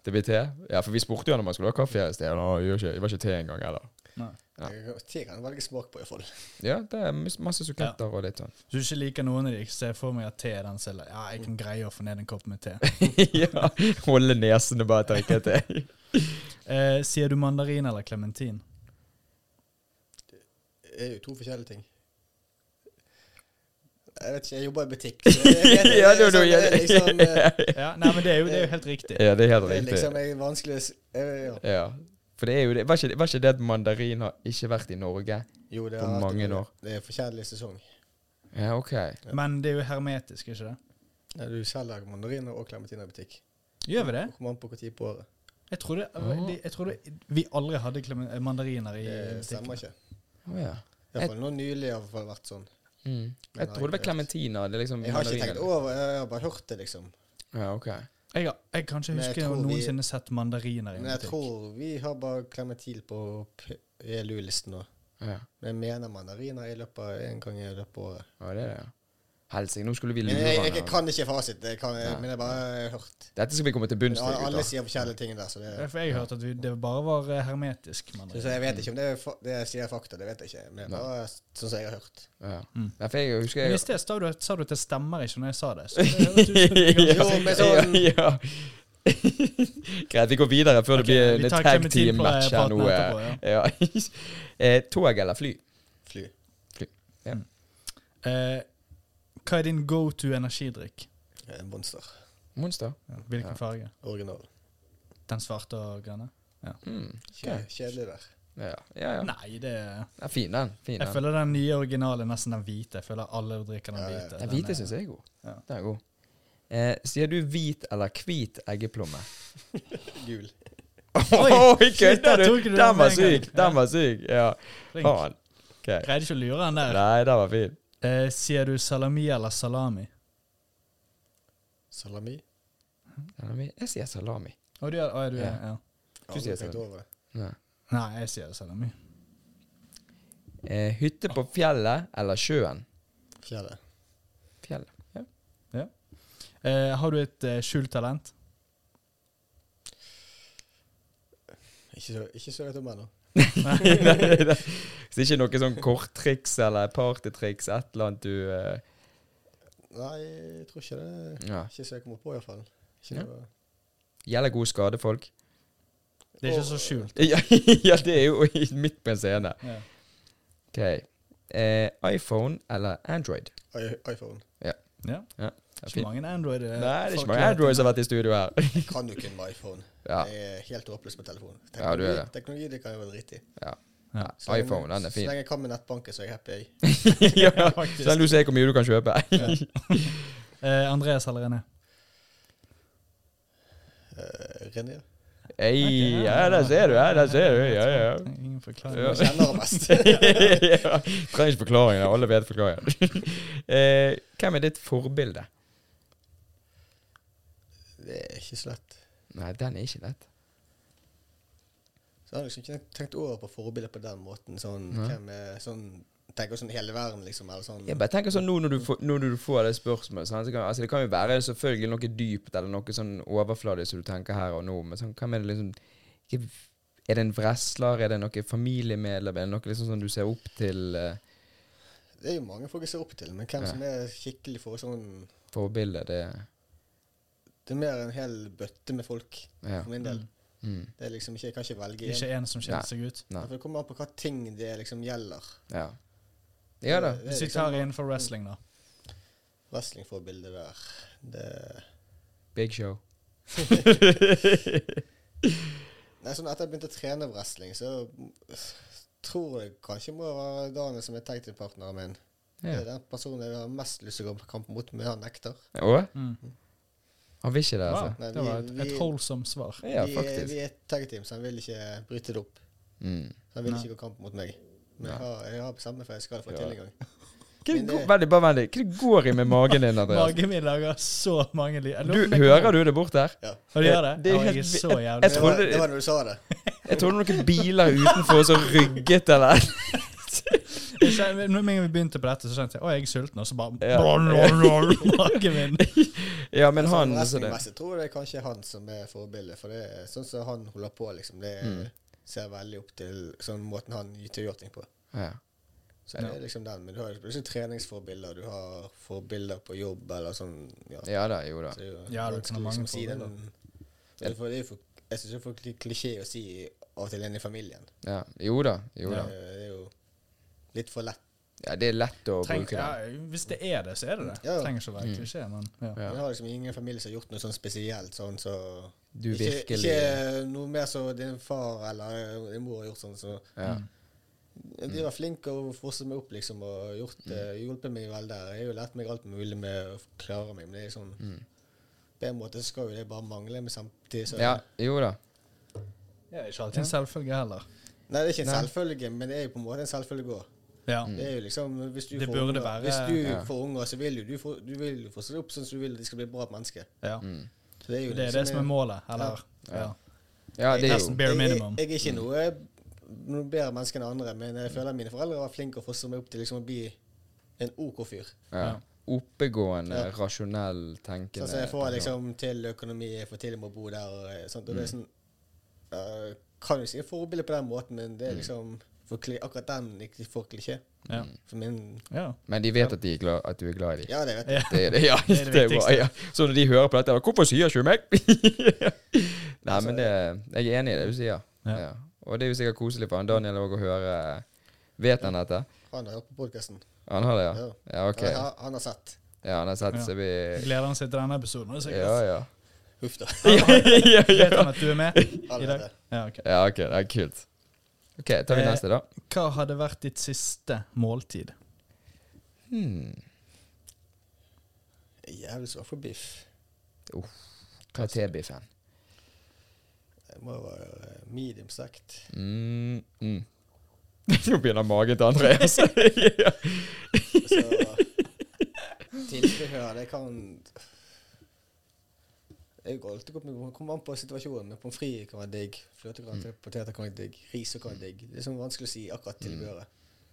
[SPEAKER 2] Det blir te? Ja, for vi spurte jo han om han skulle ha kaffe her i sted, og han gjør ikke, det var ikke te engang, eller?
[SPEAKER 3] Nei.
[SPEAKER 2] Ja.
[SPEAKER 1] Jeg kan- Te kan jeg velge smak på, iallfall.
[SPEAKER 2] Ja, det er mas- masse suketter og litt sånn. [LAUGHS]
[SPEAKER 3] Hvis du ikke liker noen av dem, så ser jeg for meg at te er den selv. Ja, jeg kan greie å få ned en kopp med te.
[SPEAKER 2] [LAUGHS] ja, holde nesene bare
[SPEAKER 1] [LAUGHS]
[SPEAKER 2] tørket til.
[SPEAKER 3] Eh, sier du mandarin eller
[SPEAKER 2] [LAUGHS]
[SPEAKER 3] klementin?
[SPEAKER 1] Det er jo to forskjellige ting. Jeg vet ikke, jeg jobber i butikk. så
[SPEAKER 2] [LAUGHS]
[SPEAKER 1] jeg vet- jeg-
[SPEAKER 2] Ja, nå- nå-
[SPEAKER 1] sånn, det er liksom, eh,
[SPEAKER 3] Ja, nei, men det er jo, det er jo helt riktig.
[SPEAKER 2] [LAUGHS] Ja, det er helt
[SPEAKER 1] det er
[SPEAKER 2] riktig.
[SPEAKER 1] liksom en vanskelig s- eh, ja.
[SPEAKER 2] Ja. For det er jo det. Var ikke, var ikke det at mandarin har ikke vært i Norge?
[SPEAKER 1] Jo, det
[SPEAKER 2] På
[SPEAKER 1] har vært-
[SPEAKER 2] mange år.
[SPEAKER 1] Det er forskjellig sesong.
[SPEAKER 2] Ja, OK.
[SPEAKER 3] Men det er jo hermetisk, ikke det?
[SPEAKER 1] Nei, du selger mandariner og klementiner i butikk.
[SPEAKER 3] Gjør vi det?
[SPEAKER 1] Kommer an på hvor tid på året.
[SPEAKER 3] Jeg trodde, jeg trodde vi aldri hadde klem- mandariner i
[SPEAKER 1] Det stemmer
[SPEAKER 3] butikken.
[SPEAKER 1] ikke.
[SPEAKER 2] Å, ja.
[SPEAKER 1] Iallfall nå nylig har det i hvert fall vært sånn.
[SPEAKER 2] Mm. Jeg trodde det var klementiner. Det er liksom
[SPEAKER 1] Jeg har ikke
[SPEAKER 2] mandarin,
[SPEAKER 1] tenkt
[SPEAKER 2] eller?
[SPEAKER 1] over jeg har bare hørt det, liksom.
[SPEAKER 2] Ja, OK.
[SPEAKER 3] Jeg, har- jeg kan ikke
[SPEAKER 1] Men jeg
[SPEAKER 3] huske jeg
[SPEAKER 1] tror vi-
[SPEAKER 3] noensinne sett mandariner i
[SPEAKER 1] Men jeg
[SPEAKER 3] butikk.
[SPEAKER 1] tror vi har bare klementil på PLU-listen nå.
[SPEAKER 2] Ja.
[SPEAKER 1] Men jeg mener mandariner i løpet av en gang i løpet av året.
[SPEAKER 2] ja, det er det. ja. Helsike, nå skulle vi
[SPEAKER 1] Men
[SPEAKER 2] lure
[SPEAKER 1] jeg,
[SPEAKER 2] han.
[SPEAKER 1] jeg
[SPEAKER 2] her.
[SPEAKER 1] kan ikke fasit, det kan, jeg- men jeg bare har hørt.
[SPEAKER 2] Dette skal vi komme til
[SPEAKER 1] Men
[SPEAKER 2] bunns i,
[SPEAKER 1] alle, alle
[SPEAKER 2] gutter.
[SPEAKER 1] sier forskjellige ting der, så det
[SPEAKER 3] For jeg hørte at vi, det bare var eh, hermetisk
[SPEAKER 1] så,
[SPEAKER 3] mandarin.
[SPEAKER 1] så jeg vet ikke om det, er fa- det jeg sier er fakta, det vet jeg ikke. Men det er bare sånn som jeg har hørt.
[SPEAKER 2] Ja. Nei, for jeg husker
[SPEAKER 3] Men i
[SPEAKER 2] jeg
[SPEAKER 3] sted sa du, sa du at det stemmer ikke når jeg sa det. Så det høres ut som du er
[SPEAKER 1] Jo,
[SPEAKER 3] ganske
[SPEAKER 1] men
[SPEAKER 3] sikker.
[SPEAKER 1] sånn
[SPEAKER 2] ja, ja. Greit, vi går videre [LAUGHS] før
[SPEAKER 3] Ok,
[SPEAKER 2] det blir
[SPEAKER 3] vi
[SPEAKER 2] en
[SPEAKER 3] tar
[SPEAKER 2] tag
[SPEAKER 3] klementin på,
[SPEAKER 2] team-match
[SPEAKER 3] eh,
[SPEAKER 2] her nå.
[SPEAKER 3] partene
[SPEAKER 2] eh. Ja. [LAUGHS] Eh, Tog eller fly?
[SPEAKER 1] Fly.
[SPEAKER 3] Eh, Hva er din go to energidrikk?
[SPEAKER 1] Eh, Monster.
[SPEAKER 2] Monster.
[SPEAKER 3] Hvilken farge?
[SPEAKER 1] Original.
[SPEAKER 3] Den svarte og grønne?
[SPEAKER 2] Mm.
[SPEAKER 1] Kje, Kjedelig der.
[SPEAKER 2] Ja, ja. ja.
[SPEAKER 3] Nei, det er
[SPEAKER 2] ja fin den. Fin,
[SPEAKER 3] Jeg
[SPEAKER 2] den.
[SPEAKER 3] føler den nye originale er nesten den hvite. Jeg føler alle drikker den
[SPEAKER 1] Ja, ja.
[SPEAKER 3] hvite.
[SPEAKER 2] Den hvite syns jeg er god.
[SPEAKER 3] Ja.
[SPEAKER 2] Den er god. Eh, sier du hvit eller hvit eggeplomme?
[SPEAKER 1] Gul.
[SPEAKER 2] Oi,
[SPEAKER 3] shit,
[SPEAKER 2] kødder
[SPEAKER 3] der
[SPEAKER 2] du!
[SPEAKER 3] tok du
[SPEAKER 2] Den
[SPEAKER 3] den
[SPEAKER 2] var
[SPEAKER 3] med en gang.
[SPEAKER 2] syk! Den var syk, ja.
[SPEAKER 3] Flink.
[SPEAKER 2] Faen. Ok.
[SPEAKER 3] Greide ikke å lure han der.
[SPEAKER 2] Nei, den var fin.
[SPEAKER 3] Eh, sier du salami eller salami?
[SPEAKER 1] Salami.
[SPEAKER 2] Den er min. Jeg sier salami.
[SPEAKER 3] Å, du, gjør- å, ja, du,
[SPEAKER 2] Ja.
[SPEAKER 3] ja. Ja.
[SPEAKER 1] Aldri
[SPEAKER 2] sier
[SPEAKER 1] tenkt
[SPEAKER 2] salami.
[SPEAKER 1] over det.
[SPEAKER 2] Nei.
[SPEAKER 3] Nei, jeg sier salami.
[SPEAKER 2] Eh, hytte på fjellet eller sjøen?
[SPEAKER 1] Fjellet.
[SPEAKER 2] Fjellet. Ja.
[SPEAKER 3] Ja. Eh, har du et eh, skjult talent?
[SPEAKER 1] Ikke så, ikke så vet om ennå.
[SPEAKER 2] [LAUGHS] Nei, det- Så ikke noe sånn korttriks eller partytriks, et eller annet du eh,
[SPEAKER 1] Nei, jeg tror ikke det.
[SPEAKER 2] ja.
[SPEAKER 1] Ikke så jeg kommer på, iallfall.
[SPEAKER 2] Ja.
[SPEAKER 1] Ikke noe
[SPEAKER 2] Gjelder god skade, folk?
[SPEAKER 3] Det er ikke så skjult.
[SPEAKER 2] [LAUGHS] Ja, ja, det er jo i- midt på en scene.
[SPEAKER 3] Ja.
[SPEAKER 2] Ok. Eh, iPhone eller Android?
[SPEAKER 1] I- iPhone.
[SPEAKER 3] Ja.
[SPEAKER 2] Ja,
[SPEAKER 3] Det
[SPEAKER 2] det
[SPEAKER 3] er
[SPEAKER 2] er
[SPEAKER 3] Ikke
[SPEAKER 2] fint.
[SPEAKER 3] mange Android eh,
[SPEAKER 2] Nei, det er ikke mange Androids som har vært i studio [LAUGHS] her.
[SPEAKER 1] Jeg kan jo kun med iPhone.
[SPEAKER 2] Ja,
[SPEAKER 1] Jeg er helt håpløs med telefon.
[SPEAKER 2] Ja, du er det.
[SPEAKER 1] teknologi det kan jeg være dritt i.
[SPEAKER 2] ja.
[SPEAKER 1] Så lenge-
[SPEAKER 2] iPhone, den er
[SPEAKER 1] Så
[SPEAKER 2] fin.
[SPEAKER 1] lenge jeg kan med nettbanken, så er jeg happy. jeg.
[SPEAKER 2] [LAUGHS] ja,
[SPEAKER 3] faktisk.
[SPEAKER 2] Selv om du ser hvor mye du kan [LAUGHS] kjøpe.
[SPEAKER 3] Eh, Andreas eller René?
[SPEAKER 1] Eh, René.
[SPEAKER 2] Ei, ja, der ser du, ja, der ser du. Ja, [LAUGHS] ja.
[SPEAKER 3] Ingen forklaring.
[SPEAKER 2] Ja.
[SPEAKER 1] Jeg kjenner det
[SPEAKER 2] [LAUGHS]
[SPEAKER 1] best.
[SPEAKER 2] ja. Trenger ikke forklaring, da. alle vet forklaringen. [LAUGHS] eh, hvem er ditt forbilde?
[SPEAKER 1] Det er ikke så lett.
[SPEAKER 2] Nei, den er ikke lett.
[SPEAKER 1] Så jeg har liksom ikke tenkt over på forbilder på den måten. Sånn,
[SPEAKER 2] Nei.
[SPEAKER 1] hvem er sånn Tenker sånn hele verden, liksom. Eller sånn.
[SPEAKER 2] Jeg bare tenker sånn, nå når du får, når du får det spørsmålet sant? Så kan, altså, Det kan jo være selvfølgelig noe dypt eller noe sånn overfladisk som du tenker her og nå, men sånn, hvem er det liksom Er det en wrestler? Er det noe familiemedlem? Er det noe liksom som du ser opp til eh,
[SPEAKER 1] Det er jo mange folk jeg ser opp til, men hvem
[SPEAKER 2] Ja.
[SPEAKER 1] som er skikkelig for sånn
[SPEAKER 2] forbilde? Det
[SPEAKER 1] Det er mer en hel bøtte med folk,
[SPEAKER 2] Ja.
[SPEAKER 1] for min del.
[SPEAKER 2] Mm.
[SPEAKER 1] Det er liksom ikke, Jeg kan ikke velge
[SPEAKER 3] Det er
[SPEAKER 1] én.
[SPEAKER 3] Ikke én som
[SPEAKER 2] Nei.
[SPEAKER 3] skiller seg ut.
[SPEAKER 2] Nei.
[SPEAKER 1] For Det kommer an på hva ting det liksom gjelder.
[SPEAKER 2] Ja. Ja
[SPEAKER 1] Det
[SPEAKER 2] da.
[SPEAKER 1] er
[SPEAKER 3] Hvis vi
[SPEAKER 1] liksom
[SPEAKER 3] tar innenfor wrestling, da.
[SPEAKER 1] Wrestlingforbildet der. Det
[SPEAKER 2] Big show.
[SPEAKER 1] Nei, sånn Etter jeg begynte å trene wrestling, så tror jeg kanskje må være Daniel som er tagteampartneren min. Det
[SPEAKER 2] Ja.
[SPEAKER 1] er den personen jeg har mest lyst til å gå på kamp mot, men han nekter.
[SPEAKER 2] Og?
[SPEAKER 3] Mm.
[SPEAKER 2] Han vil ikke det, altså.
[SPEAKER 3] Wow,
[SPEAKER 1] Nei,
[SPEAKER 3] det
[SPEAKER 1] vi-
[SPEAKER 3] var et, et
[SPEAKER 1] vi-
[SPEAKER 3] holdsomt svar.
[SPEAKER 2] Ja,
[SPEAKER 1] vi, er-
[SPEAKER 2] faktisk.
[SPEAKER 1] vi er et tagteam, så han vil ikke bryte det opp.
[SPEAKER 2] Mm.
[SPEAKER 1] Så han vil
[SPEAKER 3] Nei.
[SPEAKER 1] ikke gå kamp mot meg. Men
[SPEAKER 2] Nei.
[SPEAKER 1] jeg har, jeg har bestemt meg for at jeg skal få
[SPEAKER 2] Ja.
[SPEAKER 1] til en gang.
[SPEAKER 2] Hva
[SPEAKER 1] Men
[SPEAKER 2] det går,
[SPEAKER 1] det-
[SPEAKER 2] veldig, bare veldig. Hva det går i med magen din, Andreas?
[SPEAKER 3] Magen min lager så mange lyd. Jeg
[SPEAKER 2] Du,
[SPEAKER 3] lurer på om jeg
[SPEAKER 2] hører
[SPEAKER 3] kan-
[SPEAKER 2] du det bort der?
[SPEAKER 1] Ja.
[SPEAKER 3] Og du gjør det?
[SPEAKER 2] Det er
[SPEAKER 3] Å, jeg
[SPEAKER 2] helt-
[SPEAKER 3] er så
[SPEAKER 2] Jeg
[SPEAKER 1] Det
[SPEAKER 3] jævlig
[SPEAKER 2] trodde
[SPEAKER 1] var,
[SPEAKER 2] det-
[SPEAKER 1] det var når du sa det.
[SPEAKER 2] Jeg trodde noen biler utenfor som rygget, eller
[SPEAKER 3] Jeg kjenner- Når vi begynte på dette, så kjente jeg å, jeg er sulten, og så bare
[SPEAKER 2] Ja.
[SPEAKER 3] Magen min.
[SPEAKER 2] Ja,
[SPEAKER 1] Men
[SPEAKER 2] men han
[SPEAKER 1] sånn
[SPEAKER 2] så det.
[SPEAKER 1] Wrestlingmessig tror jeg det er kanskje han som er forbildet, for det er sånn som han holder på, liksom. Det
[SPEAKER 2] Mm.
[SPEAKER 1] ser veldig opp til sånn måten han gjør ting på.
[SPEAKER 2] Ja.
[SPEAKER 1] Så det er liksom den, men du har liksom treningsforbilder, du har forbilder på jobb eller sånn. Ja,
[SPEAKER 2] ja da, jo da.
[SPEAKER 1] så det er jo
[SPEAKER 3] Ja, du
[SPEAKER 1] vanskelig
[SPEAKER 3] kan ha mange
[SPEAKER 1] liksom å si den-
[SPEAKER 3] forbilder.
[SPEAKER 1] Det er for, det er jo for, jeg syns det er for kli- klisjé å si av og til en i familien.
[SPEAKER 2] Ja. Jo da, jo da.
[SPEAKER 1] Det er det er jo litt for lett.
[SPEAKER 2] Ja, det er lett å
[SPEAKER 3] Tenk,
[SPEAKER 2] bruke
[SPEAKER 3] ja,
[SPEAKER 2] den.
[SPEAKER 3] hvis det er det, så er det det.
[SPEAKER 1] Ja, ja.
[SPEAKER 3] Trenger ikke å være klisjé, men ja.
[SPEAKER 2] Ja.
[SPEAKER 1] Jeg har liksom ingen familie som har gjort noe sånn spesielt sånn, så
[SPEAKER 2] Du
[SPEAKER 1] ikke,
[SPEAKER 2] virkelig
[SPEAKER 1] ikke eh, noe mer som din far eller din mor har gjort sånn, så
[SPEAKER 2] ja.
[SPEAKER 3] Mm.
[SPEAKER 1] De var flinke og fosse meg opp, liksom, og gjort,
[SPEAKER 2] Mm.
[SPEAKER 1] eh, hjulpet meg vel der. Jeg har jo lært meg alt mulig med å klare meg, men det er sånn
[SPEAKER 2] Mm.
[SPEAKER 1] På en måte så skal jo det bare mangle, men samtidig så
[SPEAKER 2] ja, jo da.
[SPEAKER 3] Det er ikke alltid en selvfølge heller.
[SPEAKER 1] Nei, det er ikke en
[SPEAKER 2] Nei. Mm.
[SPEAKER 1] selvfølge, men det er jo på en måte en selvfølge òg.
[SPEAKER 3] Ja.
[SPEAKER 1] Det er jo liksom Hvis du,
[SPEAKER 3] Det
[SPEAKER 1] får
[SPEAKER 3] burde
[SPEAKER 1] unger,
[SPEAKER 3] være-
[SPEAKER 1] hvis du
[SPEAKER 2] Ja.
[SPEAKER 1] får unger, så vil jo du, få- du vil jo fosse deg opp sånn som du vil at de skal bli bra mennesker.
[SPEAKER 3] ja.
[SPEAKER 1] Så det er jo liksom
[SPEAKER 3] Det er det som er målet, eller? Ja.
[SPEAKER 2] Mm. Ja, det er jo
[SPEAKER 3] Nesten bare minimum.
[SPEAKER 1] Jeg, jeg er ikke noe, noe bedre menneske enn andre, men jeg føler at mine foreldre var flinke og fosse meg opp til liksom å bli en OK fyr.
[SPEAKER 2] ja. Oppegående,
[SPEAKER 1] Ja.
[SPEAKER 2] rasjonell, tenkende
[SPEAKER 1] Sånn som jeg får
[SPEAKER 2] person.
[SPEAKER 1] liksom til økonomi, jeg får til å må bo der og eh, sånt.
[SPEAKER 3] Mm.
[SPEAKER 1] Og det er sånn eh, Kan jo si et forbilde på den måten, men
[SPEAKER 3] Mm.
[SPEAKER 1] det er liksom for kli, Akkurat den ikke for klisjé.
[SPEAKER 3] Ja.
[SPEAKER 2] Mm.
[SPEAKER 1] For min
[SPEAKER 3] ja.
[SPEAKER 2] Men de vet at, de er glad, at du er glad i dem.
[SPEAKER 1] Ja, det vet jeg.
[SPEAKER 3] Ja.
[SPEAKER 2] Det er det, ja.
[SPEAKER 3] [LAUGHS] Det er det
[SPEAKER 2] Det er bra,
[SPEAKER 3] viktigste.
[SPEAKER 2] ja. Så når de hører på dette, da, hvorfor sier ikke du meg? [LAUGHS] Nei, men det, jeg er enig i det du sier.
[SPEAKER 3] Altså, Ja.
[SPEAKER 2] Ja. Og det er jo sikkert koselig for han Daniel òg å høre Vet han dette?
[SPEAKER 1] Han har hørt på podkasten.
[SPEAKER 2] Han har det, ja?
[SPEAKER 1] Ja.
[SPEAKER 2] Ja, ok.
[SPEAKER 1] Han, har- han har sett.
[SPEAKER 2] Ja, han har sett
[SPEAKER 3] Ja.
[SPEAKER 2] så vi
[SPEAKER 3] Gleder han seg til denne episoden? er det
[SPEAKER 2] Ja,
[SPEAKER 3] sikkert?
[SPEAKER 2] ja.
[SPEAKER 3] [LAUGHS]
[SPEAKER 1] Huff da.
[SPEAKER 2] Ja,
[SPEAKER 3] Vet han
[SPEAKER 2] ja.
[SPEAKER 3] at du
[SPEAKER 2] [LAUGHS]
[SPEAKER 3] er med i
[SPEAKER 1] Han vet
[SPEAKER 3] dag?
[SPEAKER 1] det.
[SPEAKER 3] Ja, ok.
[SPEAKER 2] ja ok, det er kult. Ok, tar vi
[SPEAKER 3] Eh,
[SPEAKER 2] neste, da.
[SPEAKER 3] Hva hadde vært ditt siste
[SPEAKER 2] [LAUGHS]
[SPEAKER 3] måltid?
[SPEAKER 2] Hmm.
[SPEAKER 1] Jeg er Jævlig svak for biff.
[SPEAKER 2] Hva er T-biffen?
[SPEAKER 1] Det må være eh, medium stekt.
[SPEAKER 2] Mm, mm. [LAUGHS] Nå begynner magen til Andreas. ja.
[SPEAKER 1] Så tilbehør, det kan Jeg går alltid opp med kommer an på situasjonen. Men pommes frites kan være digg.
[SPEAKER 2] Mm.
[SPEAKER 1] Fløtegraner, poteter kan være digg. Ris kan være digg. Det er sånn vanskelig å si akkurat
[SPEAKER 2] Mm.
[SPEAKER 1] tilbehøret.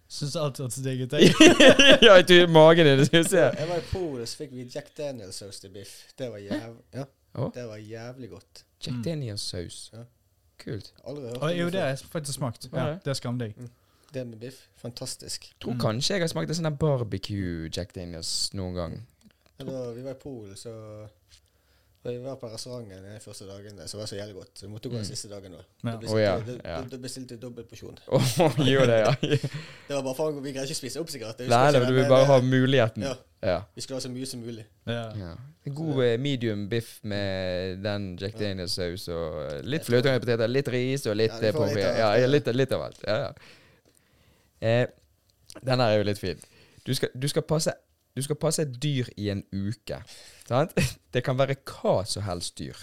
[SPEAKER 3] Syns alt hørtes digg ut. jeg.
[SPEAKER 2] [LAUGHS] ja, jeg tror magen din skal vi se.
[SPEAKER 1] Jeg var i Polen, så fikk vi Jack Daniel-saus til biff. Det var, jæv ja,
[SPEAKER 2] Å.
[SPEAKER 1] det var jævlig godt.
[SPEAKER 2] Jack Daniels-saus.
[SPEAKER 1] Ja.
[SPEAKER 2] Kult.
[SPEAKER 1] Aldri hørt
[SPEAKER 3] Og jo,
[SPEAKER 1] om
[SPEAKER 3] det
[SPEAKER 1] det.
[SPEAKER 3] har jeg faktisk smakt. Ja, det er skamdigg.
[SPEAKER 1] før. Det med biff. Fantastisk.
[SPEAKER 2] Tror kanskje jeg har smakt en sånn der [LAUGHS] barbecue Jack Daniels noen gang.
[SPEAKER 1] Men da vi var i Polen, så Da vi var på restauranten de første dagene, så var det så jævlig godt. Så vi måtte gå den siste dagen da.
[SPEAKER 3] Ja.
[SPEAKER 1] Da bestilte,
[SPEAKER 2] Å, Mm. ja,
[SPEAKER 1] da-
[SPEAKER 2] ja.
[SPEAKER 1] da- da bestilte vi dobbelt porsjon.
[SPEAKER 2] Åh, gjør
[SPEAKER 1] [LAUGHS]
[SPEAKER 2] det, ja.
[SPEAKER 1] Det var bare faen, vi greier ikke å spise opp sikkert. Vi
[SPEAKER 2] Nei,
[SPEAKER 1] skal
[SPEAKER 2] nei,
[SPEAKER 1] ikke-
[SPEAKER 2] men du
[SPEAKER 1] men,
[SPEAKER 2] vil bare ha
[SPEAKER 1] eh,
[SPEAKER 2] muligheten.
[SPEAKER 1] Ja.
[SPEAKER 2] Ja.
[SPEAKER 1] Vi skulle ha så mye som mulig.
[SPEAKER 3] Ja.
[SPEAKER 2] ja. En god eh, medium biff med den Jack Daniels-saus og eh, litt fløtegrønne poteter, litt ris og litt
[SPEAKER 1] Ja, du
[SPEAKER 2] eh,
[SPEAKER 1] får
[SPEAKER 2] pommes
[SPEAKER 1] litt
[SPEAKER 2] frites.
[SPEAKER 1] av
[SPEAKER 2] Ja,
[SPEAKER 1] alt, ja.
[SPEAKER 2] litt, litt av alt. Ja, ja. Eh, den her er jo litt fin. Du skal, du, skal passe, du skal passe et dyr i en uke. Sant? [LAUGHS] Det kan være hva som helst dyr.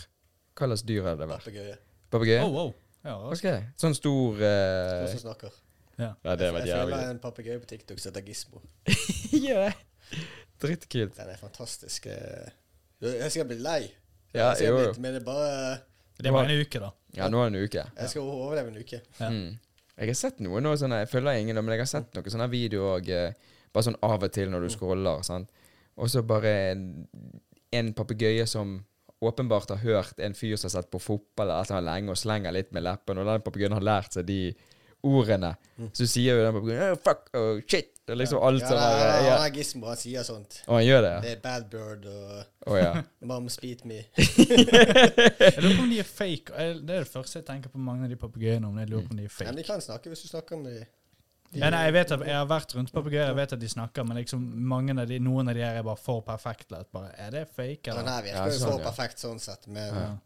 [SPEAKER 2] Hva slags dyr hadde det vært?
[SPEAKER 1] Papegøye.
[SPEAKER 2] Papegøye?
[SPEAKER 3] Oh, wow. Ja,
[SPEAKER 2] Ok, Sånn stor
[SPEAKER 1] Hva
[SPEAKER 2] eh,
[SPEAKER 1] som snakker.
[SPEAKER 3] ja.
[SPEAKER 2] Nei, det var
[SPEAKER 1] jeg følger
[SPEAKER 2] jævlig.
[SPEAKER 1] en papegøye på TikTok som heter Gismo.
[SPEAKER 2] Ja. Drittkult.
[SPEAKER 1] Den er fantastisk. eh. Jeg skal bli lei.
[SPEAKER 2] Ja,
[SPEAKER 1] Jeg skal
[SPEAKER 2] jo,
[SPEAKER 1] bli-
[SPEAKER 2] jo.
[SPEAKER 1] Men det er bare
[SPEAKER 3] Det var en uke, da.
[SPEAKER 2] Ja, nå er det en uke.
[SPEAKER 1] Jeg skal overleve en uke.
[SPEAKER 3] Ja.
[SPEAKER 2] Mm. Jeg har sett noe nå, sånn, jeg følger ingen, men jeg har
[SPEAKER 1] Mm.
[SPEAKER 2] sett noen sånne videoer og, eh, bare sånn av og til når du scroller. sant? Og så bare en, en papegøye som åpenbart har hørt en fyr som har sett på fotball eller et eller annet lenge, og slenger litt med leppen, og den papegøyen har lært seg de ordene. Så sier jo den papegøyen «Åh, 'fuck', oh, 'shit', og liksom
[SPEAKER 1] Mm.
[SPEAKER 2] alt
[SPEAKER 1] Ja,
[SPEAKER 2] sånn
[SPEAKER 1] nei,
[SPEAKER 2] der.
[SPEAKER 1] nei,
[SPEAKER 2] Ja.
[SPEAKER 1] han er Gismo, han sier sånt.
[SPEAKER 2] Og han gjør det?
[SPEAKER 1] Det er bad bird og
[SPEAKER 2] Å ja.
[SPEAKER 1] [LAUGHS] moms beat me.
[SPEAKER 3] Jeg lurer på om de er fake. Jeg- Det er det første jeg tenker på mange av de papegøyene om. Jeg lurer på om de er
[SPEAKER 1] Men
[SPEAKER 3] fake.
[SPEAKER 1] de kan snakke hvis du snakker med dem.
[SPEAKER 3] Ja, nei, jeg, vet at, jeg har vært rundt papegøyer, jeg vet at de snakker, men liksom mange av de, noen av de her er bare for perfekte. at Bare, er det fake,
[SPEAKER 1] Den
[SPEAKER 3] eller?
[SPEAKER 1] her
[SPEAKER 2] Ja,
[SPEAKER 1] virker jo så
[SPEAKER 2] sånn, ja.
[SPEAKER 1] perfekt sånn sett, men
[SPEAKER 3] Ja.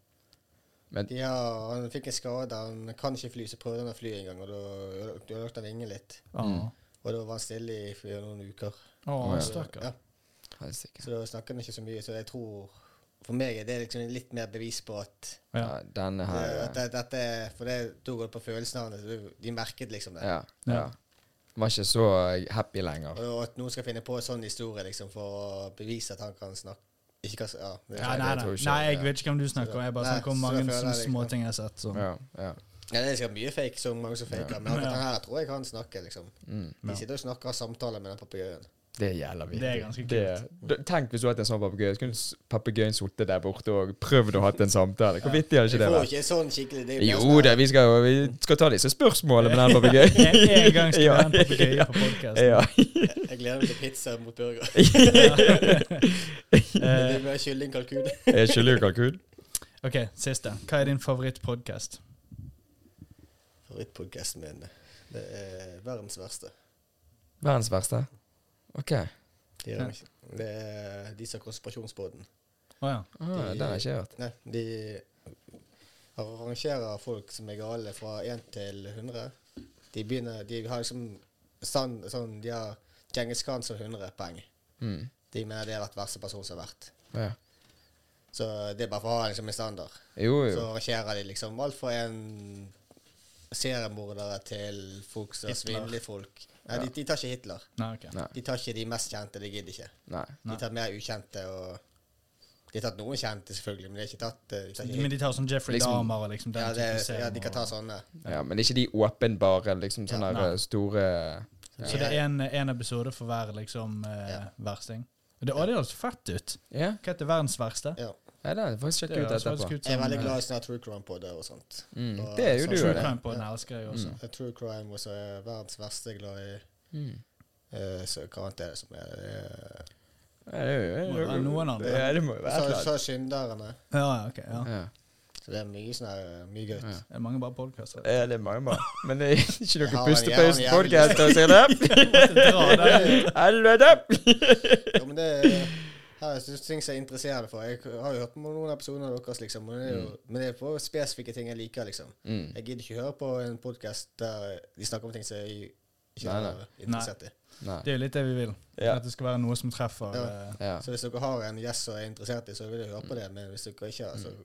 [SPEAKER 2] Men
[SPEAKER 1] ja, han fikk en skade, han kan ikke fly, så prøvde han å fly en gang, og da ødelagte han vingen litt.
[SPEAKER 3] Åh.
[SPEAKER 1] Og da var han stille i for noen uker.
[SPEAKER 3] Åh,
[SPEAKER 2] Mm. Ja.
[SPEAKER 3] stakkar.
[SPEAKER 1] Ja,
[SPEAKER 2] helsike.
[SPEAKER 1] så da snakker han ikke så mye, så jeg tror For meg er det liksom litt mer bevis på at,
[SPEAKER 3] Ja.
[SPEAKER 2] Ja, denne her
[SPEAKER 1] at
[SPEAKER 2] eh,
[SPEAKER 1] det- dette For det da går det på følelsen av det. så du- De merket liksom det.
[SPEAKER 2] Ja. ja. Var ikke så happy lenger.
[SPEAKER 1] Og at noen skal finne på en sånn historie liksom for å bevise at han kan snakke Ikke kan s- Ja. det-
[SPEAKER 3] Ja, nei,
[SPEAKER 2] jeg
[SPEAKER 3] nei.
[SPEAKER 2] tror ikke-
[SPEAKER 3] nei, jeg vet ikke hvem du snakker om. Jeg bare
[SPEAKER 1] Nei,
[SPEAKER 3] snakker om
[SPEAKER 1] så
[SPEAKER 3] mange
[SPEAKER 1] jeg føler
[SPEAKER 3] sånne
[SPEAKER 1] det ikke.
[SPEAKER 3] småting jeg har sett. Så.
[SPEAKER 2] Ja, ja.
[SPEAKER 1] Ja, det er sikkert mye fake, så mange som faker. Men akkurat
[SPEAKER 3] Ja.
[SPEAKER 1] den her tror jeg han snakker, liksom.
[SPEAKER 2] Mm.
[SPEAKER 3] Ja.
[SPEAKER 1] De sitter og snakker og samtaler med den papegøyen.
[SPEAKER 2] Det gjelder vi.
[SPEAKER 3] Det er ganske
[SPEAKER 2] tenk hvis du hadde en sånn papegøye. Så kunne s- papegøyen sittet der borte og prøvd å ha en samtale. Hvor vittig hadde
[SPEAKER 1] Vi
[SPEAKER 2] ikke
[SPEAKER 1] får
[SPEAKER 2] det
[SPEAKER 1] jo
[SPEAKER 2] vært?
[SPEAKER 1] ikke sånn skikkelig det er jo
[SPEAKER 2] Jo
[SPEAKER 1] mer sånn
[SPEAKER 2] da,
[SPEAKER 1] her-
[SPEAKER 2] vi skal, jo- vi skal ta disse spørsmålene med den papegøyen.
[SPEAKER 3] [LAUGHS] En en gang
[SPEAKER 2] [LAUGHS]
[SPEAKER 3] skal
[SPEAKER 2] Ja,
[SPEAKER 3] være en papegøye på podkast.
[SPEAKER 2] Ja.
[SPEAKER 1] Jeg gleder meg til pizza mot burger. [LAUGHS] det blir kylling kalkun.
[SPEAKER 2] Er gelé og kalkun?
[SPEAKER 3] Ok, siste. Hva er din favorittpodkast?
[SPEAKER 1] Favorittpodkasten min. Det er verdens verste.
[SPEAKER 2] Verdens verste. OK. Ah,
[SPEAKER 1] De er, det er de som har konspirasjonsbåten.
[SPEAKER 3] Å ja.
[SPEAKER 2] Ah, den har jeg ikke hørt.
[SPEAKER 1] Nei, de arrangerer folk som er gale fra 1 til 100. De begynner De har liksom sånn, sånn De har Genghis Khan som 100 poeng.
[SPEAKER 2] Mm.
[SPEAKER 1] De mener det har vært verste person som har vært.
[SPEAKER 2] Ja.
[SPEAKER 1] Så det er bare for å ha liksom en standard.
[SPEAKER 2] Jo,
[SPEAKER 1] Så
[SPEAKER 2] jo.
[SPEAKER 1] arrangerer de liksom alt fra en seriemordere til folk som
[SPEAKER 3] Hitler.
[SPEAKER 1] svindler folk. Nei, de, de tar ikke Hitler.
[SPEAKER 3] Nei, ok.
[SPEAKER 2] Nei.
[SPEAKER 1] De tar ikke de mest kjente, de gidder ikke.
[SPEAKER 2] Nei.
[SPEAKER 3] Nei.
[SPEAKER 1] De tar mer ukjente og De har tatt noen kjente, selvfølgelig, men de har ikke tatt eh, de tar ikke
[SPEAKER 3] Men de tar sånn Jeffrey
[SPEAKER 2] Liksom-
[SPEAKER 3] Dahmer og liksom den
[SPEAKER 1] Ja,
[SPEAKER 3] type
[SPEAKER 1] det,
[SPEAKER 3] serier
[SPEAKER 1] ja, de kan ta
[SPEAKER 3] og-
[SPEAKER 1] sånne.
[SPEAKER 2] Ja, men ikke de åpenbare, liksom sånne
[SPEAKER 1] Ja,
[SPEAKER 2] der,
[SPEAKER 3] nei.
[SPEAKER 2] eh, store
[SPEAKER 3] Så det er en, en episode for hver liksom eh,
[SPEAKER 1] Ja.
[SPEAKER 3] versting. Og Det, å, det høres fett ut!
[SPEAKER 2] Ja,
[SPEAKER 3] Hva heter verdens verste?
[SPEAKER 1] Ja.
[SPEAKER 2] ja det har jeg faktisk
[SPEAKER 3] Det
[SPEAKER 2] sjekket ut
[SPEAKER 3] høres
[SPEAKER 2] etterpå.
[SPEAKER 3] faktisk ut
[SPEAKER 1] Jeg er
[SPEAKER 3] som,
[SPEAKER 1] veldig
[SPEAKER 3] eh,
[SPEAKER 1] glad i sånne true crime på det og sånt.
[SPEAKER 2] Mm,
[SPEAKER 1] Og
[SPEAKER 2] det er jo
[SPEAKER 1] sånn
[SPEAKER 2] du,
[SPEAKER 3] True
[SPEAKER 2] det.
[SPEAKER 3] crime på den elsker jeg også.
[SPEAKER 1] Eh, True crime også er verdens verste glad i
[SPEAKER 2] Mm.
[SPEAKER 1] eh, så hva annet er det som er eh,
[SPEAKER 2] Ja, det er jo-
[SPEAKER 3] Må det være noen andre?
[SPEAKER 2] Ja, det må jo være et
[SPEAKER 1] Så
[SPEAKER 2] eller annet.
[SPEAKER 1] så er synderne.
[SPEAKER 3] Ja, ja, ok. Ja.
[SPEAKER 2] Ja.
[SPEAKER 1] Så det er mye sånn her, mye gøy.
[SPEAKER 2] Ja.
[SPEAKER 3] Det er mange bare podkaster.
[SPEAKER 1] [LAUGHS]
[SPEAKER 2] Ja, det er mange bare. Men det er ikke
[SPEAKER 1] Jeg
[SPEAKER 2] noe
[SPEAKER 1] har en jævlig-
[SPEAKER 2] pustepause-podkast å si det.
[SPEAKER 1] [LAUGHS]
[SPEAKER 2] Helvete!
[SPEAKER 1] Ja, men det er- her er det ting som jeg interesserer meg for. Jeg har jo hørt på noen episoder av deres, liksom. Men det er jo men det er på spesifikke ting jeg liker, liksom.
[SPEAKER 2] Mm.
[SPEAKER 1] Jeg gidder ikke høre på en podkast der de snakker om ting som jeg ikke
[SPEAKER 2] Nei, nei.
[SPEAKER 1] er interessert i.
[SPEAKER 2] Nei.
[SPEAKER 3] Det er jo litt det vi vil.
[SPEAKER 2] Ja.
[SPEAKER 3] At det skal være noe som treffer.
[SPEAKER 1] Ja.
[SPEAKER 3] eh,
[SPEAKER 2] Ja.
[SPEAKER 1] Så hvis dere har en gjest som er interessert i, så vil jeg høre på det. Men hvis dere ikke har, så
[SPEAKER 2] Mm.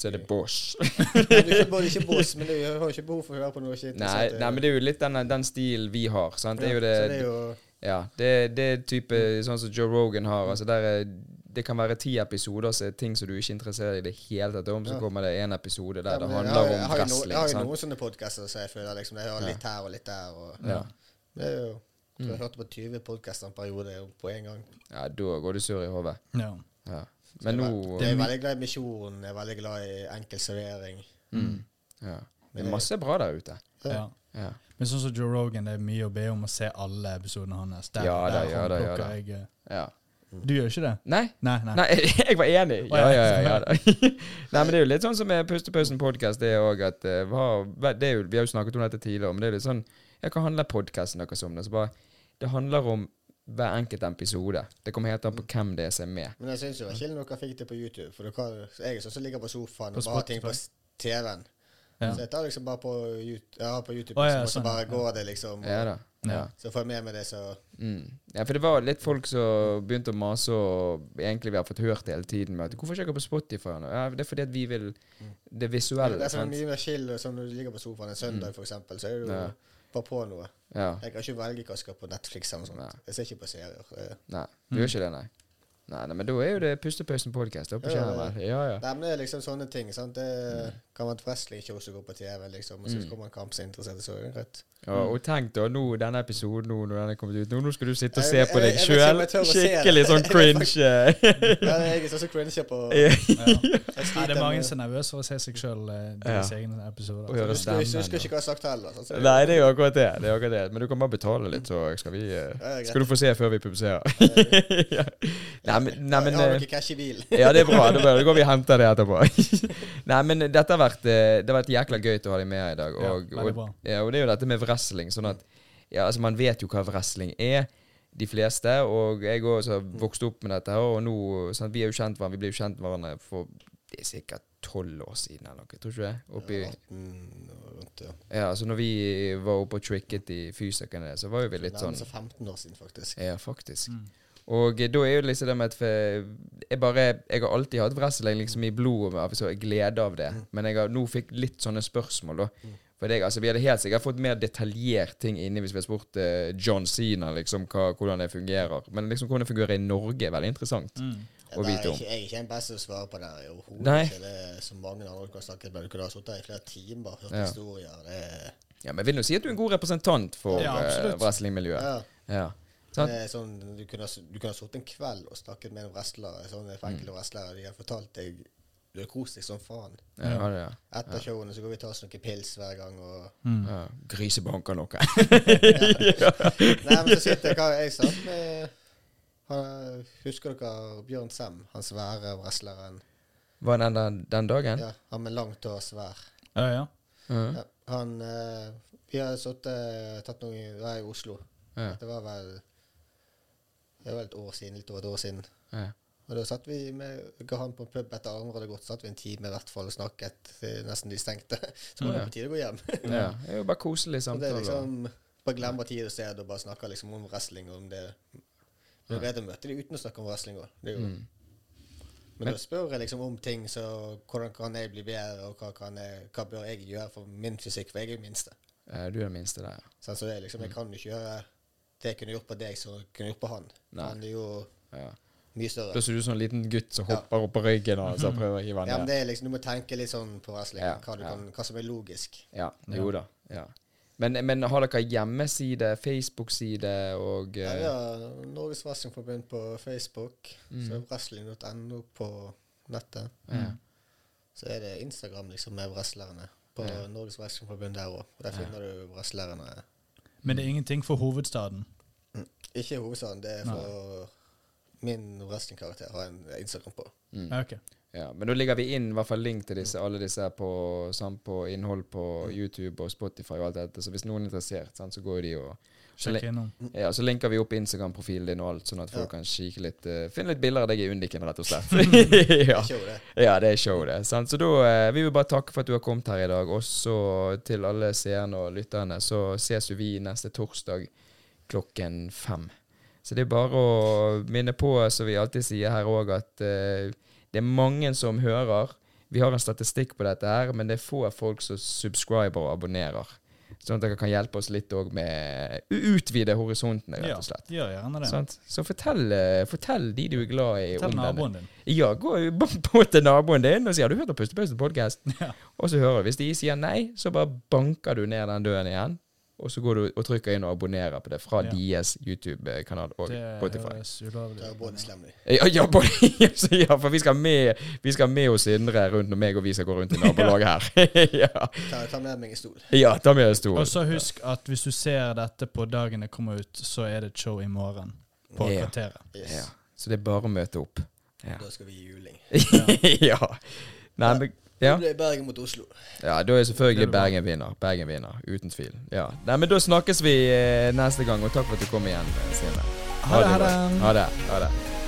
[SPEAKER 2] Så er det Bosch.
[SPEAKER 1] Du er ikke, både ikke boss, men du har jo ikke behov for å høre på noe ikke
[SPEAKER 2] Nei, nei, men det er jo litt den, den stilen vi har. sant? Det er
[SPEAKER 1] Så
[SPEAKER 2] jo
[SPEAKER 1] det er
[SPEAKER 2] det,
[SPEAKER 1] jo
[SPEAKER 2] ja, det, det er type sånn som Joe Rogan har. altså der er, Det kan være ti episoder så er det ting som du ikke interesserer deg i det hele tatt om, så
[SPEAKER 1] Ja.
[SPEAKER 2] kommer det en episode
[SPEAKER 1] Ja,
[SPEAKER 2] der det
[SPEAKER 1] men jeg
[SPEAKER 2] handler
[SPEAKER 1] har- jeg
[SPEAKER 2] om liksom.
[SPEAKER 1] har jo no- Jeg
[SPEAKER 2] wrestling.
[SPEAKER 1] har jo
[SPEAKER 2] sant?
[SPEAKER 1] noen sånne podkaster som jeg føler liksom, jeg hører litt her og litt der. Og,
[SPEAKER 2] Ja.
[SPEAKER 1] Det er jo jeg tror jeg hørte på 20 podkaster en periode på en gang.
[SPEAKER 2] ja, da går du sur i hodet.
[SPEAKER 3] Ja.
[SPEAKER 2] Ja. Men nå
[SPEAKER 1] Jeg er veldig glad i misjon, jeg er veldig glad i enkel servering.
[SPEAKER 2] mm. ja. Det er masse bra der ute.
[SPEAKER 3] ja.
[SPEAKER 2] Ja.
[SPEAKER 3] Men sånn som Joe Rogan, det er mye å be om å se alle episodene hans. Der,
[SPEAKER 2] Ja da,
[SPEAKER 3] der
[SPEAKER 2] ja da, ja
[SPEAKER 3] håndplukker
[SPEAKER 2] da.
[SPEAKER 3] jeg eh,
[SPEAKER 2] Ja.
[SPEAKER 1] Mm.
[SPEAKER 3] Du gjør jo ikke det?
[SPEAKER 2] Nei?
[SPEAKER 3] Nei, nei.
[SPEAKER 2] Nei, [LAUGHS] jeg var enig.
[SPEAKER 3] Å,
[SPEAKER 2] Ja,
[SPEAKER 3] ja.
[SPEAKER 2] ja, ja. ja da. [LAUGHS] Nei, men det er jo litt sånn som med Pustepausen-podkast, det òg, at eh, hva det er jo, Vi har jo snakket om dette tidligere, men det er litt sånn Ja, hva handler podkasten deres om? Det, så bare, det handler om hver enkelt episode. Det kommer helt an på hvem det er som er med.
[SPEAKER 1] Men jeg syns jo det var kjedelig dere fikk det på YouTube. For dere, jeg er sånn som ligger på sofaen
[SPEAKER 3] På
[SPEAKER 1] og bare har ting på
[SPEAKER 3] Spotify.
[SPEAKER 1] TV-en.
[SPEAKER 3] Ja.
[SPEAKER 1] Så jeg tar liksom bare på, Yout- ja, på YouTube,
[SPEAKER 3] Å, ja,
[SPEAKER 1] og så
[SPEAKER 3] sånn,
[SPEAKER 1] bare
[SPEAKER 3] ja.
[SPEAKER 1] går det liksom.
[SPEAKER 2] Ja da. Ja.
[SPEAKER 1] Så får jeg med meg det, så
[SPEAKER 2] Mm. ja, for det var litt folk som begynte å mase, og egentlig vi har fått hørt det hele tiden med at Hvorfor ikke jeg på Spotify? nå? Ja, det er fordi at vi vil det
[SPEAKER 1] Det er
[SPEAKER 2] visuelle.
[SPEAKER 1] derfor det er sånn
[SPEAKER 2] Sant?
[SPEAKER 1] mye mer chill som når du ligger på sofaen en søndag, for eksempel, så er du
[SPEAKER 2] Ja.
[SPEAKER 1] bare på noe.
[SPEAKER 2] Ja.
[SPEAKER 1] Jeg kan ikke velge hva jeg skal på Netflix eller noe sånt.
[SPEAKER 2] Nei.
[SPEAKER 1] Jeg ser ikke på serier. Eh,
[SPEAKER 2] Nei, du gjør ikke det, nei. Nei, nei, Men da er jo det Pustepausen podcast oppe på
[SPEAKER 1] Ja, ja,
[SPEAKER 2] skjermen. Ja, Mm. ja.
[SPEAKER 1] Nei, men det er liksom sånne ting. sant? Det kan være et wrestling-show som går på TV, liksom,
[SPEAKER 2] Mm.
[SPEAKER 1] og så kommer en kamp som er interessert, så er det rett.
[SPEAKER 2] Ja, og tenk da, nå, denne episoden nå, når den er kommet ut, nå, nå skal du sitte og se
[SPEAKER 1] Jeg-
[SPEAKER 2] på deg
[SPEAKER 1] jeg- jeg vet ikke om
[SPEAKER 2] sjøl.
[SPEAKER 1] jeg tør å se [LAUGHS] det.
[SPEAKER 2] Skikkelig sånn cringe.
[SPEAKER 1] [LAUGHS] Nei, jeg er sånn som cringer på
[SPEAKER 2] [LAUGHS] eh,
[SPEAKER 1] [LAUGHS]
[SPEAKER 3] Nei, det er mange som er nervøse for å se seg sjøl i deres egne episoder.
[SPEAKER 2] Og gjøre
[SPEAKER 1] Husker,
[SPEAKER 2] stemmen.
[SPEAKER 1] husker, husker ikke hva jeg har sagt heller. sånn, så det-
[SPEAKER 2] [LAUGHS] Nei, det er jo akkurat det. det er akkurat det. Men du kan bare betale litt, så skal, vi,
[SPEAKER 1] Ja,
[SPEAKER 2] eh,
[SPEAKER 1] det er
[SPEAKER 2] skal du få se før vi publiserer. [LAUGHS] ja. Nei, men, nei, men
[SPEAKER 1] Jeg har
[SPEAKER 2] eh,
[SPEAKER 1] noe cash i bilen.
[SPEAKER 2] Ja, det er bra. Da bare går vi og henter det etterpå. [LAUGHS] Nei, men dette har vært, eh, det har vært jækla gøy å ha deg med her i dag.
[SPEAKER 3] Ja,
[SPEAKER 2] Og,
[SPEAKER 3] veldig
[SPEAKER 2] og,
[SPEAKER 3] bra.
[SPEAKER 2] ja, og det er jo dette med wrestling. Sånn at ja, altså Man vet jo hva wrestling er, de fleste. Og jeg også har vokst opp med dette. her, Og nå, sånn, at Vi er jo kjent hverandre, vi blir jo kjent med hverandre for det er sikkert tolv år siden eller noe. Tror du ikke det? Oppi,
[SPEAKER 1] Mm, og rundt, ja.
[SPEAKER 2] ja, altså når vi var oppe og tricket i fysikerne, så var jo vi litt
[SPEAKER 1] Nærmest
[SPEAKER 2] sånn
[SPEAKER 1] så 15 år siden, faktisk.
[SPEAKER 2] ja, faktisk.
[SPEAKER 3] Mm.
[SPEAKER 2] Og eh, da er jo liksom det med at eh, jeg bare Jeg har alltid hatt wrestling liksom i blodet, og så jeg glede av
[SPEAKER 3] Mm.
[SPEAKER 2] det. Men jeg har nå fikk litt sånne spørsmål, da. For jeg, altså, vi hadde helt sikkert fått mer detaljert ting inni hvis vi hadde spurt eh, John Sina liksom, hva, hvordan det fungerer. Men liksom hvordan det fungerer i Norge, er veldig interessant
[SPEAKER 3] Mm.
[SPEAKER 2] å
[SPEAKER 1] Nei,
[SPEAKER 2] vite om.
[SPEAKER 1] ikke- Jeg er ikke den beste til å svare på det her overhodet.
[SPEAKER 2] Nei.
[SPEAKER 1] ikke. Det er så mange andre du kan snakke med. Du kunne ha sittet her i flere timer hørt
[SPEAKER 2] Ja.
[SPEAKER 1] historier. Det er,
[SPEAKER 2] Ja, Men jeg vil nå si at du er en god representant for
[SPEAKER 3] Ja,
[SPEAKER 2] eh,
[SPEAKER 3] absolutt.
[SPEAKER 2] wrestlingmiljøet.
[SPEAKER 1] ja.
[SPEAKER 2] Ja.
[SPEAKER 1] det
[SPEAKER 2] Sant?
[SPEAKER 1] er sånn, du kunne, ha s- du kunne ha sittet en kveld og snakket med en wrestler. eh, Sånne
[SPEAKER 2] Mm.
[SPEAKER 1] enkle wrestlere. De har fortalt deg Du har kost deg som faen.
[SPEAKER 2] Ja, ja, ja.
[SPEAKER 1] Etter showene så går vi og tar oss noen pils hver gang. og...
[SPEAKER 2] [LAUGHS]
[SPEAKER 3] Mm.
[SPEAKER 2] ja. Grisebanker noe.
[SPEAKER 1] Nei, men så sitter jeg hva jeg satt med han, Husker dere Bjørn Sem? Han svære wrestleren.
[SPEAKER 2] [LAUGHS] Var den den, den dagen?
[SPEAKER 1] Ja, han med langt hår, svær.
[SPEAKER 3] Ja, ja.
[SPEAKER 2] Ja.
[SPEAKER 1] Ja, han eh, Vi har sittet eh, tatt noe i- da i Oslo.
[SPEAKER 2] Ja.
[SPEAKER 1] Det var vel Det var vel et år siden, litt over et år siden.
[SPEAKER 2] Ja.
[SPEAKER 1] Og da satt vi med ga han på en pub etter andre hadde gått, satt vi en time i hvert fall og snakket til eh, nesten de stengte. [LAUGHS] Så var det på tide å gå hjem. [LAUGHS]
[SPEAKER 2] Ja. Det er jo bare koselig
[SPEAKER 1] Og det
[SPEAKER 2] samtale.
[SPEAKER 1] er liksom Bare glemme tid og sted og bare snakke liksom om wrestling og om det Du er redd å møte de uten å snakke om wrestling òg.
[SPEAKER 2] Mm.
[SPEAKER 1] Men, da spør jeg liksom om ting, så hvordan kan jeg bli bedre, og hva, kan jeg, hva bør jeg gjøre for min fysikk, for jeg er jo minste.
[SPEAKER 2] Eh, Du er den minste der, ja.
[SPEAKER 1] Sånn, så det er liksom,
[SPEAKER 2] Mm.
[SPEAKER 1] jeg kan jo ikke gjøre det jeg kunne gjort på deg, som jeg kunne gjort på han.
[SPEAKER 2] Nei.
[SPEAKER 1] Han er jo
[SPEAKER 2] ja.
[SPEAKER 1] mye større.
[SPEAKER 2] Da ser du ut som en liten gutt som hopper opp på ryggen og så prøver å hive
[SPEAKER 1] Mm. Ja, men
[SPEAKER 2] han ned.
[SPEAKER 1] det er liksom, Du må tenke litt sånn på wrestling,
[SPEAKER 2] Ja,
[SPEAKER 1] hva, du
[SPEAKER 2] ja.
[SPEAKER 1] kan, hva som er logisk.
[SPEAKER 2] Ja, jo da. Ja. Men, men har dere hjemmeside, Facebook-side og
[SPEAKER 1] Ja,
[SPEAKER 2] eh,
[SPEAKER 1] ja, Norges Wrestlingforbund på Facebook, så er wrestling.no på nettet. Så er det Instagram liksom med wrestlerne på Norges Wrestlingforbund der òg. Der finner du wrestlerne. Mm.
[SPEAKER 3] Men det er ingenting for hovedstaden.
[SPEAKER 1] Ikke i hovedstaden, det er for min wrestlingkarakter har en Instagram på.
[SPEAKER 2] Mm.
[SPEAKER 3] Ja, ok.
[SPEAKER 2] eh, ja, Men da ligger vi inn i hvert fall link til disse, alle disse her på, samt på innhold på
[SPEAKER 1] Mm.
[SPEAKER 2] YouTube og Spotify og alt dette. Så hvis noen er interessert, sant, så går jo de og så,
[SPEAKER 3] Sjekk
[SPEAKER 2] lin-
[SPEAKER 3] innom.
[SPEAKER 2] ja, så linker vi opp Instagram-profilen din og alt, sånn at folk kan kikke litt eh, Finne litt bilder av deg i Undiken, rett og
[SPEAKER 1] [LAUGHS]
[SPEAKER 2] slett. [LAUGHS] ja.
[SPEAKER 1] Ikke jo det.
[SPEAKER 2] Ja, det er show, det. Sant? Så da eh, Vi vil bare takke for at du har kommet her i dag. Også til alle seerne og lytterne. Så ses jo vi neste torsdag klokken fem. Så det er bare å minne på, som vi alltid sier her òg, at eh, det er mange som hører. Vi har en statistikk på dette her, men det er få folk som subscriber og abonnerer. Sånn at dere kan hjelpe oss litt òg med å utvide horisontene, rett
[SPEAKER 3] Ja,
[SPEAKER 2] og slett.
[SPEAKER 3] gjør gjerne det.
[SPEAKER 2] Sant? Så fortell, eh, fortell de du er glad i,
[SPEAKER 3] Fortell
[SPEAKER 2] om denne.
[SPEAKER 3] naboen din.
[SPEAKER 2] Ja, gå jo b- bort [LAUGHS] til naboen din og si har du hørt om Pustepausen podcast? Og så hører du. Hvis de sier nei, så bare banker du ned den døren igjen. Og så går du og trykker inn og abonnerer på det fra
[SPEAKER 3] Ja.
[SPEAKER 2] deres YouTube-kanal og
[SPEAKER 3] Det
[SPEAKER 2] Spotify.
[SPEAKER 3] høres ulovlig
[SPEAKER 1] Det er
[SPEAKER 3] ut.
[SPEAKER 1] både slem i.
[SPEAKER 2] Ja, ja, både, [LAUGHS] ja, for vi skal med Vi skal med oss Sindre rundt når meg og vi skal gå
[SPEAKER 3] [LAUGHS]
[SPEAKER 2] rundt i nabolaget her. [LAUGHS] ja.
[SPEAKER 1] Ta, ta med meg en stol.
[SPEAKER 2] ja, da blir det
[SPEAKER 3] Og
[SPEAKER 2] stor.
[SPEAKER 3] så husk at hvis du ser dette på dagen det kommer ut, så er det et show i morgen. På
[SPEAKER 2] Ja.
[SPEAKER 3] kvarteret.
[SPEAKER 1] Yes.
[SPEAKER 2] Ja. Så det er bare å møte opp. Ja.
[SPEAKER 1] Da skal vi gi juling.
[SPEAKER 2] [LAUGHS] ja. Nei, men ja.
[SPEAKER 1] Det blir Bergen mot Oslo.
[SPEAKER 2] ja, da er selvfølgelig Bergen vinner. Bergen vinner, uten tvil. Ja. Nei, men da snakkes vi eh, neste gang, og takk for at du kom igjen, eh, Stine.
[SPEAKER 3] Ha det, ha
[SPEAKER 2] bra.
[SPEAKER 3] det.
[SPEAKER 2] Ha det. Ha det.